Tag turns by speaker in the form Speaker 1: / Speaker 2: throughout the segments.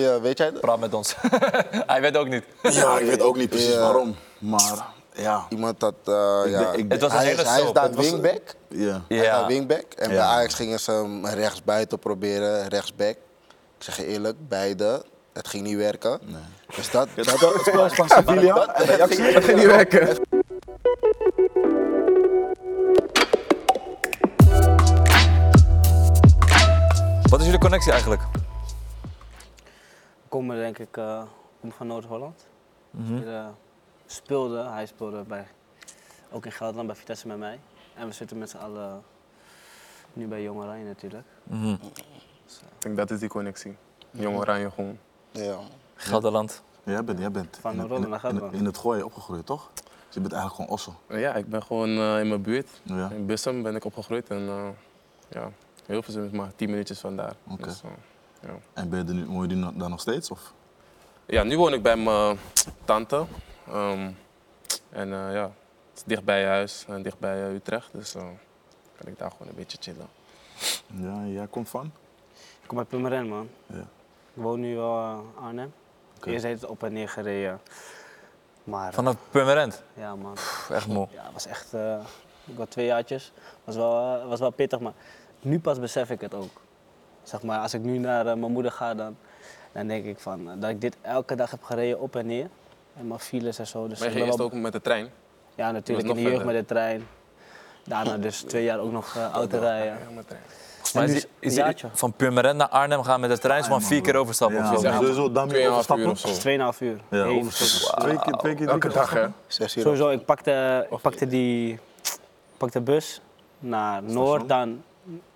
Speaker 1: Ja, weet jij dat?
Speaker 2: Praat met ons. Hij weet ook niet.
Speaker 3: Ja, ik weet ook niet precies
Speaker 1: Ja.
Speaker 3: waarom. Maar ja.
Speaker 1: Iemand dat, eh, ja.
Speaker 3: denk- ik
Speaker 2: Het was een
Speaker 1: hij,
Speaker 2: hele
Speaker 1: is, hij is
Speaker 2: soap.
Speaker 1: daar
Speaker 2: Het was-
Speaker 1: wingback.
Speaker 3: ja.
Speaker 1: Hij is daar
Speaker 2: Ja.
Speaker 1: wingback. En bij
Speaker 3: Ja.
Speaker 1: Ajax gingen ze hem rechtsbuiten proberen, rechtsback. Ik zeg je eerlijk, beide. Het ging niet werken. Dus dat, dat,
Speaker 3: van Sevilla.
Speaker 4: Dat ging niet werken.
Speaker 2: Wat is jullie connectie eigenlijk?
Speaker 5: Ik kom er denk ik eh, ik kom van Noord-Holland.
Speaker 3: Mhm.
Speaker 5: Hier, eh, speelde, hij speelde bij, ook in Gelderland bij Vitesse met mij. En we zitten met z'n allen nu bij Jong Oranje natuurlijk.
Speaker 4: Ik denk dat is die connectie. Jong Oranje gewoon.
Speaker 1: ja.
Speaker 2: Gelderland.
Speaker 3: Jij bent, jij bent
Speaker 5: Van
Speaker 3: in, het-
Speaker 5: Rotterdam
Speaker 3: in, het-
Speaker 5: naar
Speaker 3: in, het-
Speaker 5: Gelderland.
Speaker 3: in het gooien opgegroeid, toch? Dus je bent eigenlijk gewoon ossel.
Speaker 4: Ja, ik ben gewoon eh, in mijn buurt.
Speaker 3: Ja.
Speaker 4: In Bissum ben ik opgegroeid en eh ja, heel veel is maar 10 minuutjes vandaar.
Speaker 3: Oké.
Speaker 4: Dus, eh, ja.
Speaker 3: En ben je er nu, woon je nu nog- daar nog steeds? Of?
Speaker 4: ja, nu woon ik bij mijn eh, tante. Ehm, en eh, ja, het is dichtbij huis en dichtbij eh, Utrecht. Dus eh, kan ik daar gewoon een beetje chillen.
Speaker 3: Ja, jij komt van?
Speaker 5: Ik kom uit Purmerend man.
Speaker 3: Ja.
Speaker 5: Ik woon nu wel eh, Arnhem.
Speaker 3: Oké.
Speaker 5: Eerst heeft het op en neer gereden. Maar eh,
Speaker 2: Vanaf Purmerend.
Speaker 5: ja man,
Speaker 2: Pff, echt moe.
Speaker 5: ja, het was echt, eh ik had twee jaartjes. was wel, eh, was wel pittig, maar nu pas besef ik het ook. Zeg maar, als ik nu naar eh, mijn moeder ga, dan, dan denk ik van, eh, dat ik dit elke dag heb gereden op en neer. En mijn files en zo. Dus
Speaker 4: Maar
Speaker 5: ik
Speaker 4: je
Speaker 5: ben
Speaker 4: ging eerst
Speaker 5: wel-
Speaker 4: ook met de trein.
Speaker 5: Ja, natuurlijk in de
Speaker 4: nog
Speaker 5: jeugd
Speaker 4: verder.
Speaker 5: met de trein. Daarna dus twee jaar ook nog eh, auto rijden.
Speaker 4: Ja, met de trein.
Speaker 2: Maar
Speaker 5: En
Speaker 2: is,
Speaker 5: nu
Speaker 2: is,
Speaker 5: een
Speaker 2: is-
Speaker 5: jaartje.
Speaker 2: van Purmerend naar Arnhem gaan met de trein is gewoon vier keer overstappen.
Speaker 3: Ja,
Speaker 2: of zo.
Speaker 3: maar sowieso dan weer
Speaker 4: Tweeënhalf uur
Speaker 3: overstappen.
Speaker 4: of zo.
Speaker 5: Dat is 2,5 uur.
Speaker 3: Ja,
Speaker 5: Eén.
Speaker 3: overstappen. Twee keer, twee keer, drie
Speaker 4: Elke
Speaker 3: keer
Speaker 4: dag, hè?
Speaker 1: Zes uur.
Speaker 5: Sowieso, ik pakte, ik pakte die ik pakte bus naar Noord, dan,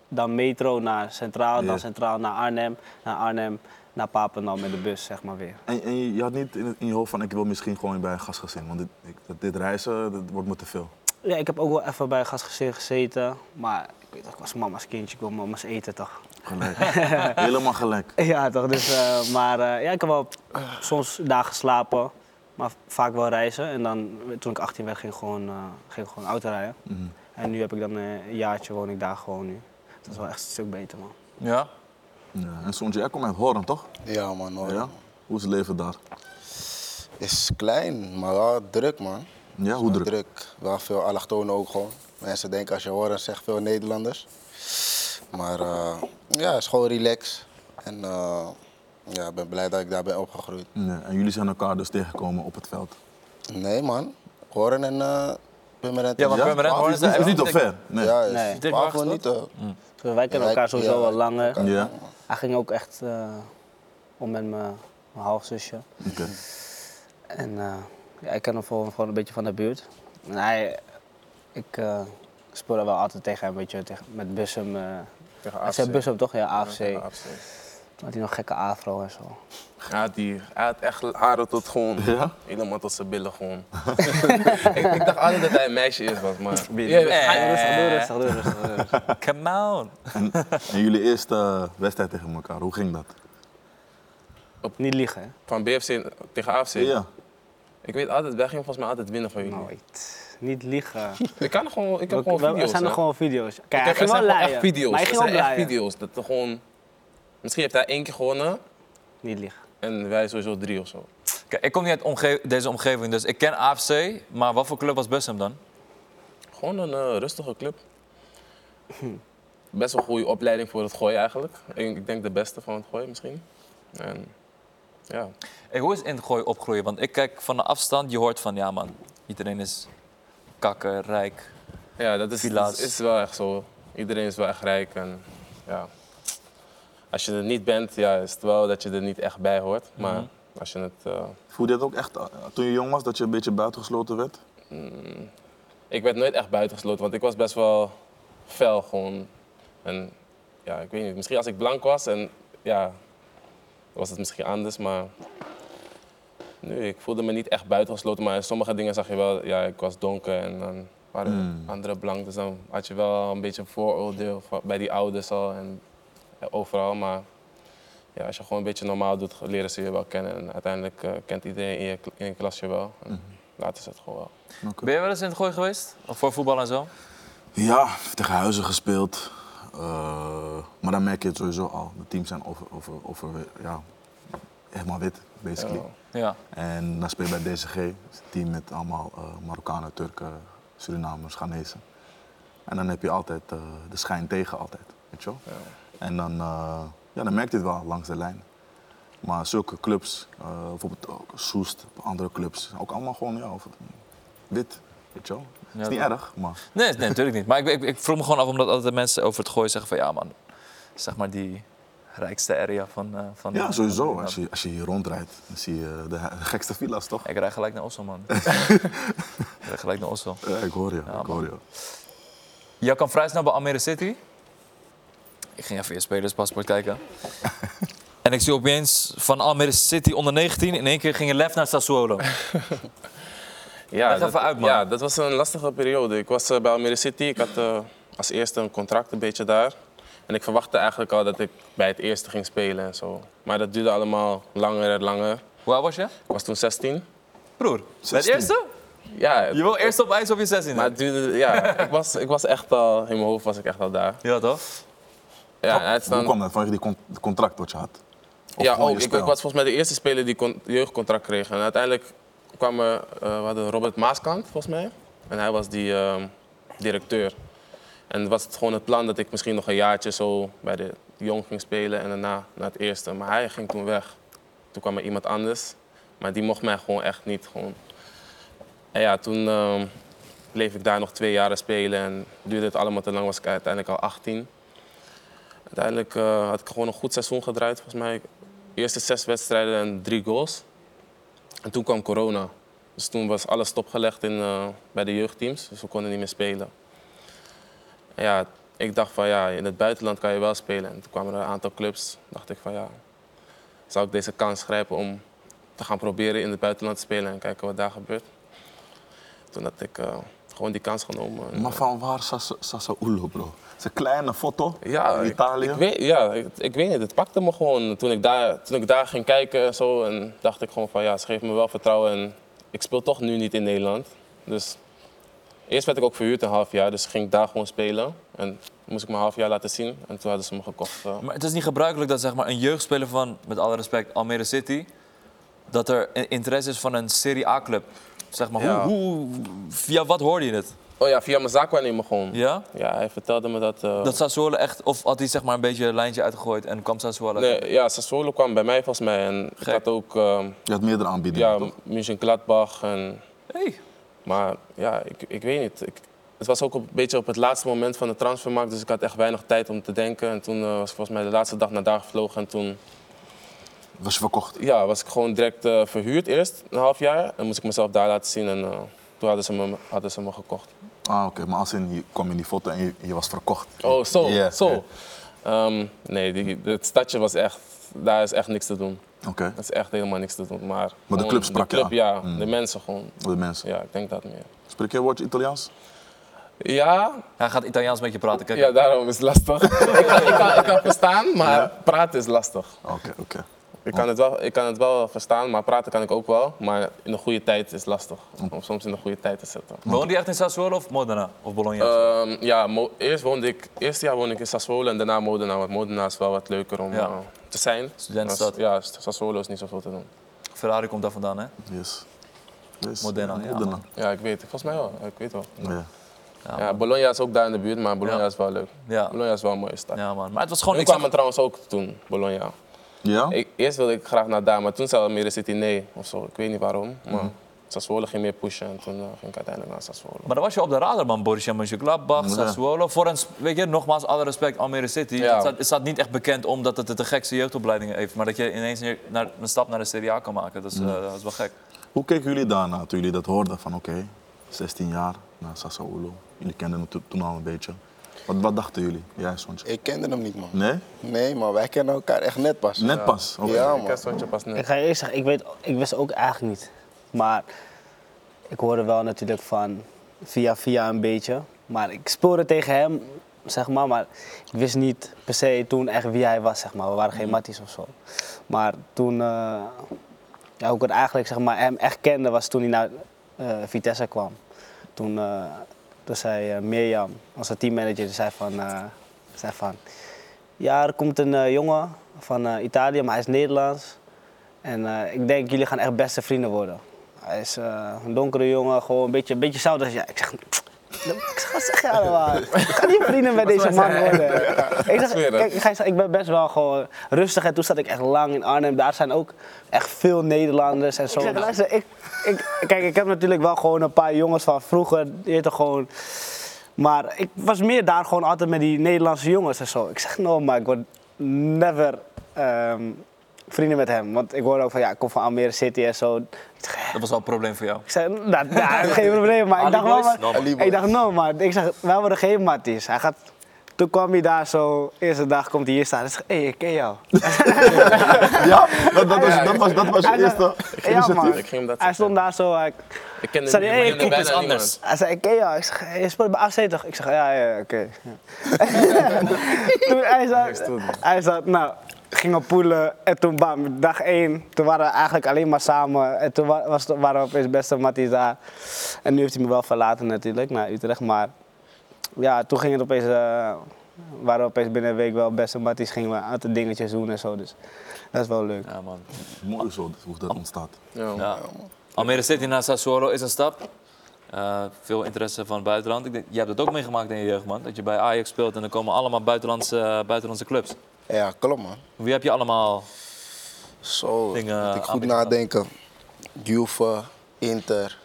Speaker 5: dan metro naar Centraal,
Speaker 3: Ja.
Speaker 5: dan Centraal naar Arnhem, naar Arnhem, naar Papendal met de bus, zeg maar weer.
Speaker 3: En, en je- je had niet in, het- in je hoofd van ik wil misschien gewoon bij een gastgezin. Want dit, ik- dat- dit reizen, dat wordt me te veel.
Speaker 5: Ja, ik heb ook wel even bij een gastgezin gezeten, maar ik, weet, ik was mama's kindje, ik wil mama's eten toch.
Speaker 3: Gelijk. Helemaal gelijk.
Speaker 5: Ja, toch? Dus, eh, maar eh, ja, ik heb wel soms dagen slapen, maar vaak wel reizen. En dan, toen ik 18 werd, ging ik gewoon, eh, ging ik gewoon auto rijden. En nu heb ik dan eh, een jaartje, woon ik daar gewoon nu. Dat is wel echt een stuk beter, man.
Speaker 2: Ja?
Speaker 3: Ja. En soms, jij komt uit Horen, toch?
Speaker 1: Ja, man. Hoor.
Speaker 3: Ja. Hoe is het leven daar?
Speaker 1: Is klein, maar wel druk, man.
Speaker 3: Ja,
Speaker 1: Wel
Speaker 3: hoe druk?
Speaker 1: druk. Wel veel allochtonen ook gewoon. Mensen denken als je horen, zegt veel Nederlanders. Maar eh, ja, het is gewoon relax. En eh, ja, ik ben blij dat ik daar ben opgegroeid.
Speaker 3: Ja. En jullie zijn elkaar dus tegengekomen op het veld.
Speaker 1: Nee, man. Horen en eh Purmerend.
Speaker 2: Ja, want
Speaker 1: ja,
Speaker 2: Purmerend, Hoorn
Speaker 3: Het
Speaker 2: is
Speaker 3: is niet, is niet op
Speaker 2: eigenlijk-
Speaker 3: ver. Nee.
Speaker 1: ja, is eh,
Speaker 5: Nee.
Speaker 1: 12 minuten.
Speaker 5: Dus wij kennen
Speaker 1: Ja,
Speaker 5: elkaar
Speaker 1: ik-
Speaker 5: sowieso
Speaker 1: ja,
Speaker 5: wel
Speaker 1: ik-
Speaker 5: langer.
Speaker 3: Ja.
Speaker 5: Hij ging ook echt eh, om met mijn, mijn halfzusje.
Speaker 3: Oké.
Speaker 5: En eh, ja, ik ken hem gewoon, gewoon een beetje van de buurt. En hij, ik eh, speelde wel altijd tegen hem, weet je, tegen, met Bussum. eh
Speaker 4: Tegen
Speaker 5: hij zei
Speaker 4: AFC.
Speaker 5: Bussum toch? Ja, AFC.
Speaker 4: Ja, AFC.
Speaker 5: Had hij nog gekke afro en zo.
Speaker 4: Hij had, die, hij had echt haren tot gewoon.
Speaker 3: Ja?
Speaker 4: Helemaal tot zijn billen gewoon. ik, ik dacht altijd dat hij een meisje is, was, maar.
Speaker 2: Eh.
Speaker 5: Rustig, doe rustig, doe rustig, doe rustig.
Speaker 2: Come on.
Speaker 3: En, en jullie eerste eh, wedstrijd tegen elkaar, hoe ging dat?
Speaker 5: Niet liegen, hè?
Speaker 4: Van BFC tegen AFC.
Speaker 3: Ja.
Speaker 4: Ik weet altijd, wij gingen volgens mij altijd winnen van jullie.
Speaker 5: Nou, Nooit. Niet liegen.
Speaker 4: Ik kan gewoon, ik heb
Speaker 5: We-
Speaker 4: gewoon
Speaker 5: we-
Speaker 4: video's.
Speaker 5: er zijn
Speaker 4: hè.
Speaker 5: er gewoon video's. Kijk,
Speaker 4: Ik
Speaker 5: hij
Speaker 4: heb, er
Speaker 5: ging wel
Speaker 4: zijn gewoon
Speaker 5: laaien.
Speaker 4: echt video's.
Speaker 5: Maar hij
Speaker 4: Er
Speaker 5: ging ook
Speaker 4: zijn echt
Speaker 5: laaien.
Speaker 4: video's. Dat er gewoon... Misschien heeft hij één keer gewonnen
Speaker 5: Niet liegen.
Speaker 4: en wij sowieso drie of zo.
Speaker 2: Kijk, ik kom niet uit omge- deze omgeving, dus ik ken AFC. Maar wat voor club was Bussum dan?
Speaker 4: Gewoon een eh, rustige club. Best wel goede opleiding voor het gooien eigenlijk. Ik, ik denk de beste van het gooien misschien. En ja,
Speaker 2: Hey, hoe is in het gooi opgroeien? Want ik kijk van de afstand, je hoort van ja man, iedereen is kakker, rijk.
Speaker 4: ja dat is,
Speaker 2: Villa's.
Speaker 4: is, is wel echt zo. Iedereen is wel echt rijk en ja. Als je er niet bent, ja, is het wel dat je er niet echt bij hoort. Maar als je het... eh,
Speaker 3: Voelde je dat ook echt eh, toen je jong was, dat je een beetje buitengesloten werd?
Speaker 4: Ik werd nooit echt buitengesloten, want ik was best wel fel gewoon. En ja, ik weet niet, misschien als ik blank was en ja, was het misschien anders, maar nee, ik voelde me niet echt buitengesloten. Maar in sommige dingen zag je wel, ja, ik was donker en dan waren anderen blank, dus dan had je wel een beetje een vooroordeel van- bij die ouders al en ja, overal, maar ja, als je gewoon een beetje normaal doet, leren ze je wel kennen en uiteindelijk eh, kent iedereen in je, in je klas je wel. En Later is het gewoon wel.
Speaker 2: Ben je wel eens in het gooi geweest? Of voor voetbal en zo?
Speaker 3: Ja, tegen huizen gespeeld. Eh, maar dan merk je het sowieso al. De teams zijn over, over, over ja, helemaal wit, basically.
Speaker 2: Ja.
Speaker 3: En dan speel je bij DCG, dat is een team met allemaal eh, Marokkanen, Turken, Surinamers, Ghanese. En dan heb je altijd eh, de schijn tegen altijd, weet je wel. En dan, eh, ja, dan merk je het wel langs de lijn. Maar zulke clubs, eh, bijvoorbeeld ook Soest, andere clubs, ook allemaal gewoon ja, of- wit, weet je wel.
Speaker 2: Ja,
Speaker 3: is niet
Speaker 2: dat-
Speaker 3: erg, maar
Speaker 2: Nee, nee, natuurlijk niet. Maar ik, ik, ik vroeg me gewoon af, omdat altijd mensen over het gooien zeggen van ja man, zeg maar die rijkste area van... eh, van
Speaker 3: ja,
Speaker 2: eh,
Speaker 3: sowieso.
Speaker 2: van-
Speaker 3: Als je, als je hier rondrijdt, dan zie je de he- gekste villa's, toch?
Speaker 2: Ik rijd gelijk naar Oslo man. ik rijd gelijk naar Oslo.
Speaker 3: Ja, ik hoor je,
Speaker 2: Ja,
Speaker 3: ik hoor je.
Speaker 2: Jij kan vrij snel bij Almere City. Ik ging even je spelerspaspoort kijken. en ik zie opeens van Almere City onder 19, in één keer ging je lef naar Sassuolo.
Speaker 4: Ja,
Speaker 2: Leg
Speaker 4: dat,
Speaker 2: even uit, man.
Speaker 4: ja, dat was een lastige periode. Ik was eh, bij Almere City. Ik had eh, als eerste een contract een beetje daar. En ik verwachtte eigenlijk al dat ik bij het eerste ging spelen en zo. Maar dat duurde allemaal langer en langer.
Speaker 2: Hoe oud was je?
Speaker 4: Ik was toen 16.
Speaker 2: Broer, bij het
Speaker 3: 16.
Speaker 2: eerste?
Speaker 4: Ja, het-
Speaker 2: Je wil eerst op ijs op je 16
Speaker 4: maar het duurde... Ja, ik was, ik was echt al... In mijn hoofd was ik echt al daar.
Speaker 2: Ja toch?
Speaker 4: Ja, en het is
Speaker 3: Hoe
Speaker 4: dan-
Speaker 3: kwam dat? Vanwege die con- contract wat je had? Of
Speaker 4: ja,
Speaker 3: gewoon je
Speaker 4: ook. Ik,
Speaker 3: spel?
Speaker 4: ik was volgens mij de eerste speler die kon, jeugdcontract kreeg. En uiteindelijk kwam er, eh, we hadden Robert Maaskant, volgens mij. En hij was die ehm, directeur. En was het gewoon het plan dat ik misschien nog een jaartje zo bij de jong ging spelen en daarna naar het eerste. Maar hij ging toen weg. Toen kwam er iemand anders, maar die mocht mij gewoon echt niet. Gewoon. En ja, toen ehm, bleef ik daar nog twee jaren spelen en duurde het allemaal te lang. Was ik uiteindelijk al 18. Uiteindelijk eh, had ik gewoon een goed seizoen gedraaid, volgens mij. Eerste zes wedstrijden en drie goals. En toen kwam corona. Dus toen was alles stopgelegd in, eh, bij de jeugdteams. Dus we konden niet meer spelen. En ja, ik dacht van ja, in het buitenland kan je wel spelen. En toen kwamen er een aantal clubs. dacht ik van ja, zou ik deze kans grijpen om te gaan proberen in het buitenland te spelen en kijken wat daar gebeurt. Toen had ik eh, gewoon die kans genomen. En,
Speaker 3: Maar van waar Sas- Sassuolo, bro? Het is een kleine foto
Speaker 4: Ja,
Speaker 3: in
Speaker 4: ik-
Speaker 3: Italië.
Speaker 4: Ik, weet, ja ik, ik weet niet, het pakte me gewoon. Toen ik daar, toen ik daar ging kijken en zo, en dacht ik gewoon van ja, ze geven me wel vertrouwen. En ik speel toch nu niet in Nederland. Dus eerst werd ik ook verhuurd een half jaar, dus ging ik daar gewoon spelen. En moest ik mijn half jaar laten zien. En toen hadden ze me gekocht. eh.
Speaker 2: Maar het is niet gebruikelijk dat zeg maar, een jeugdspeler van, met alle respect, Almere City, dat er i- interesse is van een Serie A-club. Zeg maar,
Speaker 4: Ja.
Speaker 2: hoe, hoe, via wat hoorde je het?
Speaker 4: Oh ja, via mijn zaakwaarnemer gewoon.
Speaker 2: Ja?
Speaker 4: Ja, hij vertelde me dat. eh,
Speaker 2: Dat Sassuolo echt, of had hij zeg maar, een beetje een lijntje uitgegooid en kwam Sassuolo?
Speaker 4: nee, ja, Sassuolo kwam bij mij volgens mij. En ik
Speaker 2: Gek.
Speaker 4: had ook eh,
Speaker 3: Je had meerdere aanbiedingen,
Speaker 4: ja,
Speaker 3: toch?
Speaker 4: München-Gladbach en
Speaker 2: Hey.
Speaker 4: Maar ja, ik, ik weet niet. Ik, het was ook een beetje op het laatste moment van de transfermarkt, dus ik had echt weinig tijd om te denken. En toen eh, was ik volgens mij de laatste dag naar daar gevlogen. En toen
Speaker 3: Was je verkocht?
Speaker 4: ja, was ik gewoon direct eh, verhuurd eerst, een half jaar. En moest ik mezelf daar laten zien en eh, toen hadden ze, me, hadden ze me gekocht.
Speaker 3: Ah, oké. Maar als in, je kwam in die foto en je, je was verkocht.
Speaker 4: Oh, zo,
Speaker 3: Ja,
Speaker 4: zo.
Speaker 3: ja.
Speaker 4: Ehm, nee, die, het stadje was echt, daar is echt niks te doen.
Speaker 3: Oké,
Speaker 4: Er is echt helemaal niks te doen. Maar,
Speaker 3: de
Speaker 4: gewoon
Speaker 3: club sprak je
Speaker 4: club,
Speaker 3: aan? Mm.
Speaker 4: Ja, de mensen gewoon.
Speaker 3: voor de mensen.
Speaker 4: Ja, ik denk dat meer.
Speaker 3: Spreek je een woordje Italiaans?
Speaker 4: Ja,
Speaker 2: Hij gaat Italiaans met je praten. Kijk,
Speaker 4: Ja, daarom is het lastig. ik, kan, ik, kan, ik kan verstaan, maar praten is lastig.
Speaker 3: Ah, Oké, oké.
Speaker 4: Ik kan, het wel, ik kan het wel verstaan, maar praten kan ik ook wel. Maar in de goede tijd is lastig. Om soms in de goede tijd te zitten.
Speaker 2: woonde hij echt in Sassuolo of Modena? Of Bologna?
Speaker 4: Ehm, ja, Mo- eerst woonde ik, eerste jaar woonde ik in Sassuolo en daarna Modena. Want Modena is wel wat leuker om
Speaker 2: Ja.
Speaker 4: eh, te zijn.
Speaker 2: Studentenstad.
Speaker 4: Maar s- Ja, Sassuolo is niet zoveel te doen.
Speaker 2: Ferrari komt daar vandaan, hè?
Speaker 3: Yes. yes.
Speaker 2: Modena, ja.
Speaker 3: Modena.
Speaker 4: Ja, ik weet. Volgens mij wel. Ik weet wel.
Speaker 3: Ja.
Speaker 4: Ja, Bologna is ook daar in de buurt, maar Bologna
Speaker 2: Ja.
Speaker 4: is wel leuk.
Speaker 2: Ja.
Speaker 4: Bologna is wel een mooie stad.
Speaker 2: ja, man. Maar het was gewoon...
Speaker 4: Ik
Speaker 2: Ik
Speaker 4: kwam
Speaker 2: zag,
Speaker 4: er trouwens ook toen, Bologna.
Speaker 3: Ja?
Speaker 4: Ik, eerst wilde ik graag naar daar, maar toen zei Almere City nee of zo. Ik weet niet waarom, maar Sassuolo ging meer pushen en toen eh, ging ik uiteindelijk naar Sassuolo.
Speaker 2: maar dan was je op de radar, man. Borussia Mönchengladbach,
Speaker 3: Ja.
Speaker 2: Sassuolo. Voor een, sp- weet je, nogmaals, alle respect, Almere City.
Speaker 4: Ja.
Speaker 2: Het, staat, het staat niet echt bekend omdat het de gekste jeugdopleidingen heeft. Maar dat je ineens neer- naar, een stap naar de Serie A kan maken, dat is, eh, dat is wel gek.
Speaker 3: Hoe keken jullie daarna toen jullie dat hoorden? Van oké, 16 jaar naar Sassuolo. Jullie kenden hem to- toen al een beetje. Wat, wat dachten jullie? Jij, Sontje?
Speaker 1: Ik kende hem niet, man.
Speaker 3: Nee?
Speaker 1: Nee, man, wij kennen elkaar echt net pas.
Speaker 3: Net pas? Oké.
Speaker 1: Ja,
Speaker 4: Ik
Speaker 1: Oh, man.
Speaker 4: ken Sontje pas
Speaker 5: Ik
Speaker 4: net.
Speaker 5: ga je eerst zeggen, ik, weet, ik wist ook eigenlijk niet. Maar ik hoorde wel natuurlijk van via via een beetje. Maar ik speelde tegen hem, zeg maar. Maar ik wist niet per se toen echt wie hij was, zeg maar. We waren geen matties of zo. Maar toen, eh, ja, hoe ik het eigenlijk zeg maar, hem echt kende, was toen hij naar eh, Vitesse kwam. Toen, eh, toen zei eh, Mirjam, onze teammanager, die zei van, eh, zei van... Ja, er komt een eh, jongen van eh, Italië, maar hij is Nederlands. En eh, ik denk, jullie gaan echt beste vrienden worden. Hij is eh, een donkere jongen, gewoon een beetje, een beetje zout als jij. Ik zeg, ik zeg, wat zeg je allemaal? Ik ga niet vrienden met deze man worden. Ik, zeg,
Speaker 4: Smerig.
Speaker 5: ik, ik ga je zeggen, ik ben best wel gewoon rustig. En toen zat ik echt lang in Arnhem. Daar zijn ook echt veel Nederlanders en zo. Ik zeg, luister, ik, ik, kijk, ik heb natuurlijk wel gewoon een paar jongens van vroeger. Die heette gewoon... Maar ik was meer daar gewoon altijd met die Nederlandse jongens en zo. Ik zeg, no, maar ik word never ehm, vrienden met hem. Want ik hoorde ook van, ja, ik kom van Almere City en zo. Ik zeg, hè?
Speaker 2: Dat was wel een probleem voor jou.
Speaker 5: ik zeg, nou, nou, geen probleem. Maar ik dacht wel, maar,
Speaker 2: No, man.
Speaker 1: Ali
Speaker 5: ik dacht, no, maar ik zeg, wij worden geen matties. Hij gaat, toen kwam hij daar zo, eerste dag komt hij hier staan. Ik zeg, hé, hey, ik ken jou.
Speaker 3: Ja, dat, dat, was, dat, was, dat was je
Speaker 5: Hij zei,
Speaker 3: eerste
Speaker 5: "Ja, man."
Speaker 3: initiatief.
Speaker 4: Ik ging hem dat
Speaker 5: Hij
Speaker 4: zeggen.
Speaker 5: stond daar zo, hij,
Speaker 4: Ik kende
Speaker 5: Sorry, hey,
Speaker 4: ik
Speaker 5: kop
Speaker 4: kende
Speaker 2: is
Speaker 4: bijna
Speaker 2: anders.
Speaker 4: niemand.
Speaker 5: hij zei, ik ken jou. Ik zeg, "Hey, je speelt bij AC toch? Ik zeg, ja, ja, ja, oké. toen hij zat, hij zat, nou, gingen poelen en toen bam, dag één. Toen waren we eigenlijk alleen maar samen. En toen wa- was, waren we opeens beste matties daar. En nu heeft hij me wel verlaten natuurlijk, naar Utrecht. Maar ja, toen ging het opeens, eh, waren we opeens binnen een week wel beste matties. Gingen we een aantal dingetjes doen en zo, dus dat is wel leuk.
Speaker 2: Ja, man.
Speaker 3: Mooi zo, dus hoe dat ontstaat.
Speaker 4: Ja.
Speaker 2: Ja. Almere City naar Sassuolo is een stap. Eh, veel interesse van het buitenland. Ik denk, jij hebt dat ook meegemaakt in je jeugd, man. Dat je bij Ajax speelt en dan komen allemaal buitenlandse, eh, buitenlandse clubs.
Speaker 1: Ja, klopt man.
Speaker 2: Wie heb je allemaal?
Speaker 1: Zo,
Speaker 2: Dingen,
Speaker 1: moet ik goed
Speaker 2: aanbieden.
Speaker 1: nadenken. Juve, Inter,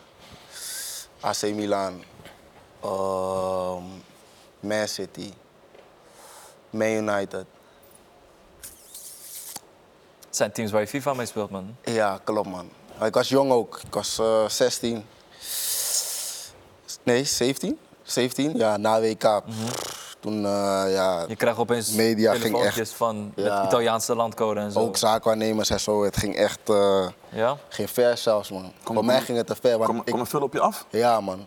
Speaker 1: AC Milan, ehm, Man City, Man United.
Speaker 2: Het zijn teams waar je FIFA mee speelt, man.
Speaker 1: Ja, klopt man. Ik was jong ook. Ik was eh, 16. Nee, 17? 17? Ja, na WK.
Speaker 3: Mhm.
Speaker 1: Pff, Toen, eh, ja,
Speaker 2: Je krijgt opeens
Speaker 1: Media ging
Speaker 2: telefoontjes
Speaker 1: echt-
Speaker 2: van de
Speaker 1: Ja.
Speaker 2: Italiaanse landcode en zo.
Speaker 1: ook zaakwaarnemers en zo. Het ging echt, eh
Speaker 2: Ja?
Speaker 1: ging ver zelfs man. Voor mij ging het te ver. want
Speaker 3: Kom,
Speaker 1: ik-
Speaker 3: kom er veel op je af?
Speaker 1: Ja, man.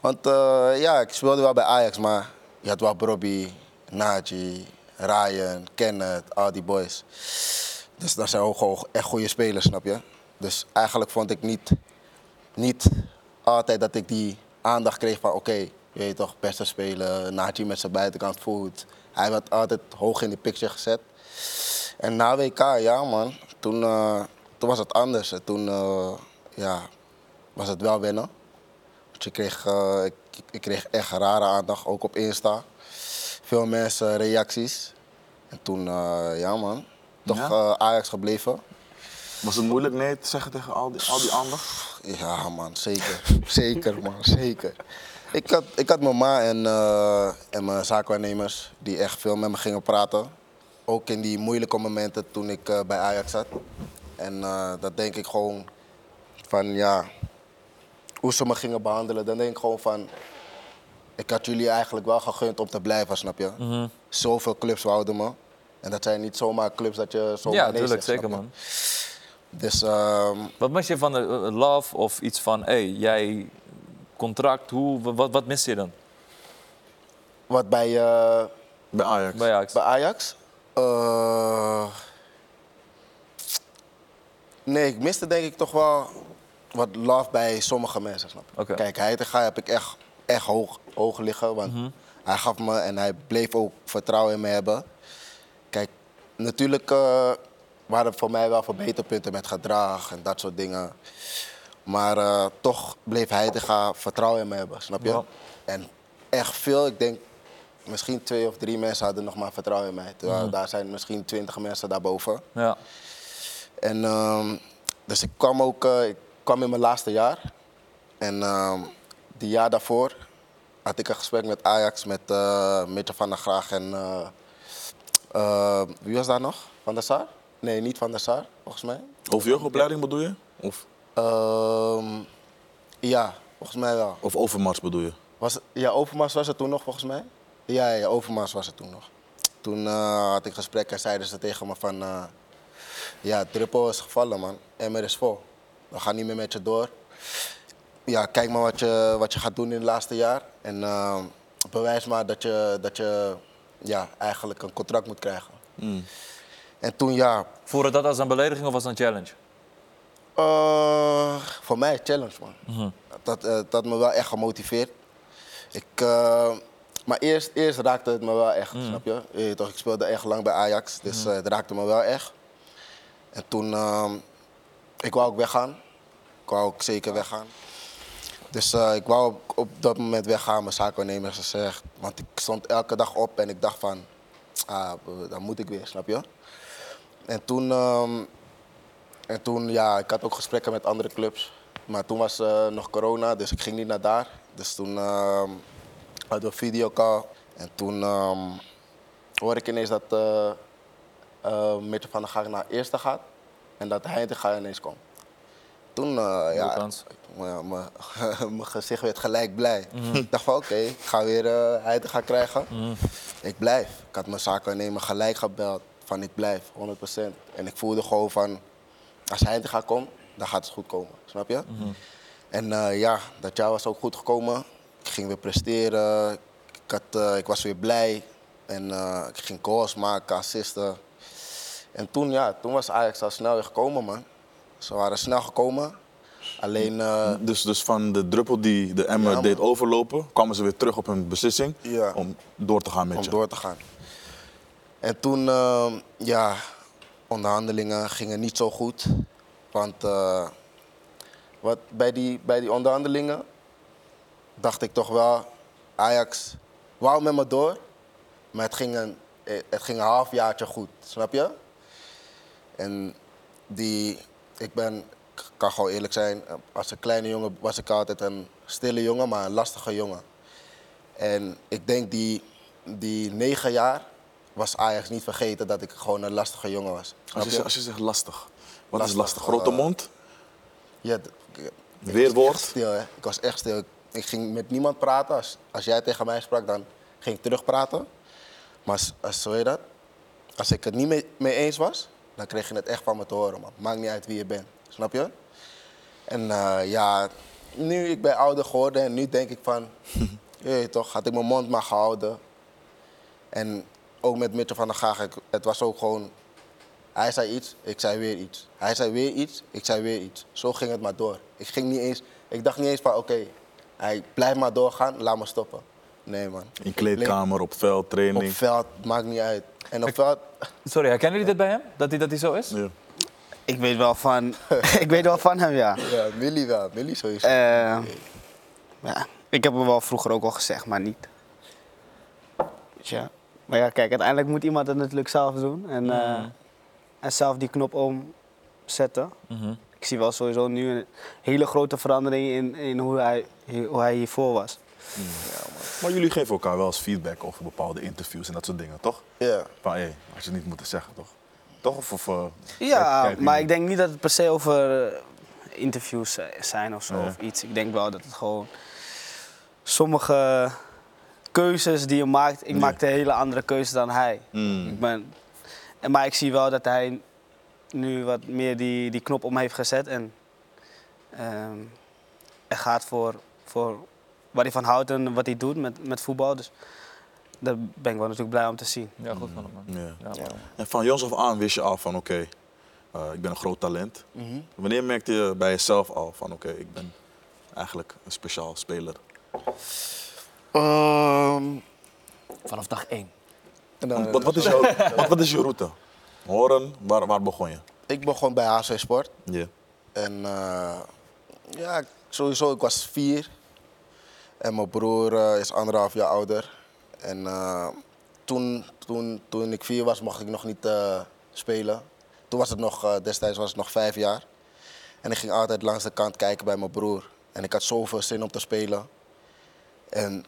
Speaker 1: Want eh, ja, ik speelde wel bij Ajax, maar je had wel Robbie, Naji, Ryan, Kenneth, al die boys. Dus dat zijn ook gewoon echt goede spelers, snap je? Dus eigenlijk vond ik niet, niet altijd dat ik die aandacht kreeg van oké, je weet toch, beste speler, Naji met zijn buitenkant voet. Hij werd altijd hoog in de picture gezet. En na WK, ja man, toen, eh, toen was het anders. En toen eh, ja, was het wel winnen. Want je kreeg, eh, ik, ik kreeg echt rare aandacht, ook op Insta. Veel mensen, reacties. En toen, eh, ja man, toch
Speaker 3: Ja?
Speaker 1: eh, Ajax gebleven.
Speaker 3: Was het moeilijk nee te zeggen tegen al die, al die aandacht?
Speaker 1: Ja man, zeker. zeker man, zeker. Ik had, ik had mijn ma en, eh, en mijn zaakwaarnemers die echt veel met me gingen praten. Ook in die moeilijke momenten toen ik eh, bij Ajax zat. En eh, dat denk ik gewoon van ja, hoe ze me gingen behandelen. Dan denk ik gewoon van, ik had jullie eigenlijk wel gegund om te blijven, snap je?
Speaker 2: Mhm.
Speaker 1: Zoveel clubs wouden me. En dat zijn niet zomaar clubs dat je zomaar
Speaker 2: Ja,
Speaker 1: nee
Speaker 2: natuurlijk,
Speaker 1: zegt,
Speaker 2: zeker,
Speaker 1: snap je?
Speaker 2: man.
Speaker 1: Dus ehm,
Speaker 2: Wat mis je van de eh, love of iets van, hé, hey, jij contract, hoe, wa- wat, wat mis je dan
Speaker 1: wat bij... eh,
Speaker 3: Bij Ajax.
Speaker 2: bij Ajax?
Speaker 1: Bij Ajax? Eh, nee, ik miste denk ik toch wel wat love bij sommige mensen, snap je?
Speaker 2: Oké.
Speaker 1: Kijk, Heitinga heb ik echt, echt hoog, hoog liggen, want
Speaker 2: Mhm.
Speaker 1: hij gaf me en hij bleef ook vertrouwen in me hebben. Kijk, natuurlijk eh, waren voor mij wel verbeterpunten met gedrag en dat soort dingen. Maar eh, toch bleef Heitinga vertrouwen in me hebben, snap je?
Speaker 2: Ja.
Speaker 1: En echt veel, ik denk misschien twee of drie mensen hadden nog maar vertrouwen in mij. Terwijl
Speaker 2: Mhm.
Speaker 1: daar zijn misschien twintig mensen daarboven.
Speaker 2: Ja.
Speaker 1: En ehm, dus ik kwam ook, eh, ik kwam in mijn laatste jaar. En ehm die jaar daarvoor had ik een gesprek met Ajax, met eh Mitchell van der Graag en eh, eh, wie was daar nog? Van der Sar? Nee, niet Van der Sar, volgens mij.
Speaker 3: Over jeugdopleiding bedoel je? Of,
Speaker 1: Ehm, ja, volgens mij wel.
Speaker 3: of overmars bedoel je?
Speaker 1: Was, het- ja, Overmars was er toen nog, volgens mij. Ja, ja, ja, Overmars was er toen nog. Toen eh, had ik een gesprek en zeiden ze tegen me van... eh, ja, Druppel is gevallen, man. Emmer is vol. We gaan niet meer met je door. Ja, kijk maar wat je, wat je gaat doen in het laatste jaar. En eh, bewijs maar dat je, dat je ja, eigenlijk een contract moet krijgen. En toen, ja...
Speaker 2: Voelde dat als een belediging of als een challenge?
Speaker 1: eh, voor mij een challenge, man. dat, eh, dat had me wel echt gemotiveerd. Ik, eh, maar eerst, eerst raakte het me wel echt, snap je? Je weet toch, ik speelde echt lang bij Ajax, dus eh, het raakte me wel echt. En toen, ehm, ik wou ook weggaan. Ik wou ook zeker weggaan. Dus eh, ik wou op, op dat moment weggaan, mijn zaakwaarnemer heeft gezegd. Want ik stond elke dag op en ik dacht van, ah, eh, dan moet ik weer, snap je? En toen, ehm, en toen, ja, ik had ook gesprekken met andere clubs. Maar toen was eh, nog corona, dus ik ging niet naar daar. Dus toen ehm hadden we een videocall. En toen ehm hoorde ik ineens dat eh eh, Mitchell van der Gaag naar eerste gaat. En dat Heitinga ineens kwam. Toen, eh, ja,
Speaker 2: Doelkans.
Speaker 1: ja, mijn- mijn gezicht werd gelijk blij. Ik dacht van oké, ik ga weer eh Heitinga krijgen. Ik blijf. Ik had mijn zakenwaarnemer gelijk gebeld van ik blijf, 100%. En ik voelde gewoon van, als hij te gaat komen, dan gaat het goed komen. Snap je? En eh, ja, dat jaar was ook goed gekomen. Ik ging weer presteren. Ik, had, eh, ik was weer blij. En eh, ik ging goals maken, assisten. En toen, ja, toen was Ajax al snel weer gekomen, man. Ze waren snel gekomen. Alleen, eh,
Speaker 3: Dus, dus van de druppel die de emmer
Speaker 1: Ja,
Speaker 3: deed overlopen, kwamen ze weer terug op hun beslissing
Speaker 1: Ja.
Speaker 3: om door te gaan met je.
Speaker 1: om door te gaan. En toen, eh, ja, onderhandelingen gingen niet zo goed. Want eh, wat, bij, die, bij die onderhandelingen dacht ik toch wel, Ajax wou met me door. Maar het ging een, eh, het ging een halfjaartje goed, snap je? En die, ik ben, ik kan gewoon eerlijk zijn, als een kleine jongen was ik altijd een stille jongen, maar een lastige jongen. En ik denk die, die negen jaar was Ajax niet vergeten dat ik gewoon een lastige jongen was.
Speaker 3: Als,
Speaker 1: Snap
Speaker 3: je,
Speaker 1: je?
Speaker 3: zegt- als je zegt lastig, wat
Speaker 1: Lastig,
Speaker 3: is lastig? Grote
Speaker 1: eh,
Speaker 3: mond,
Speaker 1: Ja, d- ik-
Speaker 3: weerwoord.
Speaker 1: stil, hè. Ik was echt stil. Ik- Ik ging met niemand praten. Als, als jij tegen mij sprak, dan ging ik terugpraten. Maar als, als, hoe heet dat? als ik het niet mee, mee eens was, dan kreeg je het echt van me te horen. Man. Maakt niet uit wie je bent. Snap je? En eh, ja, nu ik ben ouder geworden en nu denk ik van... je weet toch, had ik mijn mond maar gehouden. En ook met Mitchell van der Gaag, ik- het was ook gewoon... Hij zei iets, ik zei weer iets. Hij zei weer iets, ik zei weer iets. Zo ging het maar door. Ik, ging niet eens, ik dacht niet eens van, oké, hij blijft maar doorgaan, laat me stoppen. Nee, man.
Speaker 3: In kleedkamer, op veld,
Speaker 1: Op
Speaker 3: training.
Speaker 1: veld, maakt niet uit. En op veld,
Speaker 2: Sorry, herkennen jullie dit bij hem? Dat hij dat hij zo is?
Speaker 3: Ja.
Speaker 6: Ik weet wel van, ik weet wel van hem, ja.
Speaker 1: ja, Millie wel. Millie sowieso.
Speaker 6: Eh, ja. Ik heb hem wel vroeger ook al gezegd, maar niet. Weet je. Maar ja, kijk, uiteindelijk moet iemand het natuurlijk zelf doen. En, eh, en zelf die knop omzetten.
Speaker 2: Mhm.
Speaker 6: Ik zie wel sowieso nu een hele grote verandering in, in hoe, hij, hoe hij hiervoor was.
Speaker 3: Maar jullie geven elkaar wel eens feedback over bepaalde interviews en dat soort dingen, toch?
Speaker 1: ja.
Speaker 3: Van hé, hey, had je niet moeten zeggen, toch? Toch? Of, of, eh,
Speaker 6: Ja,
Speaker 3: kijk nu.
Speaker 6: maar ik denk niet dat het per se over eh, interviews eh, zijn of zo
Speaker 3: Nee.
Speaker 6: of iets. Ik denk wel dat het gewoon sommige keuzes die je maakt. Ik maakte hele andere keuzes dan hij.
Speaker 3: Mm.
Speaker 2: Hm.
Speaker 6: Ik ben, en maar ik zie wel dat hij nu wat meer die, die knop om heeft gezet en ehm, er gaat voor, voor wat hij van houdt en wat hij doet met, met voetbal. Dus daar ben ik wel natuurlijk blij om te zien.
Speaker 2: Ja, goed van hem. man.
Speaker 3: Ja.
Speaker 2: Ja, man.
Speaker 3: En van jongs af aan wist je al van oké, eh, ik ben een groot talent. Wanneer merkte je bij jezelf al van oké, ik ben eigenlijk een speciaal speler?
Speaker 2: Vanaf dag één.
Speaker 3: Want wat, wat, is jouw, wat, wat is je route? Horen, waar, waar begon je?
Speaker 1: Ik begon bij HC Sport.
Speaker 3: Ja.
Speaker 1: En eh, ja, ik- sowieso, ik was vier. En mijn broer eh, is anderhalf jaar ouder. En eh, toen, toen, toen ik vier was, mocht ik nog niet eh, spelen. Toen was het nog, eh, destijds was het nog vijf jaar. En ik ging altijd langs de kant kijken bij mijn broer. En ik had zoveel zin om te spelen. En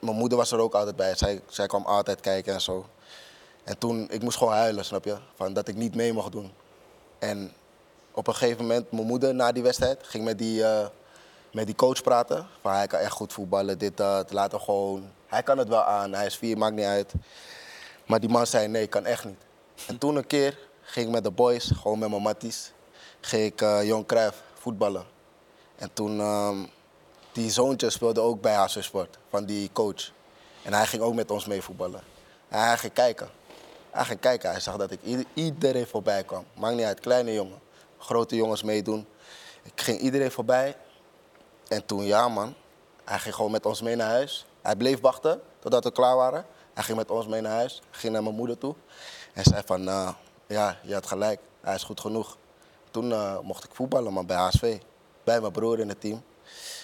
Speaker 1: mijn moeder was er ook altijd bij. Zij, zij kwam altijd kijken en zo. En toen, ik moest gewoon huilen, snap je? Van dat ik niet mee mocht doen. En op een gegeven moment, mijn moeder na die wedstrijd ging met die, eh, met die coach praten. Van hij kan echt goed voetballen, dit, dat, laat hem gewoon. Hij kan het wel aan, hij is vier, maakt niet uit. Maar die man zei nee, kan echt niet. En toen een keer ging ik met de boys, gewoon met mijn matties, ging ik eh Jong Cruijff voetballen. En toen, ehm, die zoontje speelde ook bij HC Sport, van die coach. En hij ging ook met ons mee voetballen. En hij ging kijken. Hij ging kijken, hij zag dat ik ieder- iedereen voorbij kwam. Maakt niet uit, kleine jongen. Grote jongens meedoen. Ik ging iedereen voorbij. En toen, ja man, hij ging gewoon met ons mee naar huis. Hij bleef wachten totdat we klaar waren. Hij ging met ons mee naar huis, ging naar mijn moeder toe. En zei van, eh, "Nou, ja, je had gelijk. hij is goed genoeg. Toen eh, mocht ik voetballen, maar bij HSV. Bij mijn broer in het team.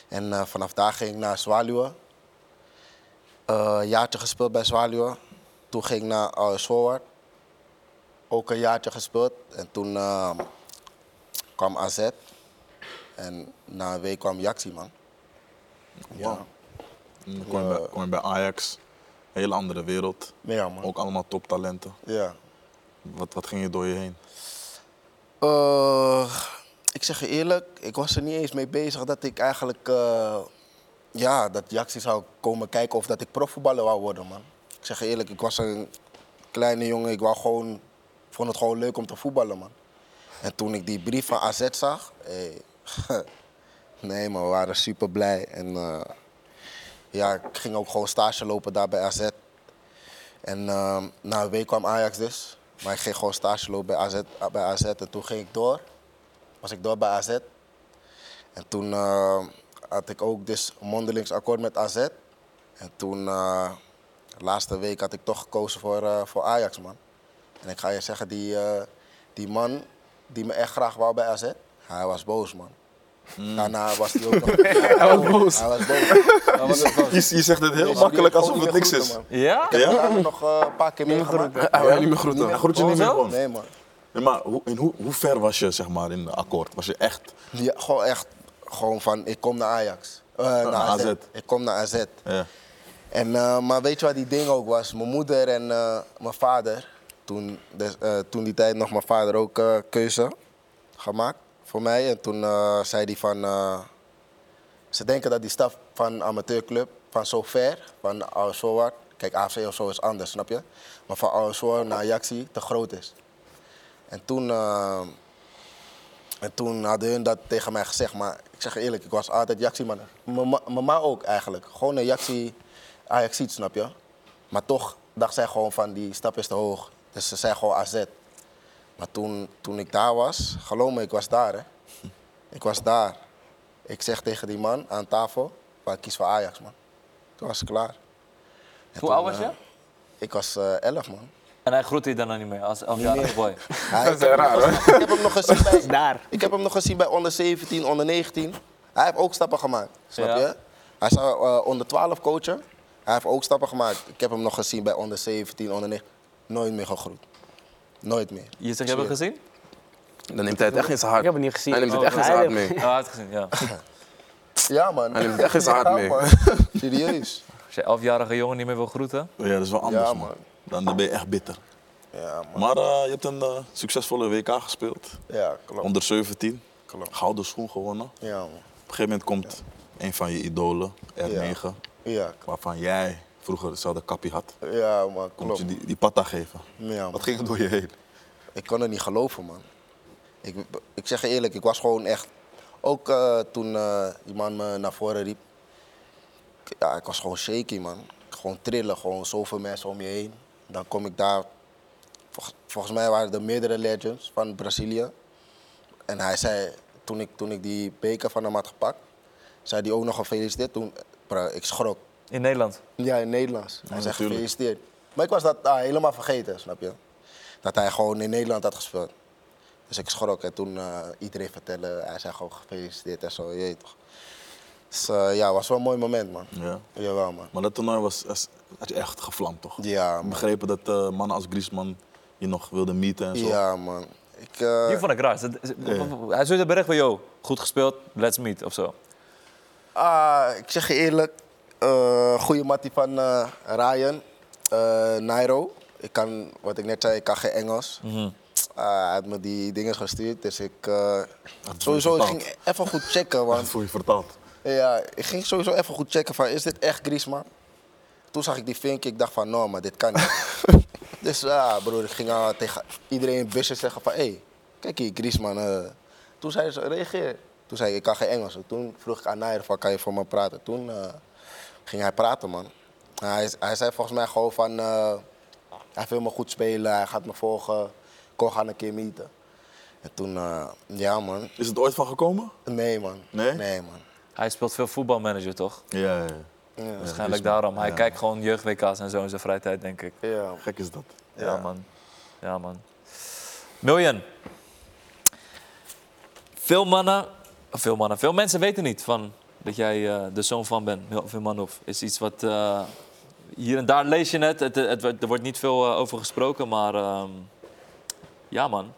Speaker 1: En eh, vanaf daar ging ik naar Zwaluwe. Eh, een jaartje gespeeld bij Zwaluwe. Toen ging ik naar AS Forward. Ook een jaartje gespeeld. En toen eh, kwam AZ. En na een week kwam Jaxi, man. Ja.
Speaker 3: Dan kom je, bij, kom je bij Ajax, hele andere wereld.
Speaker 1: Ja, man.
Speaker 3: Ook allemaal toptalenten.
Speaker 1: Ja.
Speaker 3: Wat, wat ging je door je heen?
Speaker 1: Eh, ik zeg je eerlijk, ik was er niet eens mee bezig dat ik eigenlijk... eh, ja, dat Jaxi zou komen kijken of dat ik profvoetballer wou worden, man. Ik zeg je eerlijk, ik was een kleine jongen. Ik wou gewoon, ik vond het gewoon leuk om te voetballen, man. En toen ik die brief van AZ zag... Hey, nee, man, we waren super blij. En eh, ja, ik ging ook gewoon stage lopen daar bij AZ. En eh, na een week kwam Ajax dus. Maar ik ging gewoon stage lopen bij AZ, bij AZ. En toen ging ik door. Was ik door bij AZ. En toen eh, had ik ook dus een mondelingsakkoord met AZ. En toen, eh, de laatste week, had ik toch gekozen voor, eh, voor Ajax, man. En ik ga je zeggen, die, eh, die man die me echt graag wou bij AZ, hij was boos, man. Daarna was hij ook nog... Hmm. hij was boos. Hij was boos.
Speaker 3: Je, je zegt het heel
Speaker 1: Dus
Speaker 3: makkelijk
Speaker 1: die heeft
Speaker 3: alsof
Speaker 1: ook
Speaker 3: het
Speaker 1: weer
Speaker 3: niks
Speaker 1: groeten,
Speaker 3: is.
Speaker 1: man.
Speaker 2: Ja?
Speaker 1: Ik heb daarna nog eh, een paar keer meegemaakt.
Speaker 3: Hij wil niet meer groeten. Hij groet je niet meer gewoon.
Speaker 1: Nee, man.
Speaker 3: Nee, maar hoe, in hoe, hoe ver was je zeg maar, in het akkoord? Was je echt?
Speaker 1: Ja, gewoon echt. Gewoon van, ik kom naar Ajax. Eh, naar AZ.
Speaker 3: AZ.
Speaker 1: Ik kom naar AZ.
Speaker 3: Ja.
Speaker 1: En, eh, maar weet je wat die ding ook was? Mijn moeder en eh, mijn vader, toen, des- eh, toen die tijd nog mijn vader ook eh, keuze gemaakt voor mij. En toen eh, zei hij van, eh, ze denken dat die staf van amateurclub, van zo ver, van Aosoar, kijk AFC of zo is anders, snap je? Maar van Aosoar naar Ajaxie te groot is. En toen, eh, en toen hadden hun dat tegen mij gezegd, maar ik zeg je eerlijk, ik was altijd Jaxi-man. Mijn ma- mijn ma ook eigenlijk. Gewoon een Jaxi, ajax snap je? Maar toch dacht zij gewoon van die stap is te hoog. Dus ze zei gewoon AZ. Maar toen, toen ik daar was, geloof me, ik was daar hè. Ik was daar. Ik zeg tegen die man aan tafel, "Maar ik kies voor Ajax man. Toen was ik klaar. En
Speaker 2: Hoe
Speaker 1: toen,
Speaker 2: oud was
Speaker 1: eh,
Speaker 2: je?
Speaker 1: Ik was eh, 11 man.
Speaker 2: En hij groet je daarna niet meer als elfjarige boy.
Speaker 1: Hij, ik, heb hem nog gezien- ik heb hem nog gezien bij,
Speaker 5: Daar.
Speaker 1: ik heb hem nog gezien bij onder 17, onder 19. Hij heeft ook stappen gemaakt, snap
Speaker 2: Ja.
Speaker 1: je? Hij zou eh, onder 12 coachen. Hij heeft ook stappen gemaakt. Ik heb hem nog gezien bij onder 17, onder 19. Nooit meer gegroet. Nooit meer.
Speaker 2: Je zegt, je hebt hem gezien?
Speaker 7: Dan neemt hij het echt in zijn
Speaker 5: Ik
Speaker 7: hart.
Speaker 5: heb het niet gezien.
Speaker 7: Hij neemt het
Speaker 5: Oh,
Speaker 7: echt in
Speaker 5: hij
Speaker 7: zijn hart
Speaker 5: heeft-
Speaker 7: mee.
Speaker 2: Ja, hij had gezien, ja.
Speaker 1: Ja, man.
Speaker 7: Hij neemt echt eens hard mee.
Speaker 1: man. Serieus.
Speaker 2: Als je elfjarige jongen niet meer wil groeten.
Speaker 3: ja, dat is wel anders
Speaker 1: Ja,
Speaker 3: man.
Speaker 1: man.
Speaker 3: Dan, dan ben je echt bitter.
Speaker 1: Ja, man.
Speaker 3: Maar eh, je hebt een eh, succesvolle WK gespeeld.
Speaker 1: Ja, klopt.
Speaker 3: Onder 17.
Speaker 1: Klopt.
Speaker 3: Gouden schoen gewonnen. Op
Speaker 1: Ja, man.
Speaker 3: een gegeven moment komt een van je idolen, R9,
Speaker 1: Ja, k-
Speaker 3: waarvan jij vroeger dezelfde kappie had.
Speaker 1: ja man,
Speaker 3: Komt
Speaker 1: klopt.
Speaker 3: je die, die patta geven.
Speaker 1: Ja, man.
Speaker 3: Wat ging er door je heen?
Speaker 1: Ik kon het niet geloven, man. Ik, ik zeg je eerlijk, ik was gewoon echt... Ook eh, toen eh, die man me naar voren riep. ik- Ja, ik was gewoon shaky, man. Gewoon trillen, gewoon zoveel mensen om je heen. Dan kom ik daar... Volgens, volgens mij waren er meerdere legends van Brazilië. En hij zei, toen ik, toen ik die beker van hem had gepakt... zei hij ook nog gefeliciteerd. Toen, bro, ik schrok.
Speaker 2: In Nederland.
Speaker 1: Ja, in Nederlands. hij zegt
Speaker 3: natuurlijk.
Speaker 1: gefeliciteerd. Maar ik was dat ah, helemaal vergeten, snap je? Dat hij gewoon in Nederland had gespeeld. Dus ik schrok en toen eh, iedereen vertelde, hij zei gewoon gefeliciteerd en zo, je weet toch. Dus eh, ja, was wel een mooi moment, man.
Speaker 3: Ja.
Speaker 1: Jawel, man.
Speaker 3: Maar dat toernooi was, was- had je echt gevlamd, toch?
Speaker 1: Ja, man.
Speaker 3: Begrepen dat eh, mannen als Griezmann je nog wilden meeten en zo.
Speaker 1: Ja, man. Ik, eh,
Speaker 2: Hier vond ik raar. Ze- ze- Hij stuurde een bericht van, yo, goed gespeeld, let's meet, of zo.
Speaker 1: Ah, ik zeg je eerlijk, eh goede mattie van eh, Ryan, eh, Nairo. Ik kan, wat ik net zei, ik kan geen Engels. Ah, hij had me die dingen gestuurd, dus ik eh, sowieso ik
Speaker 3: vertaald.
Speaker 1: ging even goed checken.
Speaker 3: Wat
Speaker 1: Want,
Speaker 3: voor je vertaald?
Speaker 1: ja, ik ging sowieso even goed checken van, is dit echt Griezmann? Toen zag ik die vinkje, ik dacht van, no, maar dit kan niet. dus ja, broer, ik ging al tegen iedereen in busjes zeggen van, hé, hey, kijk hier, Griezmann. eh. Toen zei ze, reageer. Toen zei ik, ik kan geen Engels. Toen vroeg ik aan Nair van, kan je voor me praten? Toen eh, ging hij praten, man. Hij, hij zei volgens mij gewoon van, eh, hij wil me goed spelen, hij gaat me volgen. Kom, gaan een keer meeten. En toen, eh, ja man,
Speaker 3: Is het ooit van gekomen?
Speaker 1: nee man.
Speaker 3: Nee?
Speaker 1: Nee man.
Speaker 2: Hij speelt veel voetbalmanager, toch?
Speaker 3: Ja, ja, ja.
Speaker 2: Waarschijnlijk daarom. Hij kijkt gewoon jeugd-WK's en zo in zijn vrije tijd, denk ik.
Speaker 1: Ja,
Speaker 3: Gek is dat.
Speaker 2: Ja, man. Ja, man. Miljan, Veel mannen, veel mannen, veel mensen weten niet van dat jij eh, de zoon van bent, Mil- Vilmanov. Is iets wat eh, hier en daar lees je het. het, het wordt- er wordt niet veel eh, over gesproken, maar ehm, ja man,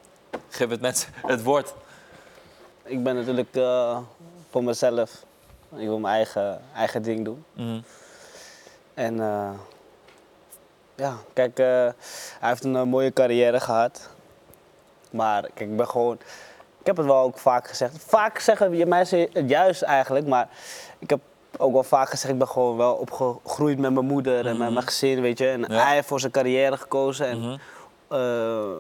Speaker 2: geef het mensen het woord.
Speaker 5: Ik ben natuurlijk eh, voor mezelf. Ik wil mijn eigen, eigen ding doen.
Speaker 2: Mhm.
Speaker 5: En eh, ja, kijk, eh, hij heeft een eh, mooie carrière gehad. Maar kijk, ik ben gewoon. Ik heb het wel ook vaak gezegd. Vaak zeggen je mensen het juist eigenlijk, maar ik heb ook wel vaak gezegd, ik ben gewoon wel opgegroeid met mijn moeder en met mijn gezin, weet je. En
Speaker 2: Mhm. Ja.
Speaker 5: hij heeft voor zijn carrière gekozen en,
Speaker 2: Mhm.
Speaker 5: eh,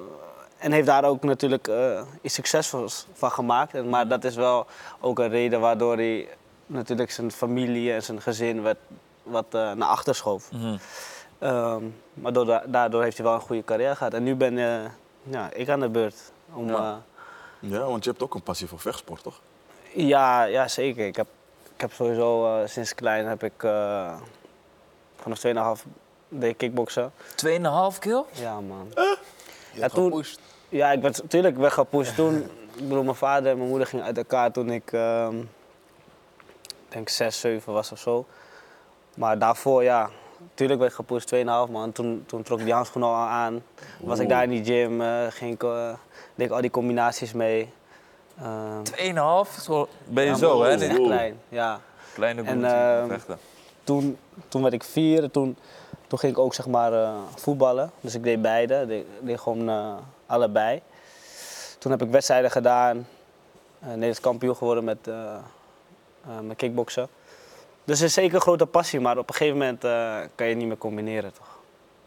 Speaker 5: en heeft daar ook natuurlijk eh, iets succesvols van gemaakt. En, maar dat is wel ook een reden waardoor hij natuurlijk zijn familie en zijn gezin werd, wat eh, naar achter schoof.
Speaker 2: Mhm.
Speaker 5: Ehm, maar doorda- daardoor heeft hij wel een goede carrière gehad. En nu ben eh, ja, ik aan de beurt. Om, eh,
Speaker 2: Ja.
Speaker 5: ja.
Speaker 3: Ja, want je hebt ook een passie voor vechtsport, toch?
Speaker 5: eh, ja, zeker. Ik heb, ik heb sowieso eh, sinds klein heb ik eh, vanaf 2,5 deed ik kickboksen.
Speaker 2: 2,5 kill?
Speaker 5: Ja, man. ja, toen, ja, ik werd natuurlijk weg gepusht toen. Ik bedoel, mijn vader en mijn moeder gingen uit elkaar toen ik, ehm, ik denk 6, 7 was of zo. Maar daarvoor, ja, natuurlijk werd ik gepusht, 2,5 man. Toen, toen trok ik die handschoenen al aan. Was ik daar in die gym, eh, ging ik, eh, deed ik al die combinaties mee. Ehm,
Speaker 2: 2,5? Zo ben je
Speaker 5: ja,
Speaker 2: zo,
Speaker 5: maar
Speaker 2: hè?
Speaker 5: dat is
Speaker 2: Dit
Speaker 5: echt klein, ja.
Speaker 2: Kleine
Speaker 5: En,
Speaker 2: boertje,
Speaker 5: ehm,
Speaker 2: vechten.
Speaker 5: Toen, toen werd ik vier, en toen, toen ging ik ook zeg maar eh, voetballen. Dus ik deed beide, ik deed, deed gewoon eh, allebei. Toen heb ik wedstrijden gedaan, eh Nederlands kampioen geworden met, eh eh, met kickboksen. Dus het is zeker een grote passie, maar op een gegeven moment eh, kan je het niet meer combineren toch.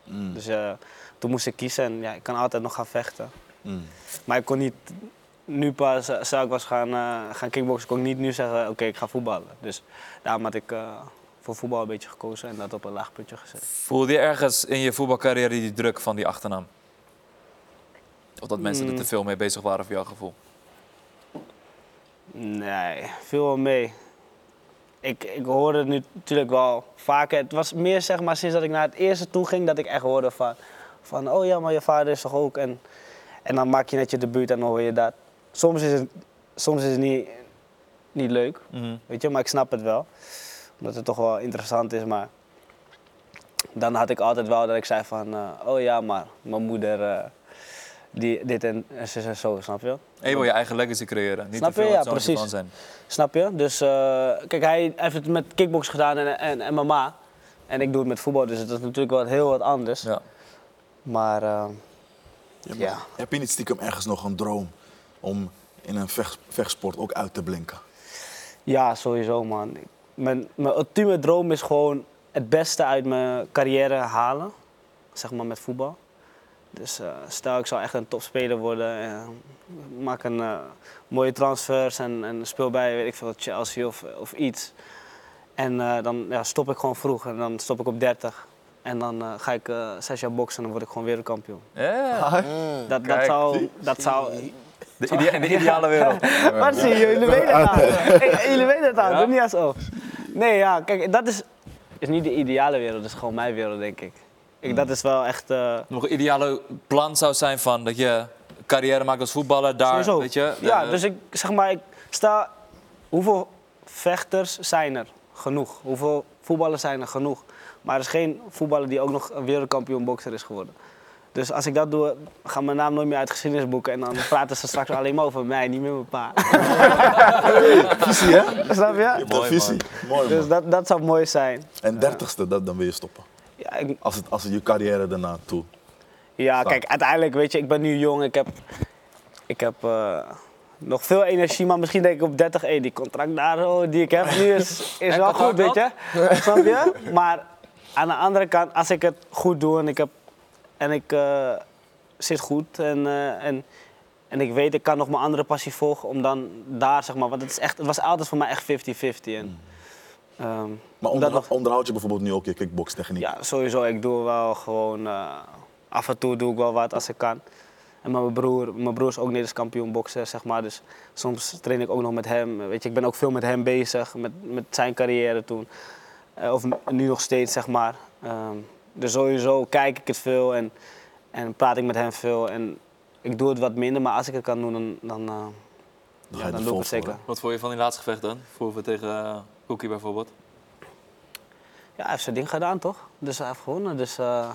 Speaker 1: Mm.
Speaker 3: Hmm.
Speaker 5: Dus eh, toen moest ik kiezen en ja, ik kan altijd nog gaan vechten.
Speaker 3: Mm.
Speaker 5: Maar ik kon niet, nu pas, eh, zou ik was gaan, eh, gaan kickboksen, kon ik niet nu zeggen, oké, ik ga voetballen. Dus daarom had ik eh, voor voetbal een beetje gekozen en dat op een laag puntje gezet.
Speaker 2: Voelde je ergens in je voetbalcarrière die druk van die achternaam? Of dat mensen
Speaker 5: Hmm.
Speaker 2: er te veel mee bezig waren voor jouw gevoel?
Speaker 5: Nee, viel wel mee. Ik, ik hoorde het nu natuurlijk wel vaker. Het was meer zeg maar sinds dat ik naar het eerste toe ging dat ik echt hoorde van, van oh ja, maar je vader is toch ook. En, en dan maak je net je debuut en dan hoor je dat. Soms is het, soms is het niet, niet leuk, Weet je, maar ik snap het wel. Omdat het toch wel interessant is, maar... Dan had ik altijd wel dat ik zei van... eh, oh ja, maar mijn moeder... eh, die, dit en, en zus en zo, snap je?
Speaker 2: En je wil je eigen legacy creëren. Niet
Speaker 5: Snap
Speaker 2: te veel
Speaker 5: je?
Speaker 2: het
Speaker 5: Ja,
Speaker 2: zoontje
Speaker 5: precies.
Speaker 2: van zijn.
Speaker 5: Snap je? Dus eh, kijk, hij heeft het met kickbox gedaan en, en, en MMA. En ik doe het met voetbal, dus het is natuurlijk wel heel wat anders.
Speaker 2: Ja.
Speaker 5: Maar eh,
Speaker 3: Ja,
Speaker 5: Ja.
Speaker 3: maar Heb je niet stiekem ergens nog een droom om in een vecht- vechtsport ook uit te blinken?
Speaker 5: ja, sowieso man. Ik- Mijn, mijn ultieme droom is gewoon het beste uit mijn carrière halen. Zeg maar met voetbal. Dus eh, stel ik zou echt een topspeler worden. eh, maak een eh, mooie transfers en, en speel bij weet ik veel, Chelsea of, of iets. En eh, dan ja, stop ik gewoon vroeg en dan stop ik op 30. En dan eh, ga ik eh, zes jaar boksen en dan word ik gewoon wereldkampioen.
Speaker 2: Ja,
Speaker 5: Dat, dat
Speaker 2: Kijk.
Speaker 5: zou... Dat zou
Speaker 2: de, idea- de ideale wereld.
Speaker 5: Wat zie je? Jullie weten het al. Hey, Jullie weten het al, doe niet alsof. Nee, ja, kijk, dat is, is niet de ideale wereld, dat is gewoon mijn wereld, denk ik. ik dat is wel echt... eh,
Speaker 2: Nog een ideale plan zou zijn van dat je carrière maakt als voetballer. Daar,
Speaker 5: Sowieso.
Speaker 2: weet je.
Speaker 5: ja,
Speaker 2: eh,
Speaker 5: dus ik zeg maar, ik sta. Hoeveel vechters zijn er? Genoeg. Hoeveel voetballers zijn er? Genoeg. Maar er is geen voetballer die ook nog een wereldkampioen bokser is geworden. Dus als ik dat doe, gaan mijn naam nooit meer uit geschiedenisboeken. En dan praten ze straks alleen maar over mij, niet meer mijn pa. Visie, hè? Snap je?
Speaker 3: De visie. Mooi man.
Speaker 5: Dus dat, dat zou mooi zijn.
Speaker 3: En dertigste, dat, dan wil je stoppen.
Speaker 5: Ja, ik-
Speaker 3: Als het, als het je carrière daarna toe.
Speaker 5: Ja, kijk, uiteindelijk, weet je, ik ben nu jong. Ik heb, ik heb eh, nog veel energie, maar misschien denk ik op 30, hey, die contract daar oh, die ik heb nu is, is wel goed, weet je. Snap je? Maar aan de andere kant, als ik het goed doe en ik, heb, en ik eh, zit goed en, eh, en, en ik weet, ik kan nog mijn andere passie volgen, om dan daar, zeg maar, want het, is echt, het was altijd voor mij echt 50-50. En, ehm,
Speaker 3: Maar
Speaker 5: om
Speaker 3: onderhoud,
Speaker 5: dat nog-
Speaker 3: onderhoud je bijvoorbeeld nu ook je kickbokstechniek?
Speaker 5: ja, sowieso. Ik doe wel gewoon. eh, af en toe doe ik wel wat als ik kan. En met mijn broer, mijn broer is ook Nederlands kampioen bokser, zeg maar. Dus soms train ik ook nog met hem. Weet je, ik ben ook veel met hem bezig, met, met zijn carrière toen. Eh, of nu nog steeds, zeg maar. Ehm, dus sowieso kijk ik het veel en, en praat ik met hem veel. En ik doe het wat minder, maar als ik het kan doen, dan, dan,
Speaker 3: ga je
Speaker 5: eh, dan
Speaker 3: er
Speaker 5: doe ik
Speaker 3: vol
Speaker 5: het
Speaker 3: voor,
Speaker 5: zeker.
Speaker 3: hè?
Speaker 2: Wat vond je van die laatste gevecht dan? Voor we tegen eh, Cookie bijvoorbeeld?
Speaker 5: Ja, hij heeft zijn ding gedaan, toch? Dus hij heeft gewonnen. Dus eh,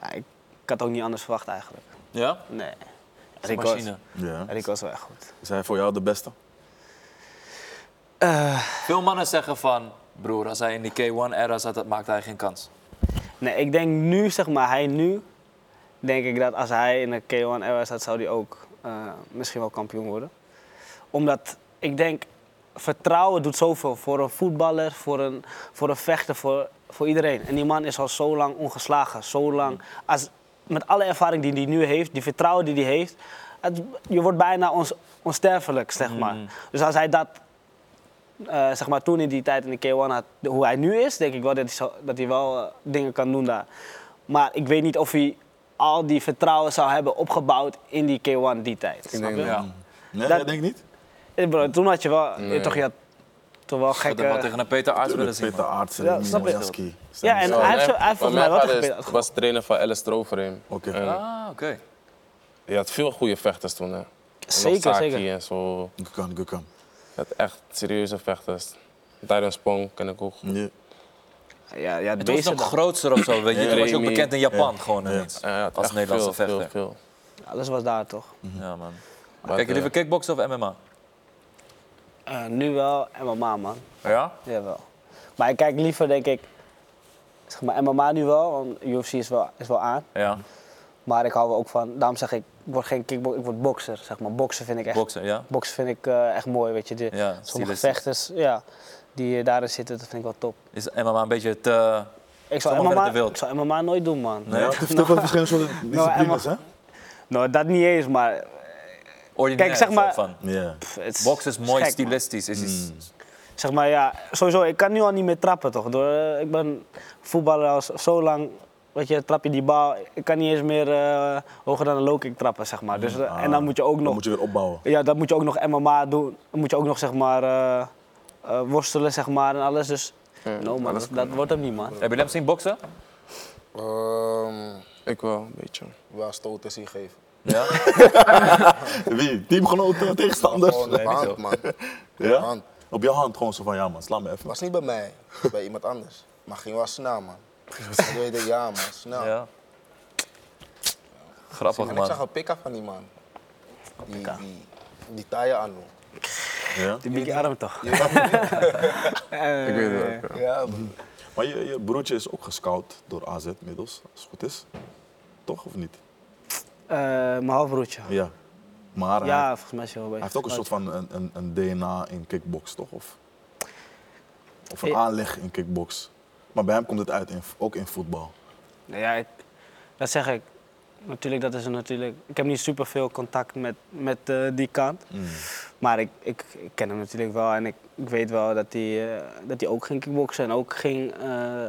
Speaker 5: ja, ik, ik had ook niet anders verwacht eigenlijk.
Speaker 2: Ja?
Speaker 5: Nee. Rico is,
Speaker 2: Machine.
Speaker 3: Ja.
Speaker 5: Rico is wel echt goed.
Speaker 3: Is hij voor jou de beste?
Speaker 2: Veel mannen zeggen van, broer, als hij in die K1-era zat, dat maakte hij geen kans.
Speaker 5: Nee, ik denk nu, zeg maar, hij nu... Denk ik dat als hij in de K1 era staat, zou hij ook eh, misschien wel kampioen worden. Omdat, ik denk, vertrouwen doet zoveel voor een voetballer, voor een, voor een vechter, voor, voor iedereen. En die man is al zo lang ongeslagen, zo lang. Als, met alle ervaring die hij nu heeft, die vertrouwen die hij heeft, het- je wordt bijna ons onsterfelijk, zeg maar. Dus als hij dat, eh, zeg maar, toen in die tijd in de K1 had, de- hoe hij nu is, denk ik wel dat hij, zo- dat hij wel eh, dingen kan doen daar. Maar ik weet niet of hij al die vertrouwen zou hebben opgebouwd in die K1 die tijd. snap je?
Speaker 2: Ja.
Speaker 3: Nee,
Speaker 5: Dat-
Speaker 3: dat denk ik niet.
Speaker 5: Eh, Bro, toen had je wel, je toch, je had toch wel
Speaker 2: Ik had hem wel
Speaker 5: gekke...
Speaker 2: tegen een Peter Aarts willen
Speaker 3: Tuurlijk,
Speaker 2: zien.
Speaker 3: Peter Aarts en
Speaker 5: Ja, snap ik.
Speaker 3: Mojaski.
Speaker 5: Ja, en
Speaker 4: Zo,
Speaker 5: hij heeft,
Speaker 4: mijn-
Speaker 5: zo- hij heeft
Speaker 4: maar
Speaker 5: volgens mij wel
Speaker 4: Mijn
Speaker 5: gespeeld. Oh,
Speaker 4: vader is- was trainer van LS Stroverim.
Speaker 3: Oké.
Speaker 4: En
Speaker 2: Ah, oké.
Speaker 4: Je had veel goede vechters toen, hè. En nog
Speaker 5: Zeker,
Speaker 4: Saki
Speaker 5: zeker.
Speaker 4: en zo.
Speaker 3: Gukan, Gukan.
Speaker 4: Je had echt serieuze vechters. Darren Spong ken ik ook.
Speaker 3: Ja.
Speaker 5: Ja, ja,
Speaker 2: Het was
Speaker 5: deze
Speaker 2: nog
Speaker 5: dag.
Speaker 2: groter of zo, weet je. Toen was je ook
Speaker 4: Remy.
Speaker 2: bekend in Japan gewoon ineens.
Speaker 4: Ja, je had
Speaker 2: Als
Speaker 4: echt
Speaker 2: Nederlandse
Speaker 4: veel,
Speaker 2: vechter.
Speaker 4: Veel, veel.
Speaker 5: Alles was daar toch?
Speaker 2: Ja, man.
Speaker 4: Maar,
Speaker 2: Kijk je
Speaker 4: eh,
Speaker 2: liever kickboksen of MMA?
Speaker 5: Eh, nu wel MMA, man.
Speaker 2: Ja?
Speaker 5: Jawel. Maar ik kijk liever, denk ik, zeg maar MMA nu wel, want UFC is wel, is wel aan.
Speaker 2: Ja.
Speaker 5: Maar ik hou wel ook van, daarom zeg ik, ik word geen kickboxer, ik word bokser, zeg maar. Boksen vind ik echt,
Speaker 2: Boksen, ja.
Speaker 5: boksen vind ik, eh, echt mooi, weet je. De,
Speaker 2: Ja,
Speaker 5: sommige
Speaker 2: stilistisch.
Speaker 5: vechters ja, die eh, daarin zitten, dat vind ik wel top.
Speaker 2: Is MMA een beetje te...
Speaker 5: Ik zou,
Speaker 2: Sommige
Speaker 5: MMA,
Speaker 2: werden te wild.
Speaker 5: ik zou MMA nooit doen, man.
Speaker 2: Nee.
Speaker 3: Ja, het heeft ook
Speaker 5: Nou,
Speaker 3: wel verschillende soorten disciplines, hè?
Speaker 5: Emma- Nou, dat niet eens, maar
Speaker 2: ordinair
Speaker 5: Kijk, zeg
Speaker 2: soort
Speaker 5: maar-
Speaker 2: van.
Speaker 3: Ja.
Speaker 5: pff, het is
Speaker 2: Boksen is mooi
Speaker 5: gek, man.
Speaker 2: stilistisch. Is iets-
Speaker 4: Mm.
Speaker 5: Zeg maar ja, sowieso, ik kan nu al niet meer trappen toch? Door, eh, ik ben voetballer al zo- zo lang, weet je, trap je die bal. Ik kan niet eens meer eh, hoger dan een low kick trappen, zeg maar. Dus, eh, en dan moet je ook nog,
Speaker 3: Ah, moet je weer opbouwen.
Speaker 5: ja, dat moet je ook nog MMA doen. Dan moet je ook nog, zeg maar, eh, eh, worstelen, zeg maar, en alles. Dus,
Speaker 4: Hmm,
Speaker 5: no man, dat, dat wordt hem niet, man.
Speaker 2: Heb je hem zien boksen?
Speaker 1: Ehm,
Speaker 4: Ik wel, een beetje.
Speaker 1: wel stoten zien geven.
Speaker 2: Ja.
Speaker 3: Wie? Teamgenoten, tegenstanders?
Speaker 1: Gewoon op hand, man.
Speaker 5: eh,
Speaker 3: Ja?
Speaker 1: hand.
Speaker 3: Op jouw hand gewoon zo van, ja man, sla me even.
Speaker 1: Was niet bij mij, was bij iemand anders. Maar ging wel snel, man. Ik weet het, ja, man, snel.
Speaker 2: ja.
Speaker 1: Zie,
Speaker 2: Grappig,
Speaker 1: man. Ik zag
Speaker 2: man.
Speaker 1: een pika van die man. Die, die, die taaien aan doen.
Speaker 3: Ja?
Speaker 5: Die ben ik arm toch?
Speaker 4: Ik weet het ook. ja.
Speaker 1: Ja, man.
Speaker 3: Maar je, je broertje is ook gescout door AZ middels, als het goed is. Toch of niet?
Speaker 5: Eh, mijn halfbroertje.
Speaker 3: Ja. Maar hij,
Speaker 5: Ja,
Speaker 3: hij
Speaker 5: volgens mij is hij wel bezig.
Speaker 3: heeft ook een soort van een, een, een DNA in kickbox, toch? Of, of een
Speaker 5: Ja.
Speaker 3: aanleg in kickbox. Maar bij hem komt het uit, in, ook in voetbal.
Speaker 5: Nou Ja, ik, dat zeg ik. Natuurlijk, dat is een natuurlijk. Ik heb niet super veel contact met, met eh, die kant.
Speaker 2: Hmm.
Speaker 5: Maar ik, ik, ik ken hem natuurlijk wel en ik, ik weet wel dat hij, eh, dat hij ook ging kickboksen en ook ging eh,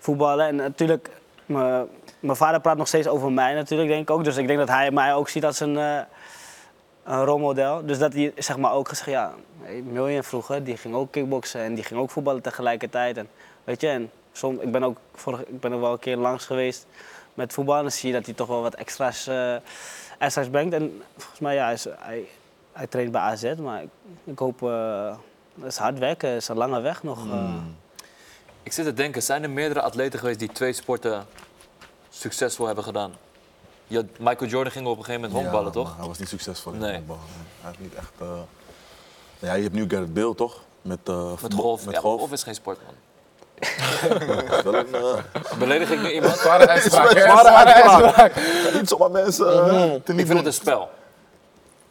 Speaker 5: voetballen. En natuurlijk, me- mijn vader praat nog steeds over mij natuurlijk, denk ik ook. Dus ik denk dat hij mij ook ziet als een, eh, een rolmodel. Dus dat hij zeg maar ook gezegd, ja, hey, Miljan vroeger, die ging ook kickboksen en die ging ook voetballen tegelijkertijd. En, weet je, en som, ik ben ook vorig, ik ben er wel een keer langs geweest met voetbal. En dan zie je dat hij toch wel wat extra's, eh, extra's brengt. En volgens mij, ja, hij, is- hij, hij traint bij AZ, maar ik, ik hoop, eh, het is hard werken, het is een lange weg nog. eh.
Speaker 2: Ik zit te denken, zijn er meerdere atleten geweest die twee sporten succesvol hebben gedaan? Je had- Michael Jordan ging op een gegeven moment
Speaker 3: Ja,
Speaker 2: honkballen,
Speaker 3: maar
Speaker 2: toch?
Speaker 3: Hij was niet succesvol in
Speaker 2: Nee.
Speaker 3: honkbal. Nee. Hij heeft niet echt. eh, Ja, je hebt nu Gerrit Beel toch? Met, eh,
Speaker 2: Met
Speaker 3: voetbal-
Speaker 2: golf.
Speaker 3: Met
Speaker 2: Ja,
Speaker 3: golf.
Speaker 2: golf is geen sport, man.
Speaker 3: Dat is wel een, eh,
Speaker 2: Beledig ik nu iemand?
Speaker 4: Zware uitspraak, hè?
Speaker 3: zware
Speaker 4: Zware
Speaker 3: uitspraak. Niet zomaar mensen. eh, te
Speaker 2: Mhm. Ik
Speaker 3: niet
Speaker 2: vind het
Speaker 3: doen.
Speaker 2: een spel.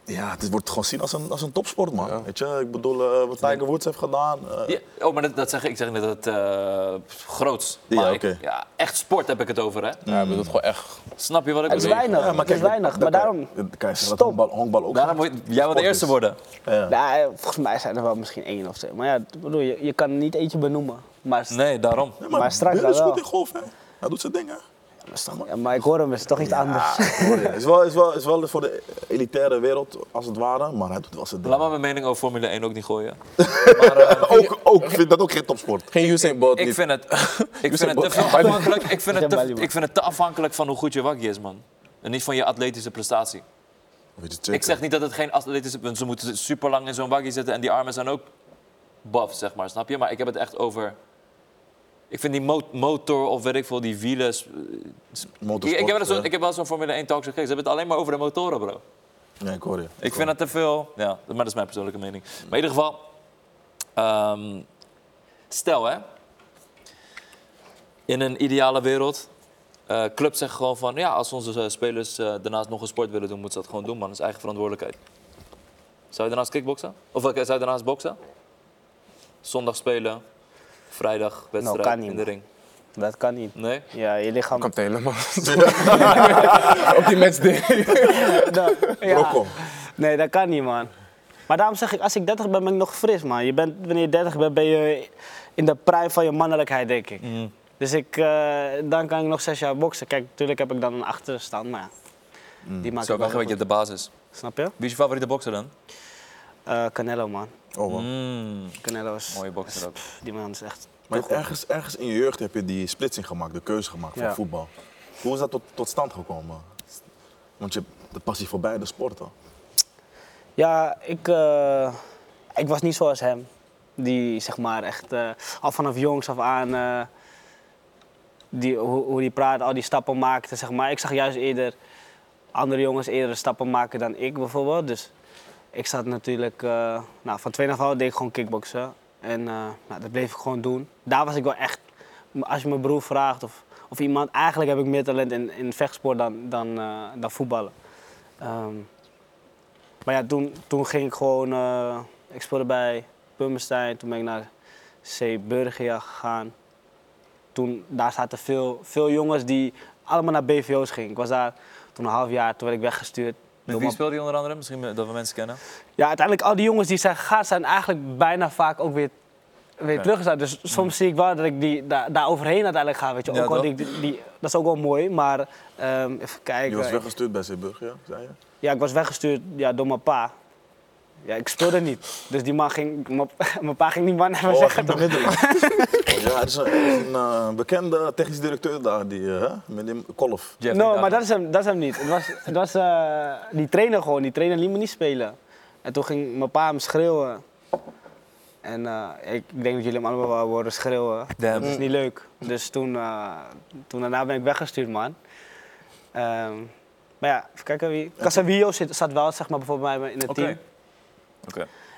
Speaker 3: Ja, het wordt gewoon zien als een, als een topsport, man. Weet je, ik bedoel, eh, wat Tiger Woods heeft gedaan. eh,
Speaker 2: Ja, oh, maar dat, dat zeg ik. Ik zeg net dat het eh, groots. Maar
Speaker 3: Ja,
Speaker 2: ik-
Speaker 3: oké.
Speaker 2: ja, echt sport heb ik het over, hè?
Speaker 4: Ja, ik bedoel het gewoon echt.
Speaker 2: Snap je wat ik
Speaker 5: Het is
Speaker 2: bedoel?
Speaker 5: weinig,
Speaker 3: ja,
Speaker 5: het is
Speaker 3: dat-
Speaker 5: weinig.
Speaker 3: dat
Speaker 5: maar
Speaker 3: kan-
Speaker 5: daarom,
Speaker 3: dat kan je zeggen dat
Speaker 5: Stop.
Speaker 3: honkbal, honkbal ook.
Speaker 2: Daarom
Speaker 3: gewoon
Speaker 2: moet jij wil de
Speaker 3: sport
Speaker 2: eerste
Speaker 3: is.
Speaker 2: worden.
Speaker 3: Ja.
Speaker 5: nou, eh, volgens mij zijn er wel misschien één of twee. Maar ja, ik bedoel, je, je kan niet eentje benoemen. Maar,
Speaker 2: Nee, daarom.
Speaker 3: Ja,
Speaker 5: maar straks
Speaker 3: Beel is
Speaker 5: dan
Speaker 3: goed
Speaker 5: wel.
Speaker 3: in golf, hè? Hij doet zijn dingen.
Speaker 5: Ja, maar ik hoor hem, het is toch iets anders.
Speaker 3: Het is wel, is, wel, is wel voor de elitaire wereld, als het ware, maar hij doet wel zijn
Speaker 2: Laat
Speaker 3: dingen.
Speaker 2: maar mijn mening over Formule 1 ook niet gooien.
Speaker 3: Ook, ook, ik vind dat ook geen topsport.
Speaker 4: Geen Usain Bolt.
Speaker 2: Ik
Speaker 4: niet.
Speaker 2: vind het, ik vind het te
Speaker 3: Bolt.
Speaker 2: veel afhankelijk. Ik vind, het te,
Speaker 5: Jambali, man.
Speaker 2: ik vind het te afhankelijk van hoe goed je wakkie is, man. En niet van je atletische prestatie.
Speaker 8: Weet je,
Speaker 2: Ik
Speaker 8: checken.
Speaker 2: zeg niet dat het geen atleet is, want ze moeten super lang in zo'n waggie zitten en die armen zijn ook baf, zeg maar, snap je? Maar ik heb het echt over. Ik vind die mo- motor of weet ik veel, die wielen. eh, Ik,
Speaker 3: Motorsport,
Speaker 2: ik heb wel eens zo'n-
Speaker 3: eh.
Speaker 2: ik heb wel eens zo'n Formule 1 talk gekeken. Ze hebben het alleen maar over de motoren, bro.
Speaker 3: Ja, ik hoor je.
Speaker 2: Ik vind dat te veel. Ja, maar dat is mijn persoonlijke mening. Maar in ieder geval, ehm, stel hè, in een ideale wereld, eh club zegt gewoon van ja, als onze eh, spelers eh, daarnaast nog een sport willen doen, moeten ze dat gewoon doen, man. Dat is eigen verantwoordelijkheid. Zou je daarnaast kickboksen? Of eh, zou je daarnaast boksen? Zondag spelen, vrijdag wedstrijd
Speaker 5: Nou, kan niet,
Speaker 2: in de
Speaker 5: man.
Speaker 2: ring.
Speaker 5: Dat kan niet.
Speaker 2: Nee?
Speaker 5: Ja, je lichaam...
Speaker 7: Komt helemaal. Op die matchday.
Speaker 5: Dat- ja.
Speaker 8: Rocco.
Speaker 5: Nee, dat kan niet, man. Maar daarom zeg ik, als ik 30 ben, ben ik nog fris, man. Je bent, wanneer je 30 bent, ben je in de prime van je mannelijkheid, denk ik.
Speaker 2: Mm.
Speaker 5: Dus ik, eh, dan kan ik nog zes jaar boksen. Kijk, natuurlijk heb ik dan een achterstand, maar ja. Die maakt
Speaker 2: Mm. Zo,
Speaker 5: het wel
Speaker 2: weg een beetje
Speaker 5: goed.
Speaker 2: de basis.
Speaker 5: Snap je?
Speaker 2: Wie is je favoriete bokser dan?
Speaker 5: Eh, Canelo, man.
Speaker 8: Oh, wow.
Speaker 2: Mm,
Speaker 5: Canelo is...
Speaker 2: mooie bokser ook.
Speaker 5: Die man is echt...
Speaker 3: Maar je hebt ergens, ergens in je jeugd heb je die splitsing gemaakt, de keuze gemaakt van
Speaker 5: Ja.
Speaker 3: voetbal. Hoe is dat tot, tot stand gekomen? Want je hebt de passie voor beide sporten.
Speaker 5: Ja, ik, eh, ik was niet zoals hem. Die zeg maar echt eh, al vanaf jongs af aan. eh, die, hoe, hoe die praat, al die stappen maakte. Zeg maar. Ik zag juist eerder andere jongens eerder stappen maken dan ik bijvoorbeeld. Dus ik zat natuurlijk. eh, nou, van 2 af aan deed ik gewoon kickboksen. En eh, nou, dat bleef ik gewoon doen. Daar was ik wel echt. Als je mijn broer vraagt of, of iemand. Eigenlijk heb ik meer talent in, in vechtsport dan, dan, eh, dan voetballen. Ehm, maar ja, toen, toen ging ik gewoon. eh, ik speelde bij Pummerstein, toen ben ik naar C. Burgia gegaan. Toen, daar zaten veel, veel jongens die allemaal naar BVO's gingen. Ik was daar toen een half jaar, toen werd ik weggestuurd.
Speaker 2: Met
Speaker 5: Door
Speaker 2: wie
Speaker 5: mijn-
Speaker 2: speelde je onder andere? Misschien dat we mensen kennen.
Speaker 5: ja, uiteindelijk al die jongens die zijn gegaan, zijn eigenlijk bijna vaak ook weer, weer teruggezet. Dus soms zie ik wel dat ik die daar, daar overheen uiteindelijk ga. Weet je.
Speaker 2: Ja,
Speaker 5: Ook al
Speaker 2: toch?
Speaker 5: die, die, die- dat is ook wel mooi, maar ehm, even kijken.
Speaker 3: Je was weggestuurd bij Zeeburg, ja, zei je?
Speaker 5: Ja, ik was weggestuurd ja, door mijn pa. Ja, ik speelde niet. Dus die man ging, mijn- mijn pa ging die man even
Speaker 3: Oh,
Speaker 5: zeggen.
Speaker 3: ging
Speaker 5: toch?
Speaker 3: bemiddelen. ja, er is een, er is een, eh, bekende technisch directeur daar, die, eh, hè, meneer Kolf.
Speaker 2: Jeffrey
Speaker 5: No,
Speaker 2: Dahmer.
Speaker 5: Nou, maar dat is hem, dat is hem niet. Het was, het was eh, die trainer gewoon, die trainer liet me niet spelen. En toen ging mijn pa hem schreeuwen. En eh, ik denk dat jullie hem allemaal wel horen schreeuwen.
Speaker 2: Damn.
Speaker 5: Dat is niet leuk. Dus toen, eh, toen daarna ben ik weggestuurd, man. Ehm, maar ja, even kijken wie. Casemiro zit, zat wel, zeg maar, bijvoorbeeld bij me in het
Speaker 2: Oké.
Speaker 5: team.
Speaker 3: Mm.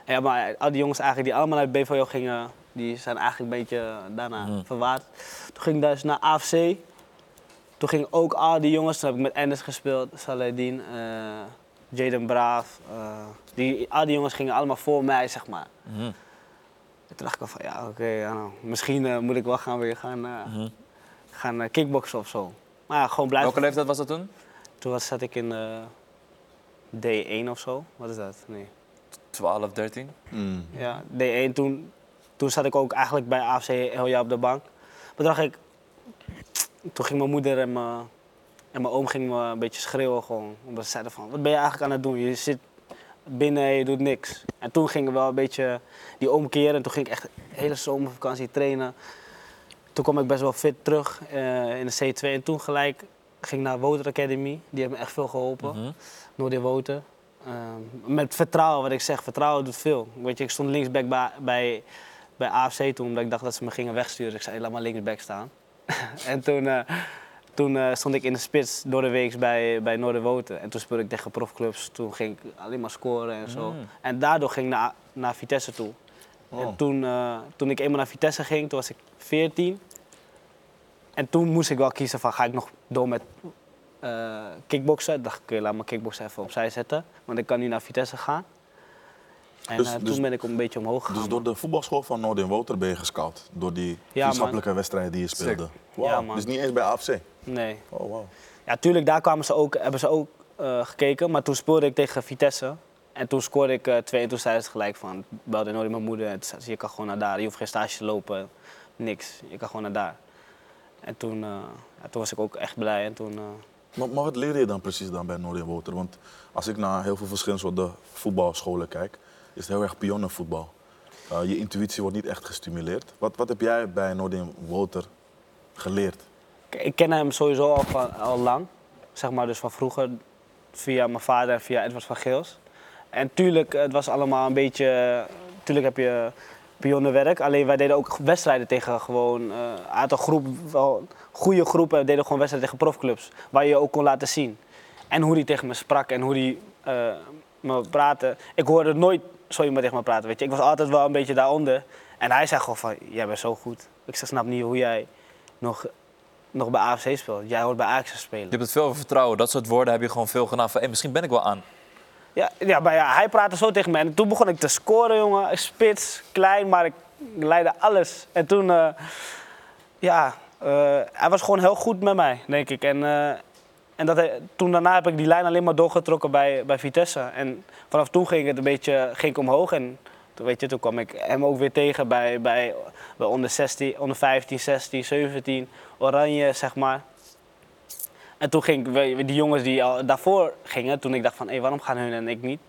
Speaker 5: Ja, maar al die jongens eigenlijk die allemaal naar BVO gingen, die zijn eigenlijk een beetje eh, daarna verwaard. Toen ging ik dus naar AFC. Toen gingen ook al die jongens, toen heb ik met Ennis gespeeld, Saladin, eh, Jaden Braaf. eh, die, al die jongens gingen allemaal voor mij, zeg maar. En Toen dacht ik al van, ja oké, ja, nou, misschien eh, moet ik wel gaan weer gaan, eh, gaan eh, kickboksen of zo. Maar ja, gewoon blijven.
Speaker 2: Welke leeftijd was dat toen?
Speaker 5: Toen was, zat ik in eh, D1 of zo. Wat is dat? Nee.
Speaker 2: 12, 13.
Speaker 3: Mm.
Speaker 5: Ja, D1 toen, toen zat ik ook eigenlijk bij AFC heel jaar op de bank. Maar toen dacht ik, toen ging mijn moeder en mijn, en mijn oom ging me een beetje schreeuwen gewoon. Omdat ze zeiden van, wat ben je eigenlijk aan het doen? Je zit binnen en je doet niks. En toen ging ik wel een beetje die omkeren. En toen ging ik echt de hele zomervakantie trainen. Toen kwam ik best wel fit terug eh, in de C2. En toen gelijk ging ik naar Woter Academy. Die heeft me echt veel geholpen. Noordin Woten. Ehm, met vertrouwen, wat ik zeg, vertrouwen doet veel. Weet je, ik stond linksback bij, bij, bij AFC toen, omdat ik dacht dat ze me gingen wegsturen. Ik zei, laat maar linksback staan. en toen, eh, toen eh, stond ik in de spits door de week bij, bij Noorderwoten. En toen speelde ik tegen profclubs. Toen ging ik alleen maar scoren en zo. En daardoor ging ik naar, naar Vitesse toe. En toen, eh, toen ik eenmaal naar Vitesse ging, toen was ik 14. En toen moest ik wel kiezen van, ga ik nog door met eh kickboksen. Dacht ik, oké, laat mijn kickboksen even opzij zetten. Want ik kan nu naar Vitesse gaan. En
Speaker 3: Dus-
Speaker 5: eh,
Speaker 3: dus-
Speaker 5: toen ben ik een beetje omhoog gegaan.
Speaker 3: Dus door de voetbalschool van Noordin Woter ben je gescout. Door die
Speaker 5: man.
Speaker 3: vriendschappelijke wedstrijden die je speelde.
Speaker 5: Ja,
Speaker 3: Wow.
Speaker 5: man.
Speaker 3: dus niet eens bij AFC.
Speaker 5: Nee.
Speaker 3: Oh, wow.
Speaker 5: Ja, tuurlijk, daar kwamen ze ook, hebben ze ook eh, gekeken. Maar toen speelde ik tegen Vitesse. En toen scoorde ik eh, twee en toen zeiden ze gelijk van... belde nooit mijn moeder en toen zei ze, je kan gewoon naar daar. Je hoeft geen stage te lopen, niks. Je kan gewoon naar daar. En toen, eh, ja, toen was ik ook echt blij. En toen, eh,
Speaker 3: Maar, maar wat leerde je dan precies dan bij Noordin Woter? Want als ik naar heel veel verschillende soorten voetbalscholen kijk, is het heel erg pionnenvoetbal. Eh, je intuïtie wordt niet echt gestimuleerd. Wat, wat heb jij bij Noordin Woter geleerd?
Speaker 5: ik- ik ken hem sowieso al, van, al lang. Zeg maar dus van vroeger. via mijn vader en via Edward van Geels. En tuurlijk, het was allemaal een beetje. Tuurlijk heb je pionnenwerk. Alleen wij deden ook wedstrijden tegen gewoon eh, een aantal groepen, wel goede groepen, deden gewoon wedstrijden tegen profclubs. Waar je je ook kon laten zien. En hoe die tegen me sprak en hoe die eh, me praatte. Ik hoorde nooit zo iemand tegen me praten, weet je. Ik was altijd wel een beetje daaronder. En hij zei gewoon van, jij bent zo goed. Ik zeg, snap niet hoe jij nog, nog bij AFC speelt. Jij hoort bij Ajax te spelen.
Speaker 2: Je hebt het veel over vertrouwen. Dat soort woorden heb je gewoon veel gedaan. Van, hey, misschien ben ik wel aan.
Speaker 5: Ja, ja, maar ja, hij praatte zo tegen mij. En toen begon ik te scoren, jongen. Spits, klein, maar ik leidde alles. En toen, eh, ja, eh, hij was gewoon heel goed met mij, denk ik. En, eh, en dat, hij- toen daarna heb ik die lijn alleen maar doorgetrokken bij, bij Vitesse. En vanaf toen ging het een beetje ging ik omhoog. En toen, weet je, toen kwam ik hem ook weer tegen bij, bij, bij onder, 16, onder 15, 16, 17, Oranje, zeg maar. En toen ging ik, we- die jongens die al daarvoor gingen, toen ik dacht van, hé, waarom gaan hun en ik niet?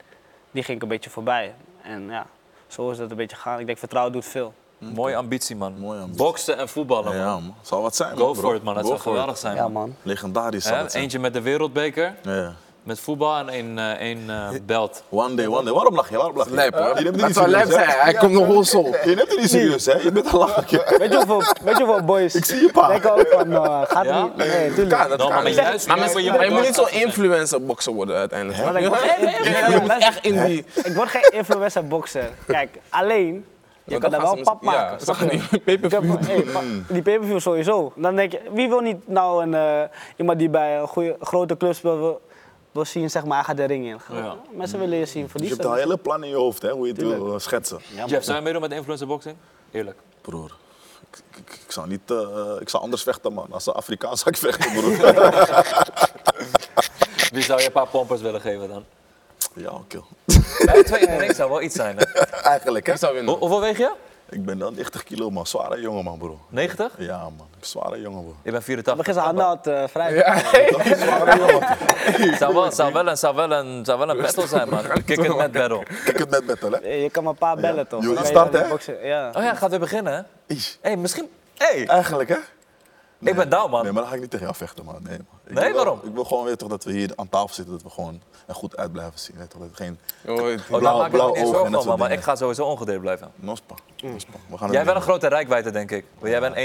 Speaker 5: Die ging ik een beetje voorbij. En ja, zo is dat een beetje gaan. Ik denk, vertrouwen doet veel.
Speaker 2: Mooie ambitie, man.
Speaker 3: Mm. Mooie ambitie.
Speaker 2: Boksen en voetballen, man.
Speaker 3: Ja, man. Zal wat zijn,
Speaker 2: Go
Speaker 3: bro.
Speaker 2: for it, man. Dat
Speaker 3: Go
Speaker 2: zou
Speaker 3: for it.
Speaker 2: geweldig zijn,
Speaker 5: Ja,
Speaker 2: man.
Speaker 5: man.
Speaker 3: Legendarisch zal
Speaker 2: Hè?
Speaker 3: het zijn.
Speaker 2: Eentje met de wereldbeker,
Speaker 3: Ja.
Speaker 2: met voetbal en één eh, één eh, belt.
Speaker 3: One day, one day. Waarom lach je? Waarom lach je?
Speaker 7: Lijp, hoor.
Speaker 3: Je neemt het
Speaker 7: Dat
Speaker 3: niet
Speaker 7: zou lijp
Speaker 3: serieus,
Speaker 7: zijn.
Speaker 3: hè?
Speaker 7: Hij komt nog ons op.
Speaker 3: Je neemt het niet serieus, hè? Je bent een lachertje.
Speaker 5: Weet je hoeveel, weet je hoeveel boys
Speaker 3: Ik zie je, pa.
Speaker 5: denken ook van, eh, gaat
Speaker 2: Ja?
Speaker 5: niet? Nee, tuurlijk.
Speaker 7: dat
Speaker 2: Nou, maar maar juist,
Speaker 4: Maar
Speaker 2: nu
Speaker 4: mensen-
Speaker 2: moet
Speaker 4: maar je moet niet
Speaker 2: doorgaan.
Speaker 4: zo'n influencer boksen worden uiteindelijk.
Speaker 5: Want ik word,
Speaker 4: Ja, je moet echt in die...
Speaker 5: ik word geen influencer boxer. Kijk, alleen, je
Speaker 4: Want
Speaker 5: kan
Speaker 4: dan
Speaker 5: daar
Speaker 4: gaan
Speaker 5: wel
Speaker 4: ze
Speaker 5: pap
Speaker 4: mis-
Speaker 5: maken.
Speaker 4: Ja,
Speaker 5: snap je?
Speaker 4: zag je die
Speaker 5: Ik heb,
Speaker 4: pay-per-view?
Speaker 5: hey, maar
Speaker 6: Mm.
Speaker 5: die pay-per-view sowieso. Dan denk je, wie wil niet nou een, eh, iemand die bij een goede, grote club speelt, wil, wil zien, zeg maar, hij gaat de ring in.
Speaker 2: Ja.
Speaker 5: Mensen willen je zien,
Speaker 3: Je
Speaker 6: Dus
Speaker 5: verliezen.
Speaker 3: hebt een hele plan in je hoofd, hè? Hoe je het wil eh, schetsen.
Speaker 2: Jeff, zou je meedoen met influencer boxing? Eerlijk.
Speaker 3: Broer, ik, ik, ik zou niet, eh, ik zou anders vechten, man. Als een Afrikaan zou ik vechten, broer.
Speaker 2: Wie zou je een paar pompers willen geven dan?
Speaker 3: ja, kill.
Speaker 2: Bij twee in zou wel iets zijn. Hè?
Speaker 3: Eigenlijk, hè?
Speaker 4: Ik zou winnen.
Speaker 5: Oh.
Speaker 2: Hoe- hoeveel weeg je?
Speaker 3: Ik ben dan 90 kilo, man. Zware jongen, man, broer.
Speaker 2: 90?
Speaker 3: Ja, man. Ik ben zware jongen, broer.
Speaker 2: Ik ben
Speaker 5: We
Speaker 2: 84.
Speaker 5: gisteren handheld eh vrij.
Speaker 2: Zou wel, zou wel, een, zou wel, een, zou wel een battle zijn, man. Kick it met battle.
Speaker 3: Kijk het net battle, hè?
Speaker 5: Eh, Je kan maar een paar bellen, toch?
Speaker 3: Je
Speaker 5: Dan ben
Speaker 3: start,
Speaker 5: wel
Speaker 3: hè?
Speaker 5: boksen. Ja.
Speaker 2: Oh ja, gaat weer beginnen, hè?
Speaker 3: Ish.
Speaker 2: hey, misschien... Oh, hey,
Speaker 3: Eigenlijk, hè?
Speaker 2: ik ben down, man.
Speaker 3: Nee, maar dan ga ik niet tegen jou vechten, man. Nee, man. Ik
Speaker 2: Nee,
Speaker 3: wil wel-
Speaker 2: waarom?
Speaker 3: Ik wil gewoon weer toch dat we hier aan tafel zitten, dat we gewoon er goed uit blijven zien. Weet je toch, dat we geen
Speaker 4: Oh,
Speaker 2: Oh, daar
Speaker 3: blauw-
Speaker 2: maak ik me
Speaker 3: blauw
Speaker 2: niet
Speaker 3: ogen
Speaker 2: zorgen van,
Speaker 3: en dat soort
Speaker 2: man. Maar ik
Speaker 3: dingen.
Speaker 2: ga sowieso ongedeerd blijven.
Speaker 3: Nospa. Nospa. We gaan
Speaker 2: Jij
Speaker 3: het
Speaker 2: hebt wel een grote rijkwijde, denk ik. Want Jij bent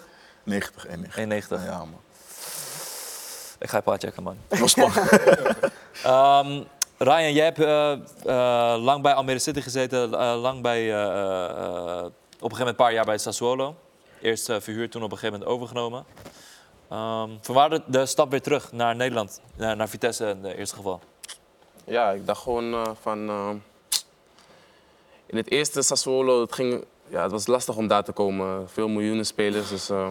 Speaker 2: 1,91?
Speaker 3: 90, 91.
Speaker 2: 1,90.
Speaker 3: Ja, man.
Speaker 2: Ik ga je paar checken, man.
Speaker 3: Nospa.
Speaker 2: Ehm, Ryan, jij hebt eh, eh, lang bij Almere City gezeten, eh, lang bij, eh, eh, eh, op een gegeven moment een paar jaar bij Sassuolo. Eerst eh, verhuurd, toen op een gegeven moment overgenomen. Ehm vanwaar de, de stap weer terug naar Nederland, naar, naar Vitesse in het eerste geval.
Speaker 4: Ja, ik dacht gewoon eh, van... eh, in het eerste Sassuolo, het, ging, ja, het was lastig om daar te komen. Veel miljoenen spelers, dus eh,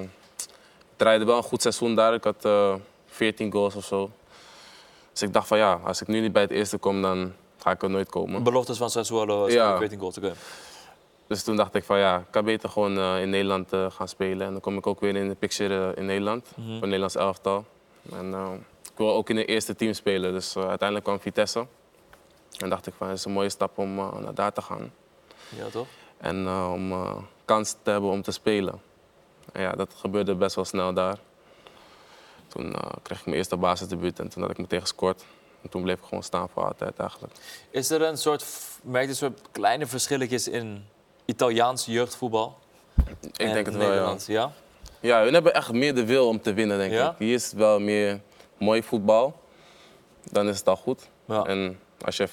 Speaker 4: ik draaide wel een goed seizoen daar. Ik had eh 14 goals of zo. Dus ik dacht van ja, als ik nu niet bij het eerste kom, dan ga ik er nooit
Speaker 3: Hm.
Speaker 4: komen.
Speaker 2: Beloftes van Sassuolo,
Speaker 4: Ja.
Speaker 2: 14 goals te kunnen.
Speaker 4: Dus toen dacht ik van ja, ik kan beter gewoon eh, in Nederland eh, gaan spelen. En dan kom ik ook weer in de picture eh, in Nederland,
Speaker 2: Mhm.
Speaker 4: voor het Nederlands elftal. En eh, ik wil ook in het eerste team spelen. Dus eh, uiteindelijk kwam Vitesse. En dacht ik van, het is een mooie stap om eh, naar daar te gaan.
Speaker 2: Ja, toch?
Speaker 4: En eh, om eh, kans te hebben om te spelen. En ja, dat gebeurde best wel snel daar. Toen eh, kreeg ik mijn eerste basisdebuut en toen had ik meteen gescoord. En toen bleef ik gewoon staan voor altijd eigenlijk.
Speaker 2: Is er een soort, f- merk je een soort kleine verschilletjes in Italiaans jeugdvoetbal?
Speaker 4: Ik
Speaker 2: en
Speaker 4: denk het wel, ja.
Speaker 2: Nederlands, ja.
Speaker 4: Ja, hun hebben echt meer de wil om te winnen, denk
Speaker 2: Ja?
Speaker 4: ik. Hier is het wel meer mooi voetbal. Dan is het al goed.
Speaker 2: Ja.
Speaker 4: En als je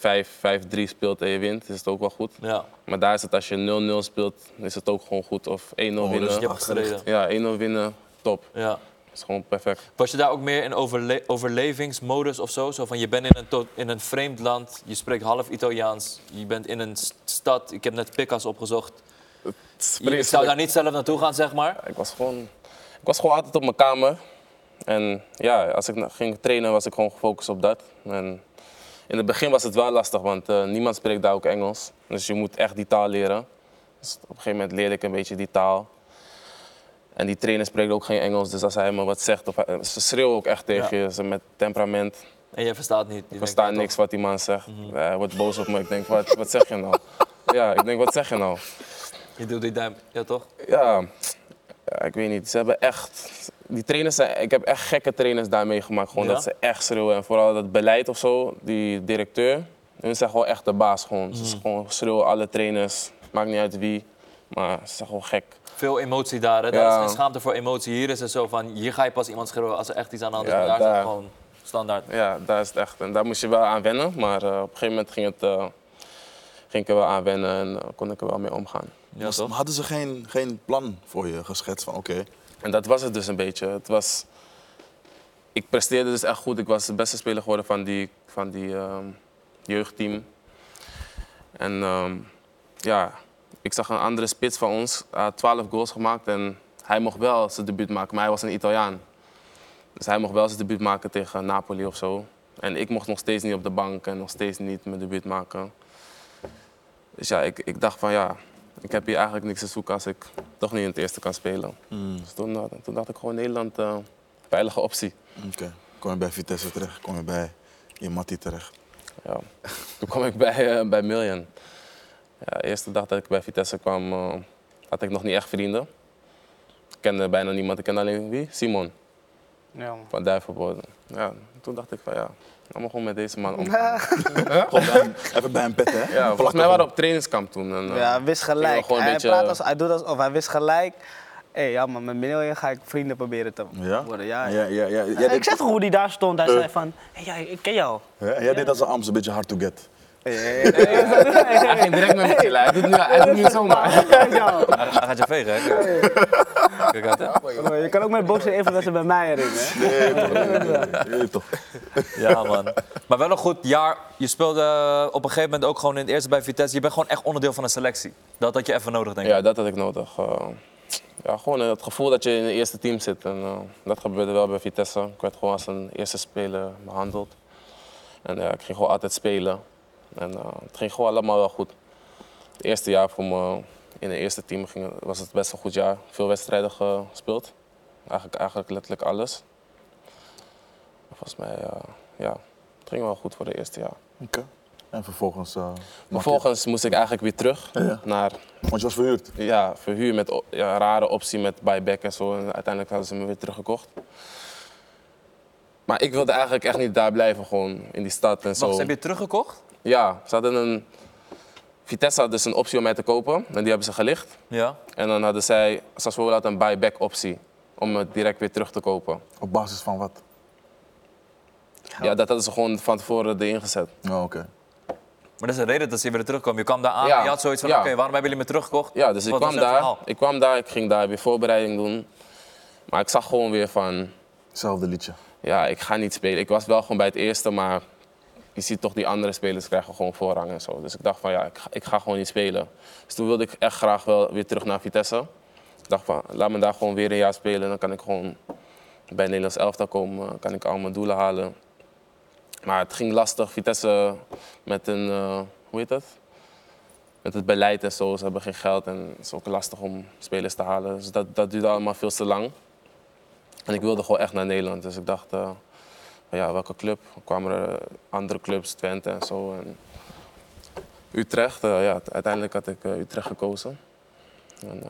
Speaker 4: 5-5-3 speelt en je wint, is het ook wel goed.
Speaker 2: ja.
Speaker 4: Maar daar is het als je 0-0 speelt, is het ook gewoon goed. Of 1-0 winnen.
Speaker 2: dus Je hebt gestreden.
Speaker 4: Ja, 1-0 winnen, top.
Speaker 2: Ja.
Speaker 4: Dat is gewoon perfect.
Speaker 2: Was je daar ook meer in overle- overlevingsmodus of zo? Zo van, je bent in een, to- in een vreemd land, je spreekt half Italiaans, je bent in een st- stad, ik heb net Picas opgezocht. Je zou daar niet zelf naartoe gaan, zeg maar.
Speaker 4: Ik was gewoon, ik was gewoon altijd op mijn kamer. En ja, als ik na- ging trainen was ik gewoon gefocust op dat. En in het begin was het wel lastig, want eh, niemand spreekt daar ook Engels. Dus je moet echt die taal leren. Dus op een gegeven moment leerde ik een beetje die taal. En die trainer spreekt ook geen Engels, dus als hij me wat zegt, of hij- eh, ze schreeuwen ook echt tegen je, ze met temperament.
Speaker 2: En jij verstaat niet. Je
Speaker 4: Ik versta niks wat die man zegt. Ja, Hij wordt boos op me, ik denk, wat, wat zeg je nou? Ja, ik denk, wat zeg je nou?
Speaker 2: Je doet die duim, ja toch?
Speaker 4: Ja, ja, ik weet niet. Ze hebben echt die trainers zijn, ik heb echt gekke trainers daar meegemaakt. Gewoon
Speaker 2: Ja?
Speaker 4: dat ze echt schreeuwen. En vooral dat beleid of zo, die directeur, hun zijn gewoon echt de baas. Gewoon. Ze gewoon schreeuwen alle trainers, maakt niet uit wie. Maar ze zijn gewoon gek.
Speaker 2: Veel emotie daar, hè? Daar
Speaker 4: Ja.
Speaker 2: is geen schaamte voor emotie. Hier is het zo van, hier ga je pas iemand schreeuwen als er echt iets aan de hand is.
Speaker 4: Ja,
Speaker 2: maar daar, is
Speaker 4: daar.
Speaker 2: het gewoon standaard.
Speaker 4: Ja, daar is het echt. En daar moest je wel aan wennen. Maar eh, op een gegeven moment ging, het, eh, ging ik er wel aan wennen en eh, kon ik er wel mee omgaan.
Speaker 2: Ja,
Speaker 3: Maar
Speaker 2: toch?
Speaker 3: Dus hadden ze geen, geen plan voor je geschetst van oké,
Speaker 4: En dat was het dus een beetje. Het was, ik presteerde dus echt goed. Ik was de beste speler geworden van die, van die ehm, jeugdteam. En ehm, ja, ik zag een andere spits van ons. Hij had 12 goals gemaakt en hij mocht wel zijn debuut maken, maar hij was een Italiaan. Dus hij mocht wel zijn debuut maken tegen Napoli of zo. En ik mocht nog steeds niet op de bank en nog steeds niet mijn debuut maken. Dus ja, ik, ik dacht van ja, ik heb hier eigenlijk niks te zoeken als ik toch niet in het eerste kan spelen. Dus toen, eh, toen dacht ik gewoon Nederland, eh, veilige optie.
Speaker 3: oké. kom je bij Vitesse terecht, kom je bij Imati terecht.
Speaker 4: Ja. Toen kwam ik bij, eh, bij Million. Ja, de eerste dag dat ik bij Vitesse kwam, eh, had ik nog niet echt vrienden. Ik kende bijna niemand, ik kende alleen wie? Simon
Speaker 6: Ja, man.
Speaker 4: van Duivenboden. Ja, toen dacht ik van ja, allemaal gewoon met deze man om. Gewoon,
Speaker 3: Even bij een pet, hè?
Speaker 4: ja, volgens mij waren we op trainingskamp toen. En, eh,
Speaker 6: Ja, hij wist gelijk.
Speaker 4: gewoon een
Speaker 6: Hij,
Speaker 4: beetje-
Speaker 6: praat als, hij doet alsof hij wist gelijk. Hé, hey, ja man, met Miljoen ga ik vrienden proberen te
Speaker 3: Ja?
Speaker 6: worden. Ja,
Speaker 3: ja, ja, ja. Jij,
Speaker 5: ik
Speaker 3: deed,
Speaker 5: zeg toch hoe die daar stond. Hij zei van, hey, ja, ik ken jou.
Speaker 3: hè? jij deed als een Amsterdam, een beetje hard to get.
Speaker 4: Hij ging direct met me chillen, hij doet nu, hij doet nu zomaar.
Speaker 2: Hij, hij gaat je vegen, hè? Kijk, Kijk uit, hè?
Speaker 5: Je kan ook met boksen influencer bij mij erin. Hè?
Speaker 3: Nee, toch? Nee, nee, toch?
Speaker 2: Ja, man. Maar wel een goed jaar. Je speelde eh, op een gegeven moment ook gewoon in het eerste bij Vitesse. Je bent gewoon echt onderdeel van een selectie. Dat had je even nodig, denk ik.
Speaker 4: Ja, dat had ik nodig. Eh, ja, gewoon eh, het gevoel dat je in het eerste team zit. En, eh, dat gebeurde wel bij Vitesse. Ik werd gewoon als een eerste speler behandeld. En ja, ik ging gewoon altijd spelen. En eh, het ging gewoon allemaal wel goed. Het eerste jaar voor me in het eerste team ging, het- was het best een goed jaar. Veel wedstrijden gespeeld. Eigenlijk, eigenlijk letterlijk alles. Volgens mij, eh, ja, het ging wel goed voor het eerste jaar.
Speaker 3: Oké. En vervolgens... eh,
Speaker 4: Vervolgens moest ik eigenlijk weer terug
Speaker 3: Ja.
Speaker 4: naar
Speaker 3: want je was verhuurd.
Speaker 4: ja, verhuur met o- ja, rare optie met buyback en zo. En uiteindelijk hadden ze me weer teruggekocht. Maar ik wilde eigenlijk echt niet daar blijven, gewoon in die stad en zo.
Speaker 2: Wacht, ze hebben je teruggekocht?
Speaker 4: Ja, ze hadden een. Vitesse had dus een optie om mij te kopen en die hebben ze gelicht.
Speaker 2: Ja.
Speaker 4: En dan hadden zij, Sassuolo had een buyback optie om me direct weer terug te kopen.
Speaker 3: Op basis van wat?
Speaker 4: Ja, dat hadden ze gewoon van tevoren erin gezet.
Speaker 3: Oh, oké.
Speaker 2: Maar dat is de reden dat ze weer terugkomen. Je kwam daar aan
Speaker 4: Ja.
Speaker 2: en je had zoiets van,
Speaker 4: Ja.
Speaker 2: oké, waarom hebben jullie me teruggekocht?
Speaker 4: Ja, dus ik
Speaker 2: Wat
Speaker 4: kwam,
Speaker 2: was het
Speaker 4: daar,
Speaker 2: verhaal?
Speaker 4: ik kwam daar, ik ging daar weer voorbereiding doen. Maar ik zag gewoon weer van,
Speaker 3: Hetzelfde liedje.
Speaker 4: ja, ik ga niet spelen. Ik was wel gewoon bij het eerste, maar je ziet toch die andere spelers krijgen gewoon voorrang en zo. Dus ik dacht van ja, ik ga, ik ga gewoon niet spelen. Dus toen wilde ik echt graag wel weer terug naar Vitesse. Ik dacht van laat me daar gewoon weer een jaar spelen. Dan kan ik gewoon bij het Nederlands elftal komen. Dan kan ik al mijn doelen halen. Maar het ging lastig. Vitesse met een, eh, hoe heet dat? Met het beleid en zo. Ze hebben geen geld en het is ook lastig om spelers te halen. Dus dat, dat duurde allemaal veel te lang. En ik wilde gewoon echt naar Nederland. Dus ik dacht, eh, van ja, welke club? Er kwamen er eh, andere clubs, Twente en zo. En Utrecht, eh, ja, uiteindelijk had ik eh, Utrecht gekozen. En eh,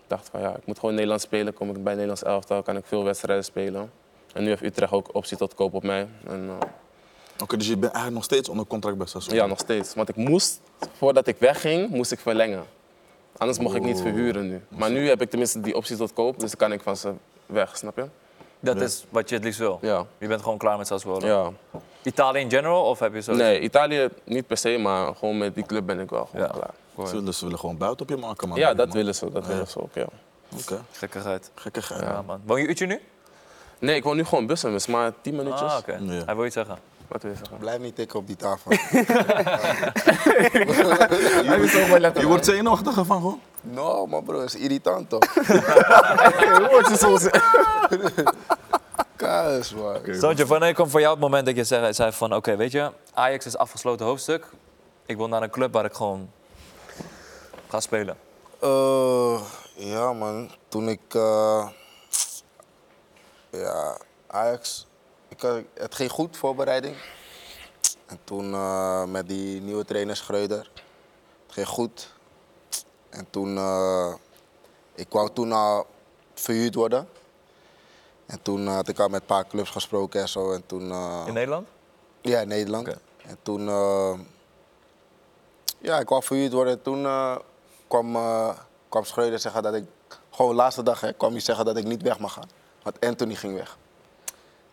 Speaker 4: ik dacht van ja, ik moet gewoon Nederland spelen. Kom ik bij Nederlands elftal, kan ik veel wedstrijden spelen. En nu heeft Utrecht ook optie tot koop op mij. En, eh,
Speaker 3: Oké, dus je bent eigenlijk nog steeds onder contract bij Sassuolo?
Speaker 4: ja, nog steeds. Want ik moest, voordat ik wegging, moest ik verlengen. Anders mocht ik niet verhuren nu. Maar nu heb ik tenminste die optie tot koop, dus dan kan ik van ze weg, snap je?
Speaker 2: Dat is wat je het liefst wil.
Speaker 4: Ja.
Speaker 2: Je bent gewoon klaar met Sassuolo.
Speaker 4: Ja.
Speaker 2: Italië in general of heb je zo?
Speaker 4: Nee, Italië niet per se, maar gewoon met die club ben ik wel gewoon
Speaker 2: Ja.
Speaker 4: klaar.
Speaker 3: Ze willen, ze willen gewoon buiten op je maken, man.
Speaker 4: Ja,
Speaker 3: Oh, Man.
Speaker 4: dat willen ze, dat willen ze ook, ja.
Speaker 3: Oké,
Speaker 2: Gekkigheid.
Speaker 3: gekke geit.
Speaker 2: Ja, man. Woon je uurtje nu?
Speaker 4: Nee, ik woon nu gewoon bussen, dus maar 10 minuutjes.
Speaker 2: Ah, oké.
Speaker 3: Ja.
Speaker 2: Hij wil iets zeggen.
Speaker 4: Wat wil je zeggen?
Speaker 1: Blijf niet tikken op die tafel.
Speaker 3: Je wordt zenuwachtiger van gewoon.
Speaker 1: No, man bro, is irritant toch? Kaas, man.
Speaker 2: Zoontje, wanneer kwam voor jou het moment dat je zei, zei van... Oké, weet je, Ajax is afgesloten hoofdstuk. Ik wil naar een club waar ik gewoon ga spelen.
Speaker 1: Eh, ja, man. Toen ik. eh, ja, Ajax. Ik, had- het ging goed, voorbereiding. En toen eh, met die nieuwe trainer Schreuder. Het ging goed. En toen. eh, ik wou toen al verhuurd worden. En toen eh, had ik al met een paar clubs gesproken en zo. En toen, eh,
Speaker 3: Oh.
Speaker 2: In Nederland?
Speaker 1: ja, in Nederland.
Speaker 2: Oké.
Speaker 1: En toen, eh, ja, ik kwam verhuurd worden. En toen eh, kwam, eh kwam Schreuder zeggen dat ik, gewoon laatste dag, hè, kwam hij zeggen dat ik niet weg mag gaan. Want Anthony ging weg.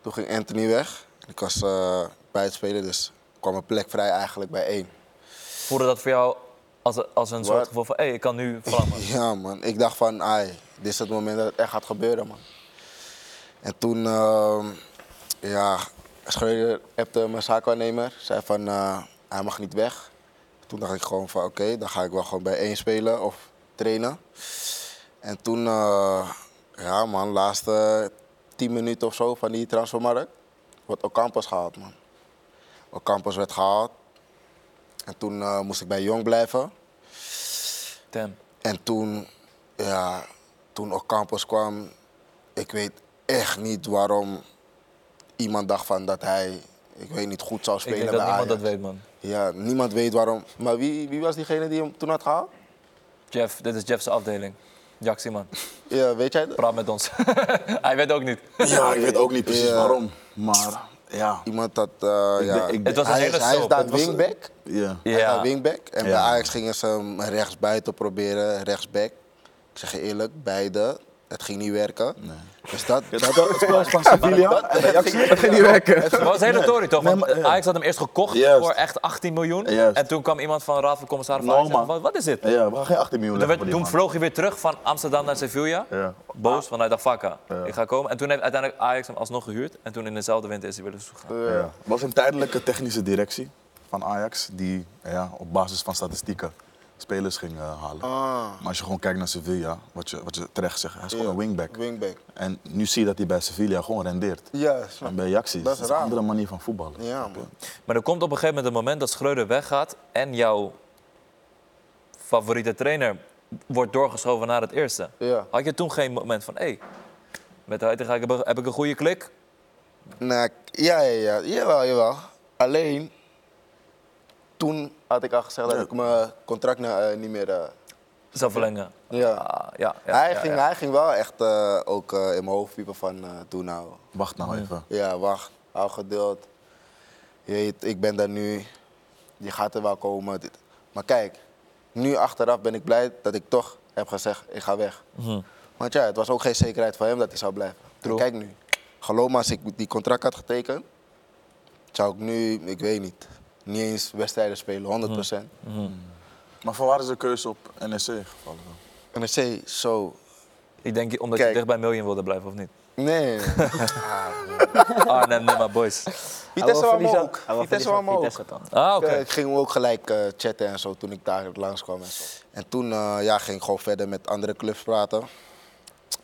Speaker 1: Toen ging Anthony weg. Ik was eh, bij het spelen, dus kwam een plek vrij eigenlijk bij één.
Speaker 2: Voelde dat voor jou als, als een soort
Speaker 1: Wat?
Speaker 2: gevoel van, hé, ik kan nu vlammen?
Speaker 1: Ja, man. Ik dacht van, ai, dit is het moment dat het echt gaat gebeuren, man. En toen, ehm, ja, Schreuder appte mijn zaakwaarnemer. Zei van, eh, hij mag niet weg. Toen dacht ik gewoon van, oké, dan ga ik wel gewoon bij één spelen of trainen. En toen, eh, ja man, laatste tien minuten of zo van die transfermarkt, wordt Ocampos gehaald, man. Ocampos werd gehaald. En toen eh, moest ik bij Jong blijven.
Speaker 2: Damn.
Speaker 1: En toen, ja, toen Ocampos kwam, ik weet echt niet waarom iemand dacht van dat hij, ik weet niet, goed zou
Speaker 2: Ik
Speaker 1: spelen
Speaker 2: denk
Speaker 1: bij
Speaker 2: dat niemand dat
Speaker 1: Ajax.
Speaker 2: weet, man.
Speaker 1: Ja, niemand weet waarom. Maar wie, wie was diegene die hem toen had gehaald?
Speaker 2: Jeff, dit is Jeff's afdeling. Jaxi, man.
Speaker 1: Ja, weet jij dat?
Speaker 2: Praat met ons. Hij weet ook niet.
Speaker 3: Ja, ik weet ook niet precies
Speaker 1: Ja.
Speaker 3: waarom. Maar ja.
Speaker 1: Iemand dat, eh, ja.
Speaker 3: denk- ik-
Speaker 2: Het was een
Speaker 1: hij,
Speaker 2: hele
Speaker 1: is, hij is
Speaker 2: soap.
Speaker 1: daar
Speaker 3: Het was-
Speaker 1: wingback.
Speaker 3: ja.
Speaker 1: Hij is daar wingback. En bij
Speaker 3: Ja.
Speaker 1: Ajax gingen ze hem rechtsbuiten proberen, rechtsback. Ik zeg je eerlijk, beide. Het ging niet werken. Dus dat, dat,
Speaker 7: Dat ging niet werken.
Speaker 2: Het was een hele tory, toch? Want eh, Ajax had hem eerst gekocht
Speaker 3: Juist.
Speaker 2: voor echt 18 miljoen.
Speaker 3: Juist.
Speaker 2: En toen kwam iemand van Raad van Commissaris van
Speaker 3: Nou,
Speaker 2: Ajax en
Speaker 3: man.
Speaker 2: zei, wat, wat is dit?
Speaker 3: Ja, we gaan geen 18 miljoen
Speaker 2: Toen,
Speaker 3: leggen
Speaker 2: werd-
Speaker 3: voor die
Speaker 2: toen
Speaker 3: man.
Speaker 2: vloog hij weer terug van Amsterdam naar Sevilla.
Speaker 3: Ja.
Speaker 2: Boos, want hij dacht, "Fakka, ik ga komen. En toen heeft uiteindelijk Ajax hem alsnog gehuurd. En toen in dezelfde winter is hij weer dus gegaan.
Speaker 3: Ja. Er was een tijdelijke technische directie van Ajax die ja, op basis van statistieken spelers ging eh, halen.
Speaker 1: Ah,
Speaker 3: Maar als je gewoon kijkt naar Sevilla, wat je, wat je terecht zegt, hij is gewoon
Speaker 1: Ja.
Speaker 3: een wingback.
Speaker 1: wingback.
Speaker 3: En nu zie je dat hij bij Sevilla gewoon rendeert.
Speaker 1: Ja, snap
Speaker 3: En bij Ajax is
Speaker 1: Dat is
Speaker 3: het een
Speaker 1: raar.
Speaker 3: andere manier van voetballen.
Speaker 1: Ja, man.
Speaker 2: Maar er komt op een gegeven moment een moment dat Schreuder weggaat en jouw favoriete trainer wordt doorgeschoven naar het eerste.
Speaker 1: Ja.
Speaker 2: Had je toen geen moment van, hé, hey, met de Heitinga heb, ik- heb ik een goede klik?
Speaker 1: Nou, ik- ja, ja, ja. Jawel, jawel. Alleen, toen had ik al gezegd dat ik mijn contract nou, eh, niet meer... eh,
Speaker 2: Zou verlengen.
Speaker 1: ja.
Speaker 2: Ah, ja, ja,
Speaker 1: hij,
Speaker 2: ja,
Speaker 1: ging,
Speaker 2: ja.
Speaker 1: hij ging wel echt eh, ook eh, in mijn hoofd piepen van eh doe nou.
Speaker 3: Wacht nou even.
Speaker 1: Ja, wacht. Hou geduld. Je weet, ik ben daar nu. Je gaat er wel komen. Dit- Maar kijk, nu achteraf ben ik blij dat ik toch heb gezegd, ik ga weg.
Speaker 5: Mhm.
Speaker 1: Want ja, het was ook geen zekerheid voor hem dat hij zou blijven. En Kijk nu. Geloof me, als ik die contract had getekend, zou ik nu, ik weet niet, niet eens wedstrijden spelen, 100%.
Speaker 5: Mhm.
Speaker 3: Maar van waar is de keuze op NEC gevallen? dan?
Speaker 1: NEC, zo.
Speaker 2: Ik denk omdat je
Speaker 1: Kijk.
Speaker 2: dicht bij Miljoen wilde blijven, of niet? Ah,
Speaker 1: Nee.
Speaker 2: Arnhem, Nummer Boys.
Speaker 1: Vitesse
Speaker 5: Hij
Speaker 1: wou me
Speaker 5: wil verliezen-
Speaker 1: ook.
Speaker 5: hij wil
Speaker 1: Vitesse
Speaker 5: verliezen
Speaker 1: wou me
Speaker 5: van
Speaker 1: ook.
Speaker 5: Vitesse dan.
Speaker 2: Ah, oké.
Speaker 1: Ik ging ook gelijk eh, chatten en zo toen ik daar langskwam. En, zo. en toen eh, ja, ging ik gewoon verder met andere clubs praten.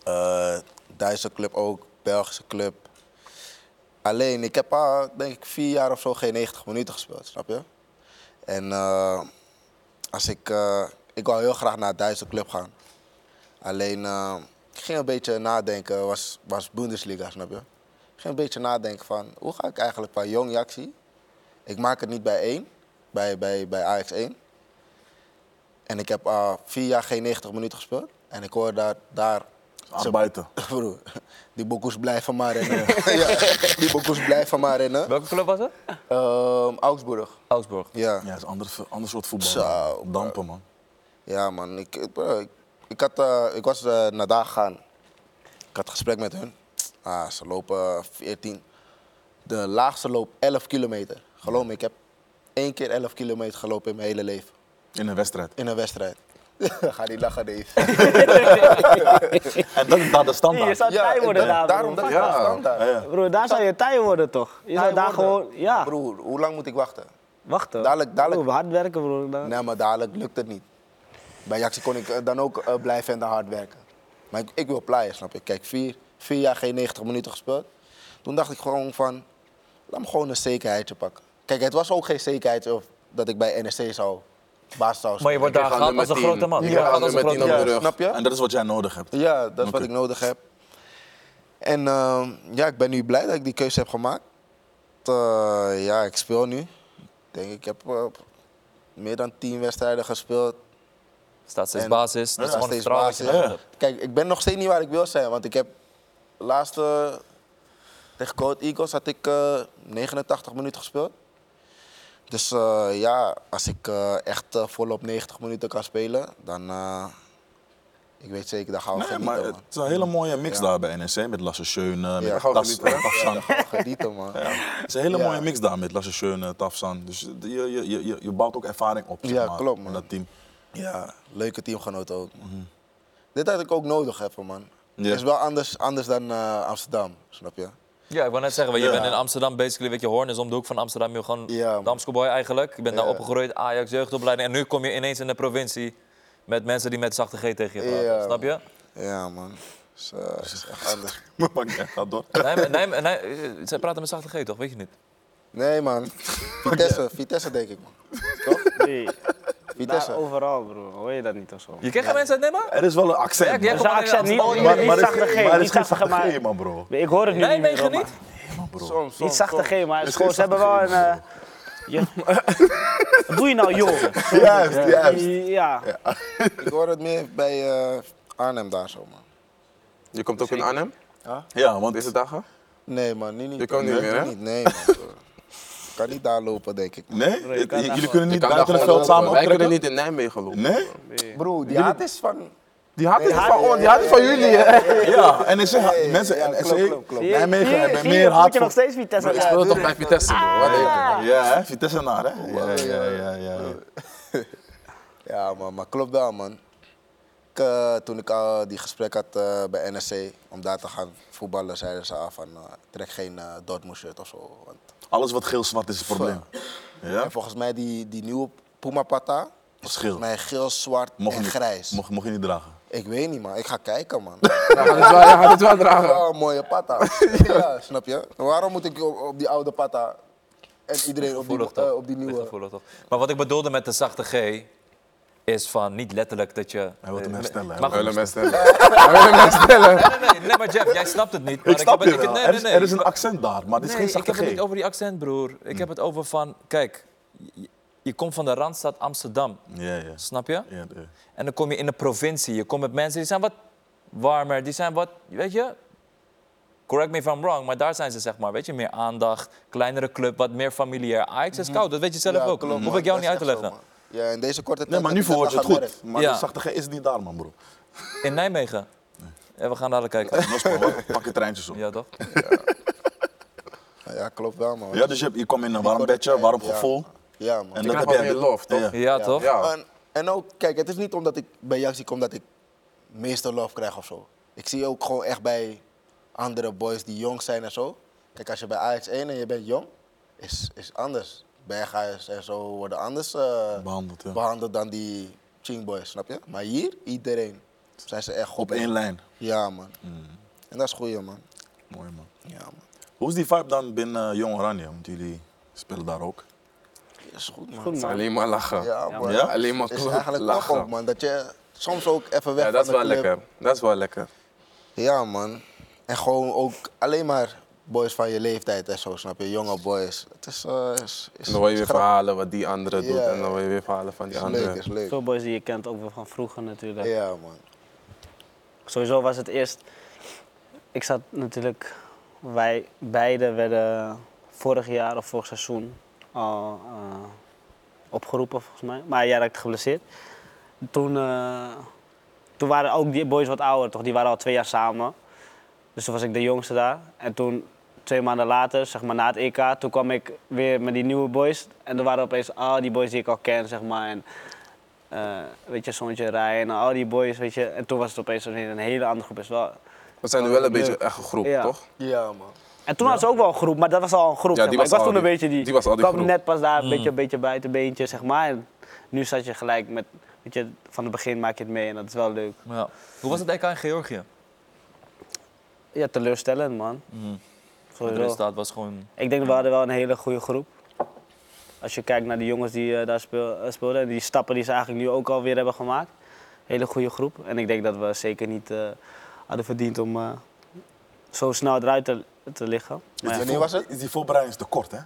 Speaker 1: Eh, Duitse club ook, Belgische club. Alleen, ik heb al denk ik vier jaar of zo geen 90 minuten gespeeld, snap je? En eh, als ik, eh, ik wou heel graag naar een Duitse club gaan. Alleen, eh, ik ging een beetje nadenken, was, was Bundesliga, snap je? Ik ging een beetje nadenken van, hoe ga ik eigenlijk van jong Jaxi ik maak het niet bij één, bij, bij, bij Ajax 1. En ik heb eh, vier jaar geen 90 minuten gespeeld. En ik hoor daar... daar
Speaker 3: Aan buiten.
Speaker 1: Broer, die boekoes blijven maar rennen. ja, die boekoes blijven maar rennen.
Speaker 2: Welke club was het?
Speaker 1: Ehm, Augsburg,
Speaker 2: Augsburg.
Speaker 1: ja.
Speaker 3: Ja, het is een ander, ander soort voetbal.
Speaker 1: Zo,
Speaker 3: Dampen, man.
Speaker 1: Ja, man. Ik, ik, bro, ik, ik had, eh, ik was eh, naar daar gegaan. Ik had gesprek met hun. Ah, ze lopen 14. De laagste loop 11 kilometer. Geloof me, ik heb één keer 11 kilometer gelopen in mijn hele leven.
Speaker 3: In een wedstrijd.
Speaker 1: In een wedstrijd. Ga niet lachen, Dave.
Speaker 3: En dat is daar de
Speaker 5: Je
Speaker 3: standaard.
Speaker 5: zou taai worden daar.
Speaker 1: da-
Speaker 5: bro.
Speaker 1: daarom dat
Speaker 3: Ja.
Speaker 1: ja. standaard.
Speaker 3: Ja, ja.
Speaker 5: Broer, daar zou je taai worden toch? Je zou
Speaker 1: Taai
Speaker 5: daar
Speaker 1: worden.
Speaker 5: gewoon... Ja,
Speaker 1: Eh, Broer, hoe lang moet ik wachten?
Speaker 5: wachten.
Speaker 1: Dadelijk- dadelijk-
Speaker 5: Broer, hard werken, broer. daar.
Speaker 1: Nee, maar dadelijk lukt het niet. Bij Jaxi kon ik eh, dan ook eh, blijven en dan hard werken. Maar ik, ik wil plaaien, snap je? Kijk, vier, vier jaar geen 90 minuten gespeeld. Toen dacht ik gewoon van, laat me gewoon een zekerheidje pakken. Kijk, het was ook geen zekerheid of dat ik bij NEC zou baas zou
Speaker 2: Maar
Speaker 1: spelen.
Speaker 2: je wordt
Speaker 4: Ik
Speaker 2: daar
Speaker 4: ga
Speaker 2: gehaald
Speaker 4: nummer
Speaker 2: als een
Speaker 4: 10.
Speaker 2: grote man.
Speaker 4: Ik
Speaker 2: Je
Speaker 4: ga
Speaker 2: wordt gehaald als een
Speaker 4: nummer
Speaker 2: grote
Speaker 4: 10 op
Speaker 2: man.
Speaker 4: de rug.
Speaker 1: Snap je?
Speaker 3: En dat is wat jij nodig hebt.
Speaker 1: Ja, dat is wat
Speaker 3: Oké.
Speaker 1: ik nodig heb. En ehm, ja, ik ben nu blij dat ik die keuze heb gemaakt. Eh, ja, ik speel nu. Ik denk, ik heb eh, meer dan tien wedstrijden gespeeld.
Speaker 2: Staat steeds
Speaker 1: En-
Speaker 2: basis. Dat is
Speaker 1: Ja,
Speaker 2: gewoon
Speaker 1: steeds
Speaker 2: vertrouwen.
Speaker 1: basis. Kijk, ik ben nog steeds niet waar ik wil zijn, want ik heb laatste tegen Code Eagles had ik eh, 89 minuten gespeeld. Dus eh, ja, als ik eh, echt eh, volop 90 minuten kan spelen, dan eh, ik weet zeker, dan gaan we
Speaker 3: Nee,
Speaker 1: genieten.
Speaker 3: maar het
Speaker 1: man.
Speaker 3: is een hele mooie mix
Speaker 1: Ja.
Speaker 3: daar bij NEC. Met Lasse Schöne, met
Speaker 1: Ja.
Speaker 3: Tafsan. Tafsan.
Speaker 1: Ja, dan gaan we genieten, man.
Speaker 3: Het is een hele
Speaker 1: Ja.
Speaker 3: mooie mix daar met Lasse Schöne, Tafsan. Dus je, je, je, je- je bouwt ook ervaring op zeg
Speaker 1: Ja,
Speaker 3: maar,
Speaker 1: klopt,
Speaker 3: in
Speaker 1: man.
Speaker 3: dat team.
Speaker 1: Ja, leuke teamgenoten ook. man. Dit had ik ook nodig even, man.
Speaker 3: Ja.
Speaker 1: Het is wel anders, anders dan eh, Amsterdam, snap je?
Speaker 2: Ja, ik wou net zeggen, want je
Speaker 3: Ja.
Speaker 2: bent in Amsterdam, basically, weet je, Hoorn is om de hoek van Amsterdam. Je gewoon
Speaker 1: Ja, man.
Speaker 2: Damskeboy eigenlijk. Je bent daar
Speaker 1: Ja.
Speaker 2: opgegroeid, Ajax, jeugdopleiding. En nu kom je ineens in de provincie met mensen die met zachte G tegen je praten.
Speaker 1: Ja,
Speaker 2: Snap je?
Speaker 1: Ja, man. Het is, eh, het is echt anders.
Speaker 3: Maar pak je echt gaat door.
Speaker 2: Nijmegen, Nijmegen, Nijmegen, eh, zij praten met zachte G toch, weet je niet?
Speaker 1: Nee, man. Vitesse, Vitesse denk ik, man.
Speaker 5: Nee,
Speaker 1: Vitesse.
Speaker 5: daar overal bro, hoor je dat niet of zo.
Speaker 2: Je kent geen mensen uit Nijmegen?
Speaker 3: Er is wel een accent.
Speaker 2: Ja,
Speaker 3: man.
Speaker 5: Dus de
Speaker 2: maar in
Speaker 5: accent niet,
Speaker 2: Amsterdam-
Speaker 5: niet,
Speaker 2: Maar-
Speaker 5: niet
Speaker 3: er is-
Speaker 5: zachte G,
Speaker 3: maar er is
Speaker 5: niet
Speaker 3: geen
Speaker 5: zachte G,
Speaker 3: zachte G,
Speaker 5: maar
Speaker 3: man, bro.
Speaker 5: ik hoor het nu niet meer.
Speaker 2: Nijmegen
Speaker 5: hoor,
Speaker 2: niet?
Speaker 5: maar-
Speaker 1: Soms,
Speaker 5: Niet
Speaker 1: soms,
Speaker 5: zachte
Speaker 1: soms.
Speaker 5: G, maar
Speaker 3: is
Speaker 5: ze gewoon- ze
Speaker 3: geen
Speaker 5: hebben wel
Speaker 3: zachte
Speaker 5: een... eh, je- Wat doe je nou, joh?
Speaker 3: Juist, juist.
Speaker 5: Ja,
Speaker 1: Ik hoor het meer bij eh, Arnhem daar zo, man.
Speaker 4: Je komt ook in Arnhem
Speaker 3: Ja, want
Speaker 4: deze dagen?
Speaker 1: Nee, man. Nu niet.
Speaker 4: Je kan niet
Speaker 1: Nee,
Speaker 4: meer, hè?
Speaker 1: Niet. Nee, man. Ik kan niet daar lopen, denk ik.
Speaker 3: Nee? Dit- jullie kunnen
Speaker 4: Je
Speaker 3: niet
Speaker 4: kan daar
Speaker 3: buiten het
Speaker 4: gewoon
Speaker 3: veld samen
Speaker 4: lopen. Wij kunnen
Speaker 3: optrekken?
Speaker 4: niet in Nijmegen lopen.
Speaker 3: Nee?
Speaker 1: Bro, die haat is van...
Speaker 4: Die haat is
Speaker 1: haat-
Speaker 4: van ons, die haat is van jullie. hè?
Speaker 3: Ja, en ik zeg, mensen,
Speaker 1: ja,
Speaker 3: en ik
Speaker 1: klopt,
Speaker 3: zeg,
Speaker 1: klopt, klopt.
Speaker 3: Nijmegen hebben meer
Speaker 5: meer moet je nog
Speaker 3: haat voor...
Speaker 5: steeds Vitesse
Speaker 4: Ik
Speaker 5: hebben.
Speaker 4: speel toch bij Vitesse, bro. Wat denk je?
Speaker 3: Ja, hè? Vitesse naar, hè? Ja, ja, ja, ja.
Speaker 1: Ja, man. Maar klopt wel, man. Ik, eh, toen ik al die gesprek had eh, bij NSC om daar te gaan voetballen, zeiden ze al van eh, trek geen eh, Dortmund shirt of zo. Want,
Speaker 3: Alles wat geel-zwart is het probleem. Ja?
Speaker 1: en volgens mij die, die nieuwe Puma Pata,
Speaker 3: Is geel.
Speaker 1: mij geel, zwart
Speaker 3: Mocht je
Speaker 1: en
Speaker 3: niet-
Speaker 1: grijs.
Speaker 3: Mocht, mocht je niet dragen.
Speaker 1: Ik weet niet, man. Ik ga kijken, man.
Speaker 4: Hij gaat het wel- Hij gaat het wel dragen.
Speaker 1: Oh, mooie patta. ja, snap je? Waarom moet ik op, op die oude patta en iedereen op die,
Speaker 2: Gevoelig
Speaker 1: eh,
Speaker 2: toch?
Speaker 1: op die
Speaker 2: Ligt
Speaker 1: nieuwe?
Speaker 2: gevoelig toch? Maar wat ik bedoelde met de zachte G is van niet letterlijk dat je.
Speaker 3: Hij wil hem
Speaker 2: eh,
Speaker 3: herstellen, hij
Speaker 2: maar
Speaker 4: Hij
Speaker 2: goed,
Speaker 4: wil hem herstellen. Hij wil hem herstellen.
Speaker 2: nee, nee, nee, maar Jeff, jij snapt het niet. Maar
Speaker 3: Ik snap
Speaker 2: heb-
Speaker 3: je wel.
Speaker 2: nee,
Speaker 3: Er
Speaker 2: nee,
Speaker 3: is-
Speaker 2: nee.
Speaker 3: Er is een accent daar, maar het is
Speaker 2: Nee,
Speaker 3: geen Mm.
Speaker 2: ik heb het niet
Speaker 3: zachte G.
Speaker 2: over die accent, broer. Ik heb het over van, kijk, je, je komt van de randstad Amsterdam,
Speaker 3: Ja, ja.
Speaker 2: snap je?
Speaker 3: Ja, ja.
Speaker 2: En dan kom je in de provincie. Je komt met mensen die zijn wat warmer, die zijn wat, weet je. Correct me if I'm wrong, maar daar zijn ze zeg maar, weet je, meer aandacht, kleinere club, wat meer familiair. Ajax is koud, dat weet je zelf
Speaker 1: Mhm. Ja,
Speaker 2: ook.
Speaker 1: klopt,
Speaker 2: Hoef
Speaker 1: man.
Speaker 2: ik jou
Speaker 1: Dat is
Speaker 2: niet uit te
Speaker 1: echt zo,
Speaker 2: leggen.
Speaker 1: man. Ja, in deze korte tijd.
Speaker 3: Nee, maar nu
Speaker 1: heb ik
Speaker 3: verwoord je
Speaker 1: dat
Speaker 3: het
Speaker 1: gaan
Speaker 3: goed.
Speaker 1: merken.
Speaker 3: Maar
Speaker 2: Ja.
Speaker 3: de zachte G is niet daar, man, bro.
Speaker 2: In Nijmegen. Ja, we gaan dadelijk kijken.
Speaker 3: Dat is maar hoor. Pak je treintjes op.
Speaker 2: Ja, toch?
Speaker 1: Ja, klopt wel, man.
Speaker 3: Ja, dus je, hebt- je kwam in een warm
Speaker 1: korte
Speaker 3: bedje,
Speaker 1: tijd,
Speaker 3: warm
Speaker 1: ja.
Speaker 3: gevoel.
Speaker 1: Ja, man.
Speaker 3: En
Speaker 4: Je krijgt wel
Speaker 3: jij-
Speaker 4: meer lof, toch?
Speaker 3: Ja.
Speaker 2: Ja, toch?
Speaker 4: Ja.
Speaker 1: En, en ook, kijk, het is niet omdat ik bij Jaxi kom dat ik meeste love krijg of zo. Ik zie ook gewoon echt bij andere boys die jong zijn en zo. Kijk, als je bij Ajax 1 en je bent jong, is, is anders. Berghuis en zo worden anders eh,
Speaker 3: Behandeld, ja.
Speaker 1: behandeld dan die Ching boys, snap je? Maar hier, iedereen. Zijn ze echt goed.
Speaker 3: Op één lijn. Mm.
Speaker 1: Ja, man. En dat is goeie, man.
Speaker 3: Mooi, man.
Speaker 1: Ja, man.
Speaker 3: Hoe is die vibe dan binnen eh, Jong Oranje? Want jullie spelen daar ook.
Speaker 1: Is goed, man.
Speaker 5: Goed, man.
Speaker 4: Alleen maar lachen.
Speaker 1: Ja, man.
Speaker 3: Ja?
Speaker 4: Alleen maar
Speaker 1: Het is
Speaker 4: klopt,
Speaker 1: eigenlijk toch
Speaker 4: lachen.
Speaker 1: ook, man. Dat je soms ook even weg
Speaker 4: Ja, dat is
Speaker 1: van de
Speaker 4: wel
Speaker 1: club-
Speaker 4: lekker. Dat is wel lekker.
Speaker 1: Ja, man. En gewoon ook alleen maar boys van je leeftijd en zo, snap je? Jonge boys. Het is, eh, is, is,
Speaker 4: En dan hoor je
Speaker 1: is
Speaker 4: weer
Speaker 1: grap-
Speaker 4: verhalen wat die andere doet.
Speaker 1: Ja.
Speaker 4: En dan hoor je weer verhalen van die
Speaker 1: Is leuk,
Speaker 4: andere.
Speaker 1: is leuk.
Speaker 5: Veel boys die je kent ook wel van vroeger natuurlijk.
Speaker 1: Ja, man.
Speaker 5: Sowieso was het eerst. Ik zat natuurlijk. Wij beiden werden vorig jaar of vorig seizoen al eh, opgeroepen volgens mij. Maar jij raakte geblesseerd. Toen, eh, toen waren ook die boys wat ouder, toch? Die waren al twee jaar samen. Dus toen was ik de jongste daar. En toen, twee maanden later, zeg maar na het EK, toen kwam ik weer met die nieuwe boys. En er waren opeens al die boys die ik al ken, zeg maar. En eh, weet je, Zoontje Rijn, al die boys, weet je. En toen was het opeens een een hele andere groep. Is wel...
Speaker 4: We zijn nu wel een beetje echt een groep,
Speaker 5: Ja.
Speaker 4: toch?
Speaker 1: Ja, man.
Speaker 5: En toen hadden ze ook wel een groep, maar dat was al een groep.
Speaker 4: Ja,
Speaker 5: zeg
Speaker 4: die
Speaker 5: maar. ik
Speaker 4: was
Speaker 5: was
Speaker 4: al
Speaker 5: toen een
Speaker 4: die-
Speaker 5: beetje die.
Speaker 4: die was al die
Speaker 5: kwam
Speaker 4: groep. Mm.
Speaker 5: net pas daar, een beetje, een beetje buitenbeentje, zeg maar. En nu zat je gelijk met, weet je, van het begin maak je het mee en dat is wel leuk.
Speaker 2: Ja. Hoe was het EK in Georgië?
Speaker 5: Ja, teleurstellend, man.
Speaker 2: Het
Speaker 4: Mm.
Speaker 5: Sowieso.
Speaker 2: resultaat was gewoon...
Speaker 5: Ik denk dat we hadden wel een hele goede groep. Als je kijkt naar de jongens die eh, daar speel- eh, speelden en die stappen die ze eigenlijk nu ook alweer hebben gemaakt. Hele goede groep. En ik denk dat we zeker niet eh, hadden verdiend om eh, zo snel eruit te, te liggen. Maar ja,
Speaker 1: Wanneer was het?
Speaker 3: Is die voorbereiding te kort, hè?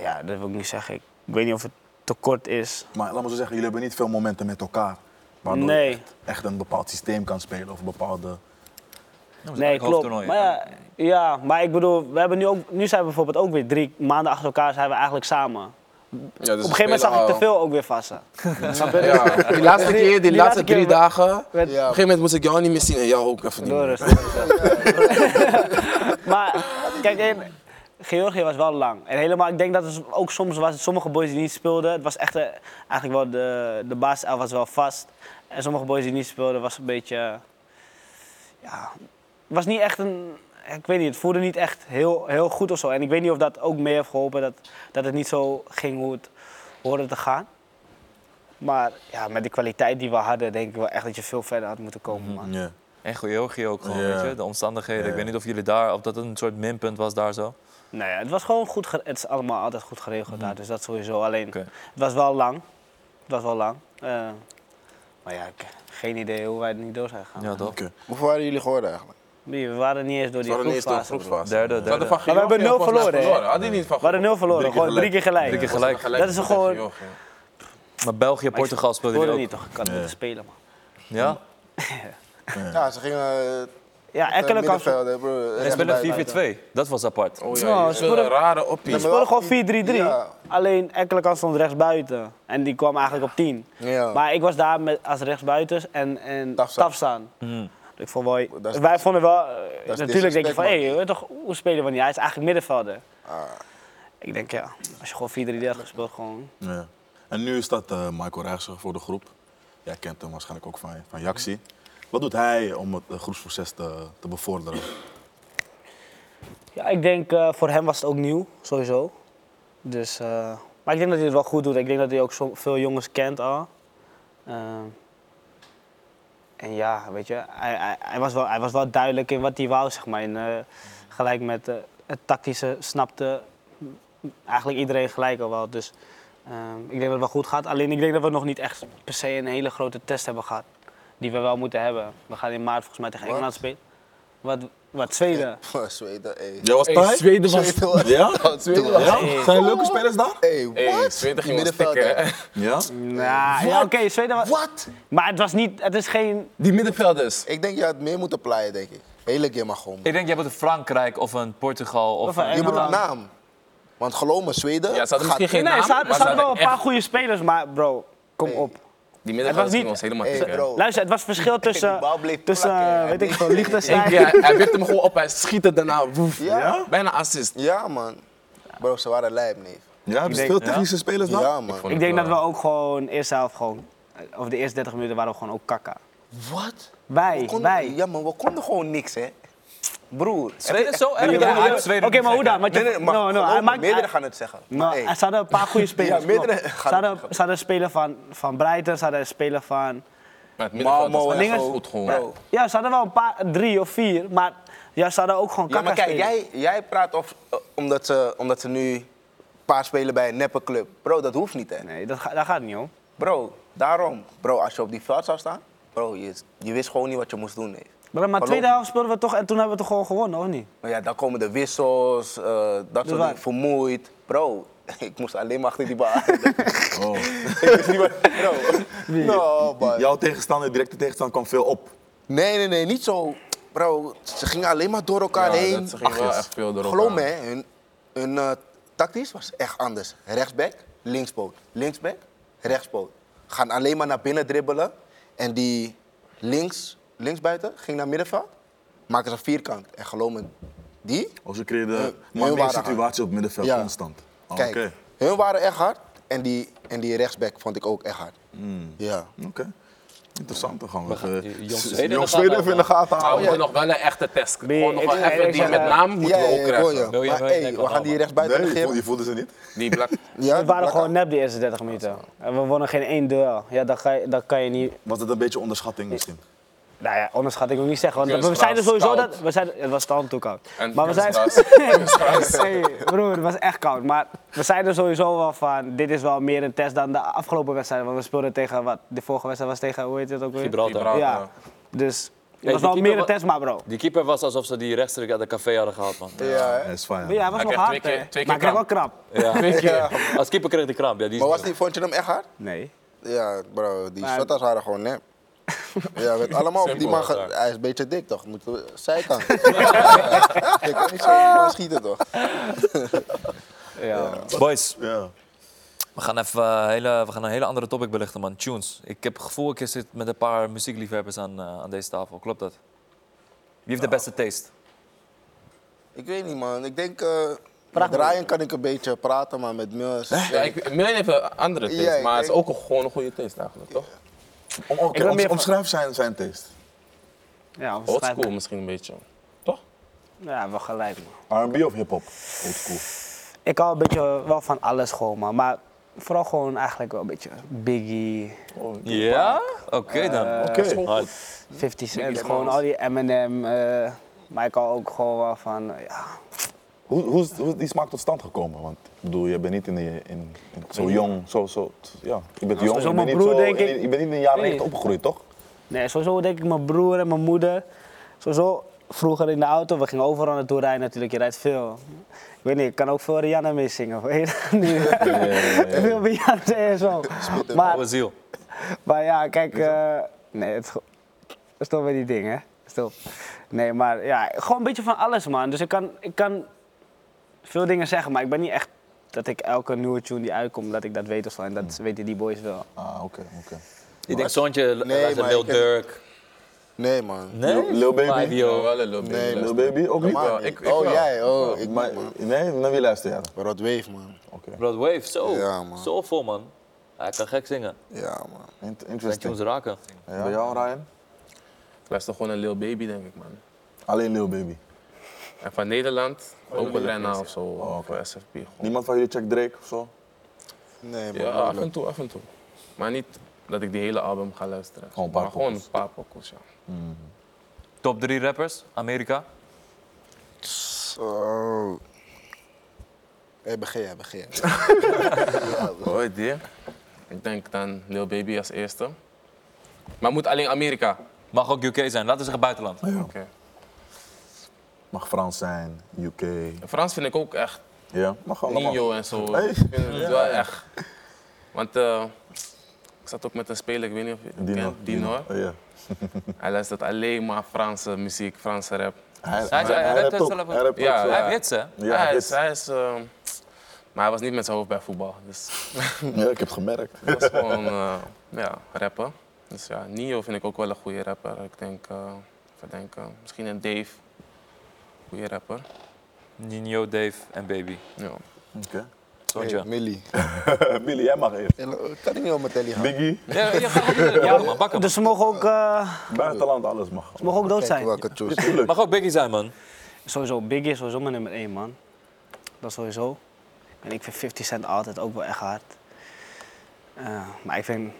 Speaker 5: ja, dat wil ik niet zeggen. Ik weet niet of het tekort is.
Speaker 3: Maar laat me zo zeggen, jullie hebben niet veel momenten met elkaar. Waardoor
Speaker 5: Nee.
Speaker 3: je echt, echt een bepaald systeem kan spelen of een bepaalde...
Speaker 2: Dat was
Speaker 5: Nee,
Speaker 2: eigenlijk
Speaker 5: klopt.
Speaker 2: hoofdtoernooi.
Speaker 5: Maar ja, ja, maar ik bedoel, we hebben nu, ook, nu zijn we bijvoorbeeld ook weer drie maanden achter elkaar zijn we eigenlijk samen.
Speaker 2: Dus
Speaker 4: dus
Speaker 5: Op een gegeven moment zag ik te veel ook weer vasten. Snap je?
Speaker 7: Ja, die laatste keer, die, laatste,
Speaker 5: Die laatste keer
Speaker 7: drie
Speaker 5: we-
Speaker 7: dagen. Op een
Speaker 5: Werd-
Speaker 7: gegeven moment moest ik jou niet meer zien en jou ook even niet
Speaker 5: Door
Speaker 7: meer.
Speaker 5: rustig. maar kijk, in, Georgië was wel lang. En helemaal, ik denk dat het ook soms was, sommige boys die niet speelden, het was echt eh, eigenlijk wel de, de basiself was wel vast. En sommige boys die niet speelden was een beetje, eh, ja, het was niet echt een, ik weet niet, het voelde niet echt heel, heel goed of zo. En ik weet niet of dat ook mee heeft geholpen dat, dat het niet zo ging hoe het hoorde te gaan. Maar ja, met de kwaliteit die we hadden, denk ik wel echt dat je veel verder had moeten komen, man.
Speaker 3: Ja.
Speaker 2: En Georgië ook gewoon,
Speaker 3: Ja.
Speaker 2: weet je, de omstandigheden.
Speaker 3: Ja.
Speaker 2: Ik weet niet of jullie daar, of dat een soort minpunt was daar zo.
Speaker 5: Nou ja, het was gewoon goed. gere- Het is allemaal altijd goed geregeld daar, dus dat sowieso. Alleen,
Speaker 2: Mhm. Oké.
Speaker 5: het was wel lang. Het was wel lang. Eh, maar ja, ik heb geen idee hoe wij er niet door zijn gegaan.
Speaker 2: Ja, toch?
Speaker 3: Oké.
Speaker 1: Hoeveel waren jullie geworden eigenlijk?
Speaker 5: Nee, We waren niet eens door
Speaker 7: Ze
Speaker 5: die
Speaker 7: hadden ineens de
Speaker 5: groepsfase. bro.
Speaker 7: groepsfase.
Speaker 2: Derde,
Speaker 7: Ze hadden
Speaker 2: derde.
Speaker 7: van
Speaker 5: we hebben
Speaker 7: Georgië
Speaker 5: nul
Speaker 7: volgens mij
Speaker 5: verloren, hè?
Speaker 7: Had die niet van
Speaker 5: We hadden nul verloren,
Speaker 3: Drie keer
Speaker 5: gewoon drie keer gelijk.
Speaker 2: Drie keer
Speaker 7: Volgens mij
Speaker 2: gelijk.
Speaker 5: Dat is
Speaker 7: met
Speaker 5: gewoon-
Speaker 7: Georgië.
Speaker 2: Maar België,
Speaker 5: Maar ik
Speaker 2: Portugal speelden
Speaker 5: hoorde
Speaker 2: jullie
Speaker 5: niet
Speaker 2: ook.
Speaker 5: toch? Ik had
Speaker 3: Nee.
Speaker 5: moeten spelen, man.
Speaker 2: Ja?
Speaker 1: Ja, ze gingen uh,
Speaker 5: Ja, Ekkelen kwam...
Speaker 1: middenveld, hè, bro.
Speaker 2: En spelen 4-4-2. Dat was apart.
Speaker 7: Oh
Speaker 5: Nou,
Speaker 7: ja, je
Speaker 5: ze
Speaker 7: speelde
Speaker 5: worden-
Speaker 7: een rare
Speaker 5: Ze
Speaker 7: oppie.
Speaker 5: speelden gewoon 4-3-3.
Speaker 1: Ja.
Speaker 5: Alleen Ekkelen stond rechts buiten. En die kwam eigenlijk op 10.
Speaker 1: Ja.
Speaker 5: Maar ik was daar met, als rechtsbuiters en, en
Speaker 1: Tafstaan.
Speaker 5: Tafstaan. Ik vond wel,
Speaker 1: Dat is-
Speaker 5: wij vonden wel, eh,
Speaker 1: is
Speaker 5: natuurlijk denk je van, hé,
Speaker 1: disrespect,
Speaker 5: hey, toch, hoe spelen we niet? Hij is eigenlijk middenvelder.
Speaker 1: Ah.
Speaker 5: Ik denk, ja, als je gewoon 4-3 had gespeeld, gewoon...
Speaker 3: Ja. En nu staat eh, Michael Rijksen voor de groep. Jij kent hem waarschijnlijk ook van, van Jaxi. Wat doet hij om het eh, groepsproces te, te bevorderen?
Speaker 5: Ja, ik denk, eh, voor hem was het ook nieuw, sowieso. Dus, eh, maar ik denk dat hij het wel goed doet. Ik denk dat hij ook zo veel jongens kent al. Ehm, en ja, weet je, hij, hij, hij, was wel, hij was wel duidelijk in wat hij wou, zeg maar. En, eh, gelijk met eh, het tactische snapte eigenlijk iedereen gelijk al wel. Dus ehm, ik denk dat het wel goed gaat. Alleen ik denk dat we nog niet echt per se een hele grote test hebben gehad. Die we wel moeten hebben. We gaan in maart volgens mij tegen
Speaker 1: Wat?
Speaker 5: Engeland spelen. Wat, wat Zweden.
Speaker 1: Zweden, ey.
Speaker 3: Jij was
Speaker 7: Hey,
Speaker 3: bij?
Speaker 7: Zweden was...
Speaker 3: Ja?
Speaker 1: Zweden was...
Speaker 3: ja? Zijn er leuke spelers daar?
Speaker 1: Ey,
Speaker 7: Hey,
Speaker 1: what?
Speaker 7: Zweden ging wel
Speaker 1: Middenveld,
Speaker 7: stikken.
Speaker 1: hè.
Speaker 7: hè.
Speaker 3: Ja?
Speaker 5: Nou, ja, oké, Zweden was...
Speaker 1: Wat?
Speaker 5: Maar het was niet, het is geen...
Speaker 7: Die middenvelders.
Speaker 1: Ik denk je had meer moeten plaaien, denk ik. Hele keer maar gewoon.
Speaker 2: Ik denk, jij moet een Frankrijk of een Portugal of...
Speaker 5: Of een-
Speaker 1: Je moet een
Speaker 5: Engeland.
Speaker 1: naam. Want geloof me, Zweden
Speaker 7: Ja, ze hadden
Speaker 1: gaat-
Speaker 7: misschien geen
Speaker 5: nee,
Speaker 7: naam,
Speaker 5: er zaten,
Speaker 7: maar
Speaker 5: er
Speaker 7: ze
Speaker 5: zaten wel een
Speaker 7: hadden
Speaker 5: paar
Speaker 7: echt-
Speaker 5: goede spelers, maar bro, kom op.
Speaker 7: Die
Speaker 5: Het was
Speaker 7: middenvelders
Speaker 5: niet-
Speaker 7: gingen ons helemaal
Speaker 1: Hey,
Speaker 7: tikken.
Speaker 1: bro.
Speaker 5: Luister, het was verschil tussen,
Speaker 1: bal bleef
Speaker 5: tussen
Speaker 1: plakken,
Speaker 5: eh,
Speaker 1: hè.
Speaker 5: weet ik veel, Liechtenstein.
Speaker 7: Ja, hij wipt hem gewoon op, hij schiet het daarna. Woef.
Speaker 1: Ja? ja?
Speaker 7: Bijna assist.
Speaker 1: man. Bro, ze waren lijp, neef.
Speaker 3: Ja, hebben ze veel technische spelers daar?
Speaker 1: Ja, man.
Speaker 5: Ik denk dat we ook gewoon eerste helft gewoon, eh, of de eerste 30 minuten waren we gewoon ook kakka.
Speaker 1: Wat?
Speaker 5: Wij, wij,
Speaker 1: Ja, man, we konden gewoon niks, hè. Broer.
Speaker 2: Zweden zo erg?
Speaker 5: Ja,
Speaker 2: Ja,
Speaker 5: maar-
Speaker 2: hij heeft Zweden
Speaker 5: Oké, maar hoe dan? Want je-
Speaker 1: Nee, nee, maar
Speaker 5: no, no,
Speaker 1: geloof
Speaker 5: hij
Speaker 1: me,
Speaker 5: maakt-
Speaker 1: meerdere
Speaker 5: hij-
Speaker 1: gaan het zeggen.
Speaker 5: Maar
Speaker 1: Hey.
Speaker 5: er zaten een paar goede spelers.
Speaker 1: Ja, meerdere
Speaker 5: klopt.
Speaker 1: gaan-
Speaker 5: Ze hadden- ze hadden spelen van, van Breiten, ze hadden spelen van...
Speaker 7: Maar het middenveld
Speaker 1: Malmo
Speaker 7: was
Speaker 1: en
Speaker 7: echt
Speaker 1: zo.
Speaker 7: goed gewoon.
Speaker 1: Bro.
Speaker 5: Ja, ze hadden wel een paar, drie of vier, maar ja, ze hadden ook gewoon
Speaker 1: Ja,
Speaker 5: kakka
Speaker 1: maar kijk,
Speaker 5: spelen.
Speaker 1: jij, jij praat of, eh, omdat, ze, omdat ze nu een paar spelen bij een neppe club. Bro, dat hoeft niet, hè.
Speaker 5: Nee, dat, ga- daar gaat het niet om.
Speaker 1: Bro, daarom. Bro, als je op die veld zou staan, bro, je, je wist gewoon niet wat je moest doen, neef.
Speaker 5: Maar, maar
Speaker 1: Geloof
Speaker 5: tweede
Speaker 1: me.
Speaker 5: helft speelden we toch en toen hebben we toch gewoon gewonnen, of niet?
Speaker 1: Maar ja, dan komen de wissels, eh, dat soort
Speaker 5: waar.
Speaker 1: dingen, vermoeid. Bro, ik moest alleen maar achter die bal.
Speaker 3: Oh.
Speaker 1: ik wist niet wat... Bro. No, man.
Speaker 3: Jouw tegenstander, directe tegenstander, kwam veel op.
Speaker 1: Nee, nee, nee, niet zo. Bro, ze gingen alleen maar door elkaar
Speaker 7: Ja,
Speaker 1: heen.
Speaker 7: dat- ze gingen wel
Speaker 1: Ach,
Speaker 7: echt veel door
Speaker 1: Geloof me,
Speaker 7: elkaar.
Speaker 1: hè, hun, hun eh, tactisch was echt anders. Rechtsback, linkspoot. Linksback, rechtspoot. Gaan alleen maar naar binnen dribbelen. En die links, linksbuiten ging naar middenveld. Maken ze een vierkant. En geloof me, die...
Speaker 3: Of ze creëerden
Speaker 1: Hun-
Speaker 3: maar
Speaker 1: hun
Speaker 3: meer
Speaker 1: waren hard.
Speaker 3: situatie op het middenveld
Speaker 1: Ja.
Speaker 3: constant. Oh,
Speaker 1: Kijk,
Speaker 3: Oké.
Speaker 1: hun waren echt hard. En die, en die rechtsback vond ik ook echt hard.
Speaker 3: Hmm.
Speaker 1: Ja.
Speaker 3: Oké. Interessant, dan gaan we.
Speaker 2: gaan-
Speaker 3: eh,
Speaker 2: jong
Speaker 3: s-
Speaker 2: Zweden gaan
Speaker 3: jong Zweden even in de gaten
Speaker 7: Maar we
Speaker 3: houden.
Speaker 7: moeten nog wel een echte test. Gewoon nog
Speaker 5: ik-
Speaker 7: wel
Speaker 5: ik-
Speaker 7: even
Speaker 5: ik
Speaker 7: die
Speaker 5: zeg,
Speaker 7: met
Speaker 5: eh,
Speaker 7: naam moeten we
Speaker 1: ja,
Speaker 7: ook
Speaker 1: ja, ik hoor je.
Speaker 7: krijgen.
Speaker 2: Wil je
Speaker 1: Maar
Speaker 2: wel-
Speaker 1: hey,
Speaker 2: nee,
Speaker 1: we gaan die rechtsbuiten
Speaker 3: Nee, je
Speaker 1: negeren.
Speaker 3: voelde- je voelde ze niet.
Speaker 7: Die black.
Speaker 1: Ja,
Speaker 5: Het waren
Speaker 1: lekker.
Speaker 5: gewoon nep de eerste 30 minuten. En we wonnen geen één duel. Ja, dat, ga je, dat kan je niet.
Speaker 3: Was dat een beetje onderschatting misschien?
Speaker 5: Nou ja, onderschat ik ook niet zeggen. Want
Speaker 7: Kunst
Speaker 5: we,
Speaker 7: was
Speaker 5: zeiden sowieso
Speaker 7: koud.
Speaker 5: dat. We zeiden, het was stand toe koud.
Speaker 7: En
Speaker 5: maar we
Speaker 7: kunst
Speaker 5: zeiden.
Speaker 7: was-
Speaker 5: hey, broer, het was echt koud. Maar we zeiden sowieso wel van. Dit is wel meer een test dan de afgelopen wedstrijden. Want we speelden tegen wat? De vorige wedstrijd was tegen. Hoe heet het ook weer?
Speaker 2: Gibraltar.
Speaker 7: Gibraltar.
Speaker 5: Ja. Dus. Het
Speaker 2: Hey,
Speaker 5: was
Speaker 2: die
Speaker 5: wel meer een
Speaker 2: keeper wa-
Speaker 5: test, maar bro.
Speaker 2: Die keeper was alsof ze die rechtstreeks uit de café hadden gehaald, man.
Speaker 1: Ja, hè.
Speaker 3: Dat is fijn.
Speaker 5: Ja, hij
Speaker 7: Hij
Speaker 5: was nog
Speaker 7: kreeg
Speaker 5: hard.
Speaker 7: twee keer-
Speaker 5: hè.
Speaker 7: twee
Speaker 5: maar
Speaker 7: keer
Speaker 5: ik kreeg wel krap.
Speaker 2: Als keeper kreeg hij kramp. Ja, die is
Speaker 1: Maar was die, vond je hem echt hard?
Speaker 5: Nee.
Speaker 1: Ja, bro, die
Speaker 5: Maar-
Speaker 1: shotters waren gewoon nep. Ja, met allemaal op die
Speaker 4: Simpel,
Speaker 1: man. ge-
Speaker 4: ja.
Speaker 1: Hij is een beetje dik toch? Moet zijkant. Ja, Je kan niet zo op die man schieten toch?
Speaker 2: Boys,
Speaker 3: Ja.
Speaker 2: we gaan, even, eh, hele, we gaan een hele andere topic belichten, man. Tunes. Ik heb het gevoel, ik zit met een paar muziekliefhebbers aan, eh, aan deze tafel. Klopt dat? Wie heeft de beste taste?
Speaker 1: Ik weet niet man. Ik denk. eh
Speaker 5: Vraag
Speaker 1: met
Speaker 5: maar.
Speaker 1: Ryan kan ik een beetje praten, maar met Mills.
Speaker 4: Ja, ik, Millen heeft een andere taste,
Speaker 1: Ja, ik
Speaker 4: maar het is
Speaker 1: denk-
Speaker 4: ook een- gewoon een goede taste eigenlijk, toch?
Speaker 3: Om- oké,
Speaker 5: ben
Speaker 3: om-
Speaker 5: meer van-
Speaker 3: omschrijf zijn, zijn taste.
Speaker 5: Ja, we
Speaker 4: Old
Speaker 5: schrijven-
Speaker 4: school misschien een beetje. Toch?
Speaker 5: Ja, wel gelijk man.
Speaker 3: R&B of hip-hop? Old school.
Speaker 5: Ik hou een beetje wel van alles gewoon man. Maar vooral gewoon eigenlijk wel een beetje Biggie,
Speaker 2: Ja? Oké dan.
Speaker 5: Eh,
Speaker 3: Oké.
Speaker 5: 50 Cent,
Speaker 4: Biggie
Speaker 5: gewoon
Speaker 4: Smalls.
Speaker 5: al die Eminem. eh, maar ik hou ook gewoon wel van, eh, ja,
Speaker 3: Hoe, hoe, is, hoe is die smaak tot stand gekomen? Want ik bedoel, je bent niet in, die, in, in- zo jong, zo, zo, ja. Je bent jong,
Speaker 5: zo
Speaker 3: je
Speaker 5: mijn
Speaker 3: bent niet,
Speaker 5: broer,
Speaker 3: zo,
Speaker 5: denk
Speaker 3: in-
Speaker 5: ik.
Speaker 3: je bent niet in de jaren
Speaker 5: Nee.
Speaker 3: 90 opgegroeid, toch?
Speaker 5: Nee, sowieso denk ik mijn broer en mijn moeder. Sowieso vroeger in de auto, we gingen overal naartoe rijden natuurlijk. Je rijdt veel. Ik weet niet, ik kan ook veel Rihanna meezingen. Weet je dat niet? Veel Beyoncé en zo. Maar,
Speaker 2: Oude ziel.
Speaker 5: maar ja, kijk... eh, nee, het is go- stop met die dingen. Stop. Nee, maar ja, gewoon een beetje van alles, man. Dus ik kan, ik kan veel dingen zeggen, maar ik ben niet echt... Dat ik elke nieuwe tune die uitkomt, dat ik dat weet of zo. En dat weten die boys wel.
Speaker 3: Ah, oké, oké.
Speaker 2: Ik denk zoontje,
Speaker 1: Nee,
Speaker 2: nee,
Speaker 1: maar
Speaker 2: Lil
Speaker 1: ik heb-
Speaker 2: Durk.
Speaker 1: Nee man.
Speaker 2: Nee?
Speaker 3: Lil Baby?
Speaker 4: Ja,
Speaker 2: Fabio.
Speaker 4: wel een little bit.
Speaker 1: Nee,
Speaker 3: Lil Baby ook niet?
Speaker 1: Normaal
Speaker 4: wel, ik-
Speaker 1: niet.
Speaker 4: ik
Speaker 1: oh
Speaker 4: wel.
Speaker 1: jij, oh ik
Speaker 3: Maar,
Speaker 1: niet, man.
Speaker 3: nee, naar wie luister jij? dan?
Speaker 1: Rod Wave man.
Speaker 3: Oké.
Speaker 2: Broad Wave, zo.
Speaker 1: Ja, man.
Speaker 2: Zo vol, man. Hij kan gek zingen.
Speaker 1: Ja man.
Speaker 3: Int-
Speaker 2: Zijn tunes
Speaker 3: Interesting.
Speaker 2: raken.
Speaker 3: Ja. Bij jou, Ryan?
Speaker 4: Ik luister gewoon een Lil Baby, denk ik, man.
Speaker 3: Alleen Lil Baby.
Speaker 4: En van Nederland ook een Renna of zo, of
Speaker 3: oké.
Speaker 4: een SFP. Gewoon.
Speaker 3: Niemand van jullie checkt Drake of zo?
Speaker 1: Nee man.
Speaker 4: Ja, af
Speaker 1: moeilijk.
Speaker 4: en toe, af en toe. Maar niet dat ik die hele album ga luisteren.
Speaker 3: Gewoon een paar
Speaker 4: maar gewoon
Speaker 3: pokkels.
Speaker 4: een paar pokkels, ja.
Speaker 2: Top drie rappers, Amerika.
Speaker 1: Oh. Hey, begin jij, begin jij.
Speaker 4: Mooi idee. Ik denk dan Lil Baby als eerste. Maar moet alleen Amerika.
Speaker 2: Mag ook UK zijn, laten we zeggen buitenland.
Speaker 4: Oké.
Speaker 3: Mag Frans zijn, UK.
Speaker 4: En Frans vind ik ook echt
Speaker 3: Ja, mag allemaal.
Speaker 4: Nino en zo.
Speaker 3: Hey.
Speaker 4: Ik vind het wel echt. Want eh, ik zat ook met een speler, ik weet niet of je hem
Speaker 3: Dino.
Speaker 4: kent, Dino.
Speaker 3: Oh, ja.
Speaker 4: Hij luistert alleen maar Franse muziek, Franse rap.
Speaker 3: Hij,
Speaker 2: hij rapt
Speaker 3: rapt
Speaker 2: het
Speaker 3: ook.
Speaker 2: zelf ook.
Speaker 3: Hij rapt ook,
Speaker 4: Ja,
Speaker 2: Hij heeft hits, hè?
Speaker 3: Ja,
Speaker 4: hij
Speaker 3: dit-
Speaker 4: is, hij is eh, maar hij was niet met zijn hoofd bij voetbal. Dus
Speaker 3: ja, ik heb het gemerkt.
Speaker 4: hij was gewoon eh, ja, rappen. Dus ja, Nio vind ik ook wel een goede rapper. Ik denk, eh, even denken, misschien een Dave. Goede rapper.
Speaker 2: Nino, Dave en Baby.
Speaker 4: Ja.
Speaker 3: Oké.
Speaker 1: Hey,
Speaker 2: Zoontje.
Speaker 1: Millie.
Speaker 3: Billy, jij mag eerst.
Speaker 1: Kan ik niet op mijn telly gaan?
Speaker 3: Biggie,
Speaker 2: Ja, je gaat op iedereen. Ja, man, pak hem.
Speaker 5: Dus ze mogen ook, eh,
Speaker 3: buitenland, alles mag.
Speaker 5: ze mogen ook dood
Speaker 1: Kijken
Speaker 5: zijn.
Speaker 1: welke choose.
Speaker 3: Tuurlijk.
Speaker 2: Mag ook Biggie zijn, man.
Speaker 5: Sowieso, Biggie is sowieso mijn nummer 1 man. Dat is sowieso. En ik vind 50 Cent altijd ook wel echt hard. Eh, maar ik vind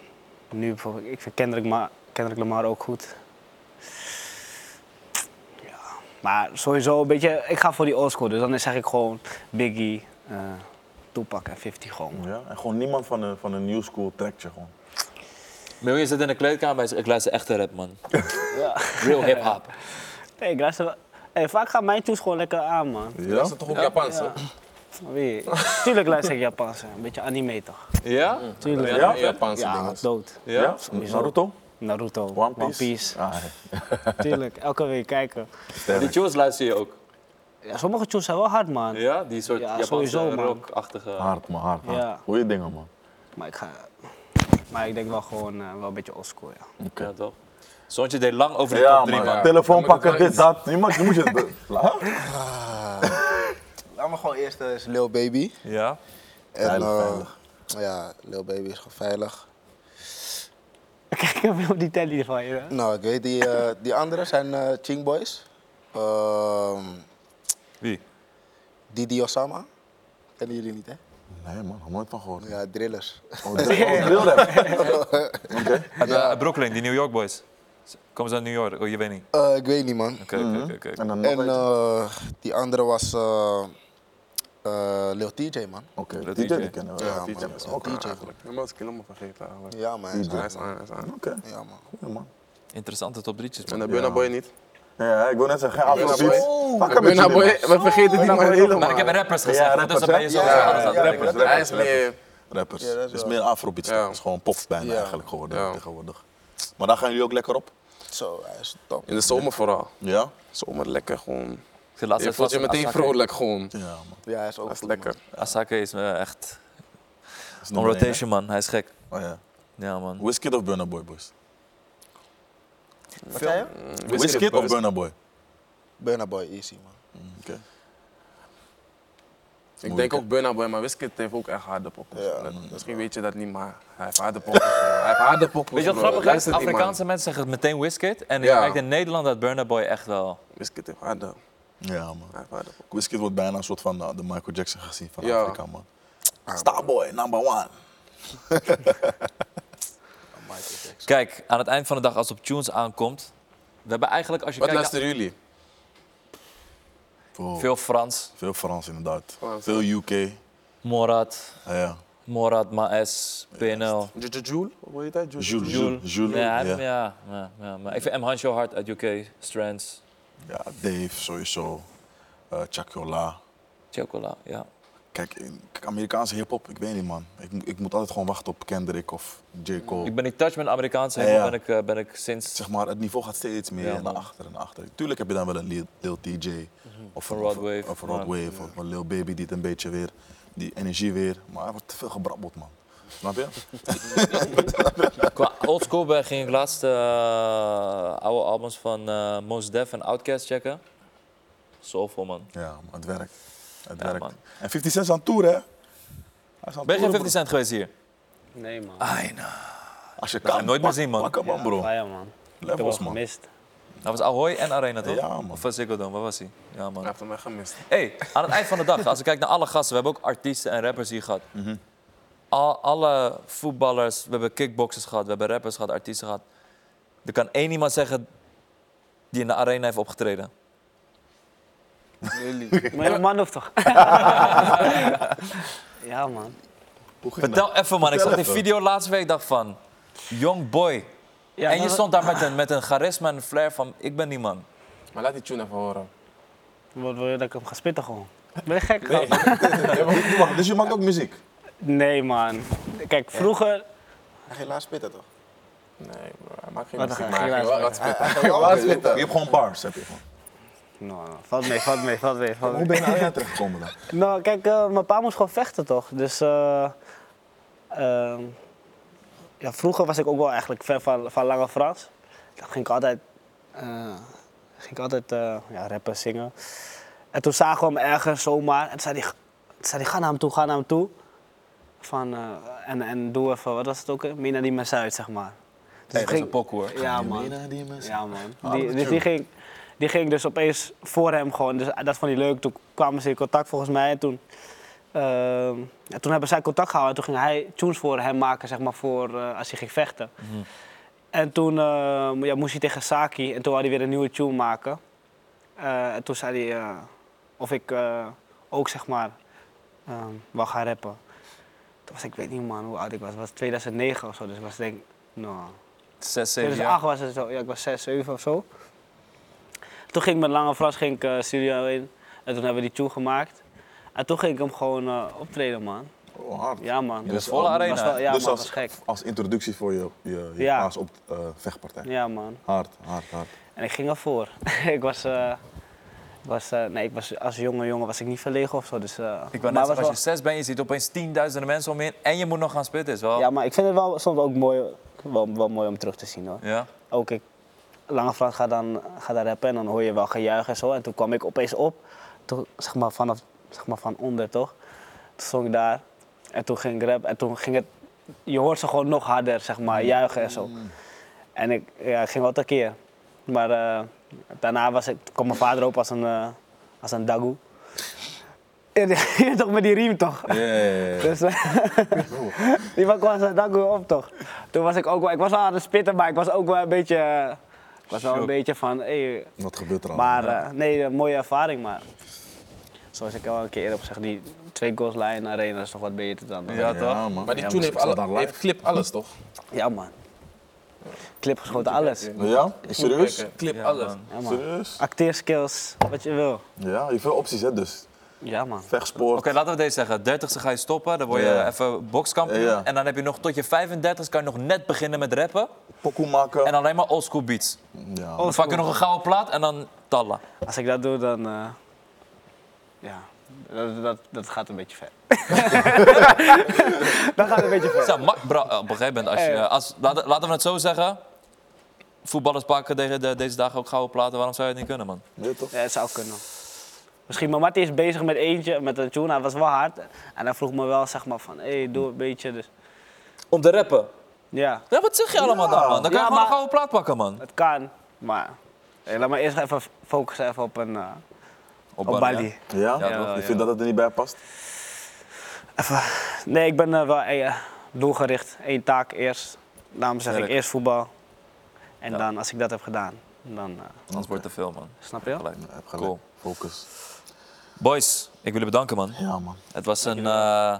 Speaker 5: nu bijvoorbeeld, ik vind Kendrick, Ma Kendrick Lamar ook goed. Ja, maar sowieso een beetje, ik ga voor die oldschool, dus dan zeg ik gewoon Biggie, eh Tupac en 50 gewoon. man.
Speaker 3: Ja, en gewoon niemand van de, van de new school trekt je gewoon.
Speaker 2: Miljoen je zit in de kleedkamer en zegt, ik luister echte rap, man. Real hip-hop.
Speaker 5: Hey, ik luister wel- Hey, vaak gaan mijn toes gewoon lekker aan man.
Speaker 4: Dat is toch ook Japans, hè?
Speaker 5: Wie? Tuurlijk luister ik Japans, hè. een beetje anime toch?
Speaker 2: Ja?
Speaker 5: Tuurlijk.
Speaker 4: Ja,
Speaker 3: Ja?
Speaker 4: Japanse
Speaker 5: Ja,
Speaker 4: dingen.
Speaker 5: dood.
Speaker 2: Ja?
Speaker 3: Naruto?
Speaker 5: Naruto,
Speaker 3: One Piece? Ah,
Speaker 5: Tuurlijk, elke week kijken.
Speaker 2: Die tunes luister je ook.
Speaker 5: Ja, sommige tunes zijn wel hard, man.
Speaker 2: Ja? Die soort
Speaker 5: Ja,
Speaker 2: Japanse
Speaker 5: sowieso, man.
Speaker 2: rock-achtige...
Speaker 3: hard man, hard, hard.
Speaker 5: Ja.
Speaker 3: Goeie dingen man.
Speaker 5: Maar ik ga... Maar ik denk wel gewoon eh, wel een beetje oldschool, ja.
Speaker 2: Ja, toch? Zoontje deed lang over de
Speaker 3: Ja
Speaker 2: top drie,
Speaker 3: man,
Speaker 2: man.
Speaker 3: telefoon
Speaker 4: Dan moet
Speaker 3: pakken,
Speaker 4: ik wel
Speaker 3: dit,
Speaker 4: iets-
Speaker 3: dat. Je moet, je moet je... Huh?
Speaker 1: Laat me gewoon eerst eens Lil Baby.
Speaker 2: Ja?
Speaker 1: En,
Speaker 3: Veilig,
Speaker 1: eh,
Speaker 3: veilig.
Speaker 1: Ja, Lil Baby is gewoon veilig.
Speaker 5: Kijk even op die telly van je. hè.
Speaker 1: Nou, ik weet, die, eh, die anderen zijn eh Ching Boys. Ehm,
Speaker 2: Wie?
Speaker 1: Didi Osama. Kennen jullie niet, hè?
Speaker 3: Nee man, nog nooit van gehoord.
Speaker 1: Ja, drillers.
Speaker 3: Oh, drill- oh, drill rap.
Speaker 2: Uit, eh, uit Brooklyn, die New York boys. Komen ze uit New York? Oh, je weet niet.
Speaker 1: Eh, ik weet niet, man.
Speaker 2: Oké, oké,
Speaker 4: Mhm.
Speaker 2: oké, oké.
Speaker 3: En dan nog
Speaker 1: En
Speaker 3: eentje.
Speaker 1: eh, die andere was eh eh, Lil TJ, man.
Speaker 3: Oké,
Speaker 2: dat
Speaker 3: DJ
Speaker 2: DJ.
Speaker 3: die kennen we.
Speaker 1: Ja,
Speaker 3: Ja,
Speaker 1: man.
Speaker 3: DJ.
Speaker 1: Lil TJ.
Speaker 4: Ik was helemaal vergeten eigenlijk.
Speaker 1: Ja, man. hij is
Speaker 3: DJ.
Speaker 1: hard,
Speaker 4: Hij is aan, hij is aan.
Speaker 3: Oké,
Speaker 1: man. Ja, man.
Speaker 3: goeie man.
Speaker 2: Interessante top drietjes,
Speaker 4: En
Speaker 2: man.
Speaker 4: de Burna Boy niet.
Speaker 3: Ja, ik wil net zeggen, geen afro
Speaker 4: Burna
Speaker 3: beats. Pak hem met
Speaker 4: Burna
Speaker 3: jullie,
Speaker 4: nou Boy,
Speaker 3: man.
Speaker 4: we vergeten die man
Speaker 2: Maar ik heb
Speaker 4: helemaal.
Speaker 2: rappers gezegd,
Speaker 3: Ja,
Speaker 2: hè, dus dan ben je
Speaker 3: rappers,
Speaker 2: zo
Speaker 3: hè?
Speaker 1: Ja,
Speaker 2: aan het
Speaker 1: ja,
Speaker 2: aan het
Speaker 1: ja,
Speaker 2: denken.
Speaker 1: rappers,
Speaker 4: Hij is meer...
Speaker 3: Rappers.
Speaker 1: Ja, dat is
Speaker 3: het is
Speaker 1: wel.
Speaker 3: meer afrobeats.
Speaker 4: Ja.
Speaker 3: Het is gewoon pop bijna
Speaker 1: Ja.
Speaker 3: eigenlijk geworden
Speaker 4: Ja.
Speaker 3: tegenwoordig. Maar daar gaan jullie ook lekker op?
Speaker 1: Zo, hij is top.
Speaker 4: In de zomer vooral.
Speaker 3: Ja?
Speaker 4: Zomer lekker gewoon.
Speaker 2: Ik zit laatst
Speaker 4: Je
Speaker 2: even
Speaker 4: voelt je
Speaker 2: vast-
Speaker 4: meteen
Speaker 2: Asake.
Speaker 4: vrolijk gewoon.
Speaker 3: Ja, man.
Speaker 1: Ja, hij is ook
Speaker 4: Dat is
Speaker 1: goed,
Speaker 4: lekker.
Speaker 2: Asake is eh, echt
Speaker 3: Dat is
Speaker 2: on
Speaker 3: nummer één,
Speaker 2: rotation, man. Hij is gek.
Speaker 3: hè? Oh, ja.
Speaker 2: Ja, man.
Speaker 3: Wizkid of Burna Boy, boys?
Speaker 1: man. Wat zei je?
Speaker 4: Mm.
Speaker 3: Wizkid of Burna Boy?
Speaker 1: Burna Boy, easy, man.
Speaker 3: Oké.
Speaker 4: Ik denk ook Burna Boy, maar Wizkid heeft ook echt harde poppen.
Speaker 1: Ja,
Speaker 4: Misschien weet je dat niet, maar hij heeft harde poppen. hij heeft harde poppen.
Speaker 2: Weet je wat
Speaker 4: bro.
Speaker 2: grappig is?
Speaker 4: Luistert die man.
Speaker 2: Afrikaanse mensen zeggen het meteen Wizkid. En ik
Speaker 4: Ja.
Speaker 2: merk in Nederland dat Burna Boy echt wel...
Speaker 4: Wizkid heeft harde, hij
Speaker 3: Ja, man.
Speaker 4: heeft harde poppen.
Speaker 3: Wizkid wordt bijna een soort van eh, de Michael Jackson gezien van
Speaker 4: Ja.
Speaker 3: Afrika, man. Starboy, number one.
Speaker 2: Kijk, aan het eind van de dag als het op tunes aankomt... We hebben eigenlijk, als je
Speaker 4: Wat
Speaker 2: kijkt... naar-
Speaker 4: luisteren jullie?
Speaker 3: Wow.
Speaker 2: Veel Frans.
Speaker 3: Veel Frans, inderdaad.
Speaker 4: Frans.
Speaker 3: Veel UK.
Speaker 2: Morat.
Speaker 3: Ah, ja.
Speaker 2: Morad, Maes, PNL.
Speaker 4: Jul, hoe heet hij? Jul.
Speaker 3: Jules, Jules, Jules.
Speaker 2: Ja,
Speaker 3: Ja,
Speaker 2: ja. Ja, ja, maar ik vind M. Hancho hard uit UK. Strands,
Speaker 3: Ja, Dave sowieso. Eh Chakyola.
Speaker 2: Chocola, ja.
Speaker 3: Kijk, in- kijk, Amerikaanse hip-hop, ik weet niet, man. Ik, mo- ik moet altijd gewoon wachten op Kendrick of J. Cole.
Speaker 2: Mm-hmm. Ik ben in touch met Amerikaanse
Speaker 3: Ja,
Speaker 2: hip-hop
Speaker 3: ja.
Speaker 2: ben, ik, eh, ben ik sinds...
Speaker 3: Zeg maar, het niveau gaat steeds meer
Speaker 2: Ja,
Speaker 3: naar
Speaker 2: man. Mm-hmm.
Speaker 3: achter en naar achter. Tuurlijk heb je dan wel een Lil, Lil TJ of
Speaker 2: Een
Speaker 3: een
Speaker 2: Rod
Speaker 3: of-
Speaker 2: Wave,
Speaker 3: Of een
Speaker 2: maar-
Speaker 3: Rod Wave of een Lil Baby die het een beetje weer, die energie weer. Maar er wordt te veel gebrabbeld, man. Snap je?
Speaker 2: Qua oldschool ben- ging ik laatst eh, oude albums van eh Mos Def en Outkast checken. Soulful, man.
Speaker 3: Ja, maar het werkt. Het
Speaker 2: Ja,
Speaker 3: werkt.
Speaker 2: man.
Speaker 3: En 50 Cent is aan het toeren, hè? Hij is aan
Speaker 2: Ben je geen
Speaker 3: toeren,
Speaker 2: 50 Cent geweest hier?
Speaker 5: Nee, man.
Speaker 2: Ai, nou.
Speaker 3: bro. Als je
Speaker 2: ga
Speaker 3: kan,
Speaker 2: ik nooit meer
Speaker 3: pak-
Speaker 2: zien, man.
Speaker 3: Pak hem aan,
Speaker 5: Ah
Speaker 3: Ah, bro.
Speaker 5: ja, man. Ik heb wel
Speaker 3: Levels, man.
Speaker 5: gemist.
Speaker 2: Dat was Ahoy en Arena, toch?
Speaker 3: Ja, man.
Speaker 2: Of was Ziggo Dome, waar was hij? Ja, man.
Speaker 4: Hij heeft hem echt gemist.
Speaker 2: Hey, aan het eind van de dag, als ik kijk naar alle gasten, we hebben ook artiesten en rappers hier gehad. Al, alle voetballers, we hebben kickboxers gehad, we hebben rappers gehad, artiesten gehad. Er kan één iemand zeggen die in de arena heeft opgetreden.
Speaker 5: Maar ja, man of toch? ja, man.
Speaker 3: Hoe ging dat?
Speaker 2: Vertel even man, ik zag die
Speaker 3: even.
Speaker 2: video laatste week, dacht van, young boy.
Speaker 5: Ja,
Speaker 2: en je
Speaker 5: maar-
Speaker 2: stond daar met een, met een charisma en een flair van, ik ben die man.
Speaker 4: Maar laat die tune even horen.
Speaker 5: Wat wil je dat ik hem ga spitten gewoon? Ben je gek? Nee,
Speaker 3: Wacht, Dus je maakt ook muziek?
Speaker 5: man. Kijk, vroeger...
Speaker 1: Hij ging laat spitten, toch?
Speaker 4: Nee, bro, hij maakt geen
Speaker 5: Wat
Speaker 4: muziek,
Speaker 5: een
Speaker 4: maar hij ging wel wat spitten.
Speaker 3: Je hebt gewoon bars, heb je gewoon.
Speaker 5: Nou, nou, valt mee, valt mee, valt mee, valt
Speaker 3: Hoe
Speaker 5: mee.
Speaker 3: ben je naar Arena terechtgekomen dan?
Speaker 5: Nou, kijk, eh, mijn pa moest gewoon vechten, toch? Dus... eh, ehm, ja, vroeger was ik ook wel eigenlijk fan van, van Lange Frans. Dan ging ik altijd... eh, ging ik altijd eh, ja, rappen, zingen. En toen zagen we hem ergens zomaar. En toen zei hij, toen zei hij ga naar hem toe, ga naar hem toe. Van, eh, en, en doe even, wat was het ook? hè? Mina die me uit, zeg maar. Dus ik
Speaker 2: dat is een pokoe hoor.
Speaker 5: Ja, man.
Speaker 3: die mensen.
Speaker 5: Ja, man. Die, dus die ging, die ging dus opeens voor hem gewoon. Dus dat vond hij leuk. Toen kwamen ze in contact volgens mij. En toen, ehm, en toen hebben zij contact gehouden. En toen ging hij tunes voor hem maken, zeg maar, voor eh, als hij ging vechten. En toen ehm, ja, moest hij tegen Saki. En toen wou hij weer een nieuwe tune maken. Eh, en toen zei hij eh, of ik eh, ook, zeg maar, ehm wou gaan rappen. Toen was ik, ik weet niet man hoe oud ik was. Het was 2009 of zo. Dus ik was denk nou...
Speaker 2: Zes, zeven jaar.
Speaker 5: 2008 was het zo. Ja, ik was 6, 7 of zo. Toen ging ik met Lange Frans ging ik, eh, studio in. En toen hebben we die tune gemaakt. En toen ging ik hem gewoon eh, optreden, man.
Speaker 3: Oh, hard.
Speaker 5: Ja, man.
Speaker 2: De volle
Speaker 5: was
Speaker 2: arena.
Speaker 5: wel, ja,
Speaker 3: dus
Speaker 5: man, was
Speaker 3: als,
Speaker 5: gek.
Speaker 3: als introductie voor je, je, je
Speaker 5: Ja.
Speaker 3: paas op eh, vechtpartij.
Speaker 5: Ja, man.
Speaker 3: Hard, hard, hard.
Speaker 5: En ik ging ervoor. ik was... eh, ik was, eh, nee, ik was, als jonge jongen was ik niet verlegen of zo. Dus, eh,
Speaker 2: Ik ben
Speaker 5: maar
Speaker 2: net
Speaker 5: was
Speaker 2: als
Speaker 5: wel-
Speaker 2: je zes bent, je ziet opeens tienduizenden mensen om je heen en je moet nog gaan spitten. Is wel...
Speaker 5: Ja, maar ik vind het wel soms ook mooi, wel, wel mooi om terug te zien hoor.
Speaker 2: ja.
Speaker 5: ook ik, Oh, Lange Frans gaat dan gaat daar rappen en dan hoor je wel gejuich en zo. En toen kwam ik opeens op, toen, zeg, maar vanaf, zeg maar van onder toch. Toen zong ik daar en toen ging ik rap en toen ging het, je hoort ze gewoon nog harder zeg maar, juichen en zo. En ik ja, ik ging wel tekeer. Maar eh, daarna was ik, toen kwam mijn vader op als een, eh, als een dagoe. En die- toch met die riem toch? Dus, eh, die man kwam zijn dak weer op toch. Toen was ik ook wel, ik was wel aan het spitten, maar ik was ook wel een beetje, eh, ik was wel een beetje van, hey,
Speaker 3: Wat gebeurt er allemaal?
Speaker 5: maar eh, nee, een mooie ervaring maar. Zoals ik al een keer eerder heb gezegd, die twee goals lijn arena is toch wat beter dan. eh,
Speaker 2: Ja, toch?
Speaker 3: Ja, man.
Speaker 4: Maar die
Speaker 3: Ja,
Speaker 4: tune
Speaker 3: ik
Speaker 4: heeft,
Speaker 3: zat
Speaker 4: alle,
Speaker 3: daar
Speaker 4: heeft
Speaker 3: live.
Speaker 4: clip alles, toch?
Speaker 5: Ja man. Clip geschoten, alles.
Speaker 3: Nou Ja? Serieus?
Speaker 4: Clip alles.
Speaker 5: Ja, man.
Speaker 3: Serieus?
Speaker 5: Acteerskills, wat je wil.
Speaker 3: Ja, je hebt veel opties hè, dus.
Speaker 5: Ja, man.
Speaker 3: vechtsport.
Speaker 2: Oké, laten we deze zeggen. 30ste ga je stoppen, dan word je
Speaker 3: Ja.
Speaker 2: even bokskampioen.
Speaker 3: Ja.
Speaker 2: En dan heb je nog tot je 35 kan je nog net beginnen met rappen.
Speaker 3: Pokoe maken.
Speaker 2: En alleen maar oldschool beats.
Speaker 3: Ja.
Speaker 2: Dan Oh. pak je nog een gouden plaat en dan tallen.
Speaker 5: Als ik dat doe, dan... eh, ja, dat, dat, dat gaat een beetje ver. dat gaat een beetje ver.
Speaker 2: Zo, mak- bro, op een gegeven moment, als je,
Speaker 5: Ja.
Speaker 2: als, laten, laten we het zo zeggen. Voetballers pakken tegen de- deze dagen ook gouden platen. Waarom zou je het niet kunnen, man?
Speaker 3: Ja, toch?
Speaker 5: Ja, het zou kunnen. Misschien, maar Marty is bezig met eentje, met een tune. Hij was wel hard. En hij vroeg me wel, zeg maar, van, hé, hey, doe een beetje. Dus,
Speaker 2: Om te rappen.
Speaker 5: ja,
Speaker 2: Ja, wat zeg je allemaal dan, man? Dan kan
Speaker 5: Ja,
Speaker 2: je gewoon
Speaker 5: maar-
Speaker 2: een gouden plaat pakken, man.
Speaker 5: het kan. Maar hey, laat maar eerst even focussen even op een... eh, op
Speaker 2: Bali,
Speaker 5: Bali.
Speaker 2: hè?
Speaker 3: Ja?
Speaker 2: Ja, toch?
Speaker 3: Je vindt dat het er niet bij past?
Speaker 5: Nee, ik ben eh, wel eh, doelgericht. Eén taak eerst. Daarom zeg ik
Speaker 2: Sterk.
Speaker 5: eerst voetbal. En
Speaker 2: Ja.
Speaker 5: dan, als ik dat heb gedaan, dan... eh,
Speaker 2: Anders wordt het te veel, man.
Speaker 5: snap je?
Speaker 2: Gelijk.
Speaker 3: Ja, heb gelijk.
Speaker 2: Cool.
Speaker 3: Focus.
Speaker 2: Boys, ik wil jullie bedanken, man.
Speaker 3: Ja, man.
Speaker 2: Het was een eh,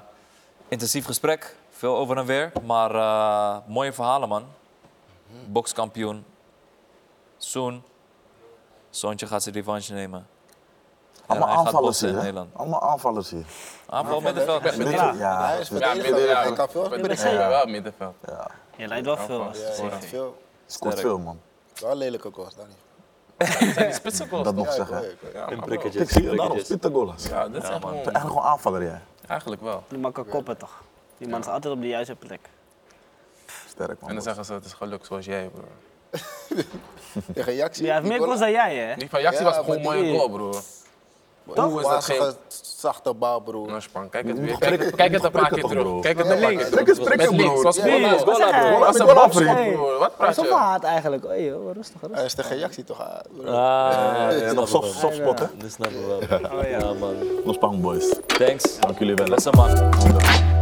Speaker 2: intensief gesprek. Veel over en weer. Maar eh, mooie verhalen, man.
Speaker 3: Mhm.
Speaker 2: Bokskampioen. Soon. Zoontje gaat zijn revanche nemen.
Speaker 3: Allemaal
Speaker 2: hij gaat
Speaker 3: aanvallers
Speaker 2: boksen in
Speaker 3: hier, hè?
Speaker 2: Nederland.
Speaker 3: Allemaal aanvallers hier.
Speaker 2: Aanval middenveld.
Speaker 3: Ja,
Speaker 1: Hij is
Speaker 4: Ja,
Speaker 1: verdediger,
Speaker 4: midden, ja.
Speaker 1: hij kan veel.
Speaker 4: Ik ben wel middenveld.
Speaker 5: Je leidt wel veel.
Speaker 4: aanvallen.
Speaker 5: als-
Speaker 1: Ja, hij kan veel.
Speaker 3: scoort veel, man.
Speaker 1: Wel lelijke goals, dan niet.
Speaker 4: Zijn die spitsen goals?
Speaker 3: Dat nog
Speaker 1: Ja, ik
Speaker 3: zeggen.
Speaker 1: hoor
Speaker 3: hè.
Speaker 1: je, ik hoor je.
Speaker 4: Ja, man.
Speaker 3: Kijk, zie je daarom? Spittengolas.
Speaker 4: Ja, dit is
Speaker 2: man.
Speaker 4: echt gewoon...
Speaker 3: Eigenlijk gewoon aanvaller, jij.
Speaker 4: Eigenlijk wel.
Speaker 5: Die man kan koppen, toch? Die man is altijd op de juiste plek.
Speaker 3: Sterk, man.
Speaker 4: En dan
Speaker 3: boys.
Speaker 4: zeggen ze, het is geluk zoals jij, bro.
Speaker 1: Tegen Jackson.
Speaker 5: Die heeft meer goals dan jij, hè?
Speaker 4: Die van Jaxi
Speaker 1: Ja,
Speaker 4: was
Speaker 1: maar
Speaker 4: gewoon een mooie
Speaker 5: die-
Speaker 4: goal, broer.
Speaker 1: Hoe
Speaker 4: Hoe is dat geen...
Speaker 1: zachte bal, broer.
Speaker 4: Norspan, kijk het weer. Kijk, kijk het een paar
Speaker 3: prikken
Speaker 4: keer
Speaker 3: toch, bro.
Speaker 4: terug. Kijk het een paar keer terug.
Speaker 3: Prikken, prikken,
Speaker 4: Met links,
Speaker 3: bro.
Speaker 4: was
Speaker 1: Ja,
Speaker 4: gewoon
Speaker 1: ja,
Speaker 4: een
Speaker 1: ja.
Speaker 4: goal,
Speaker 5: Ja,
Speaker 4: broer. Was een
Speaker 3: ja.
Speaker 4: bal,
Speaker 3: Ja.
Speaker 4: broer. Wat praat
Speaker 8: Zo
Speaker 4: je?
Speaker 8: hard eigenlijk. Oh joh, rustig, rustig.
Speaker 1: Hij is tegen Jackson toch? ah, broer.
Speaker 3: En nog soft, soft spot, hè?
Speaker 2: Dat snappen we wel. Ja, man.
Speaker 3: Nog Spang Boys. É
Speaker 2: Thanks.
Speaker 3: Dank jullie wel. hè.
Speaker 2: Lessen, man.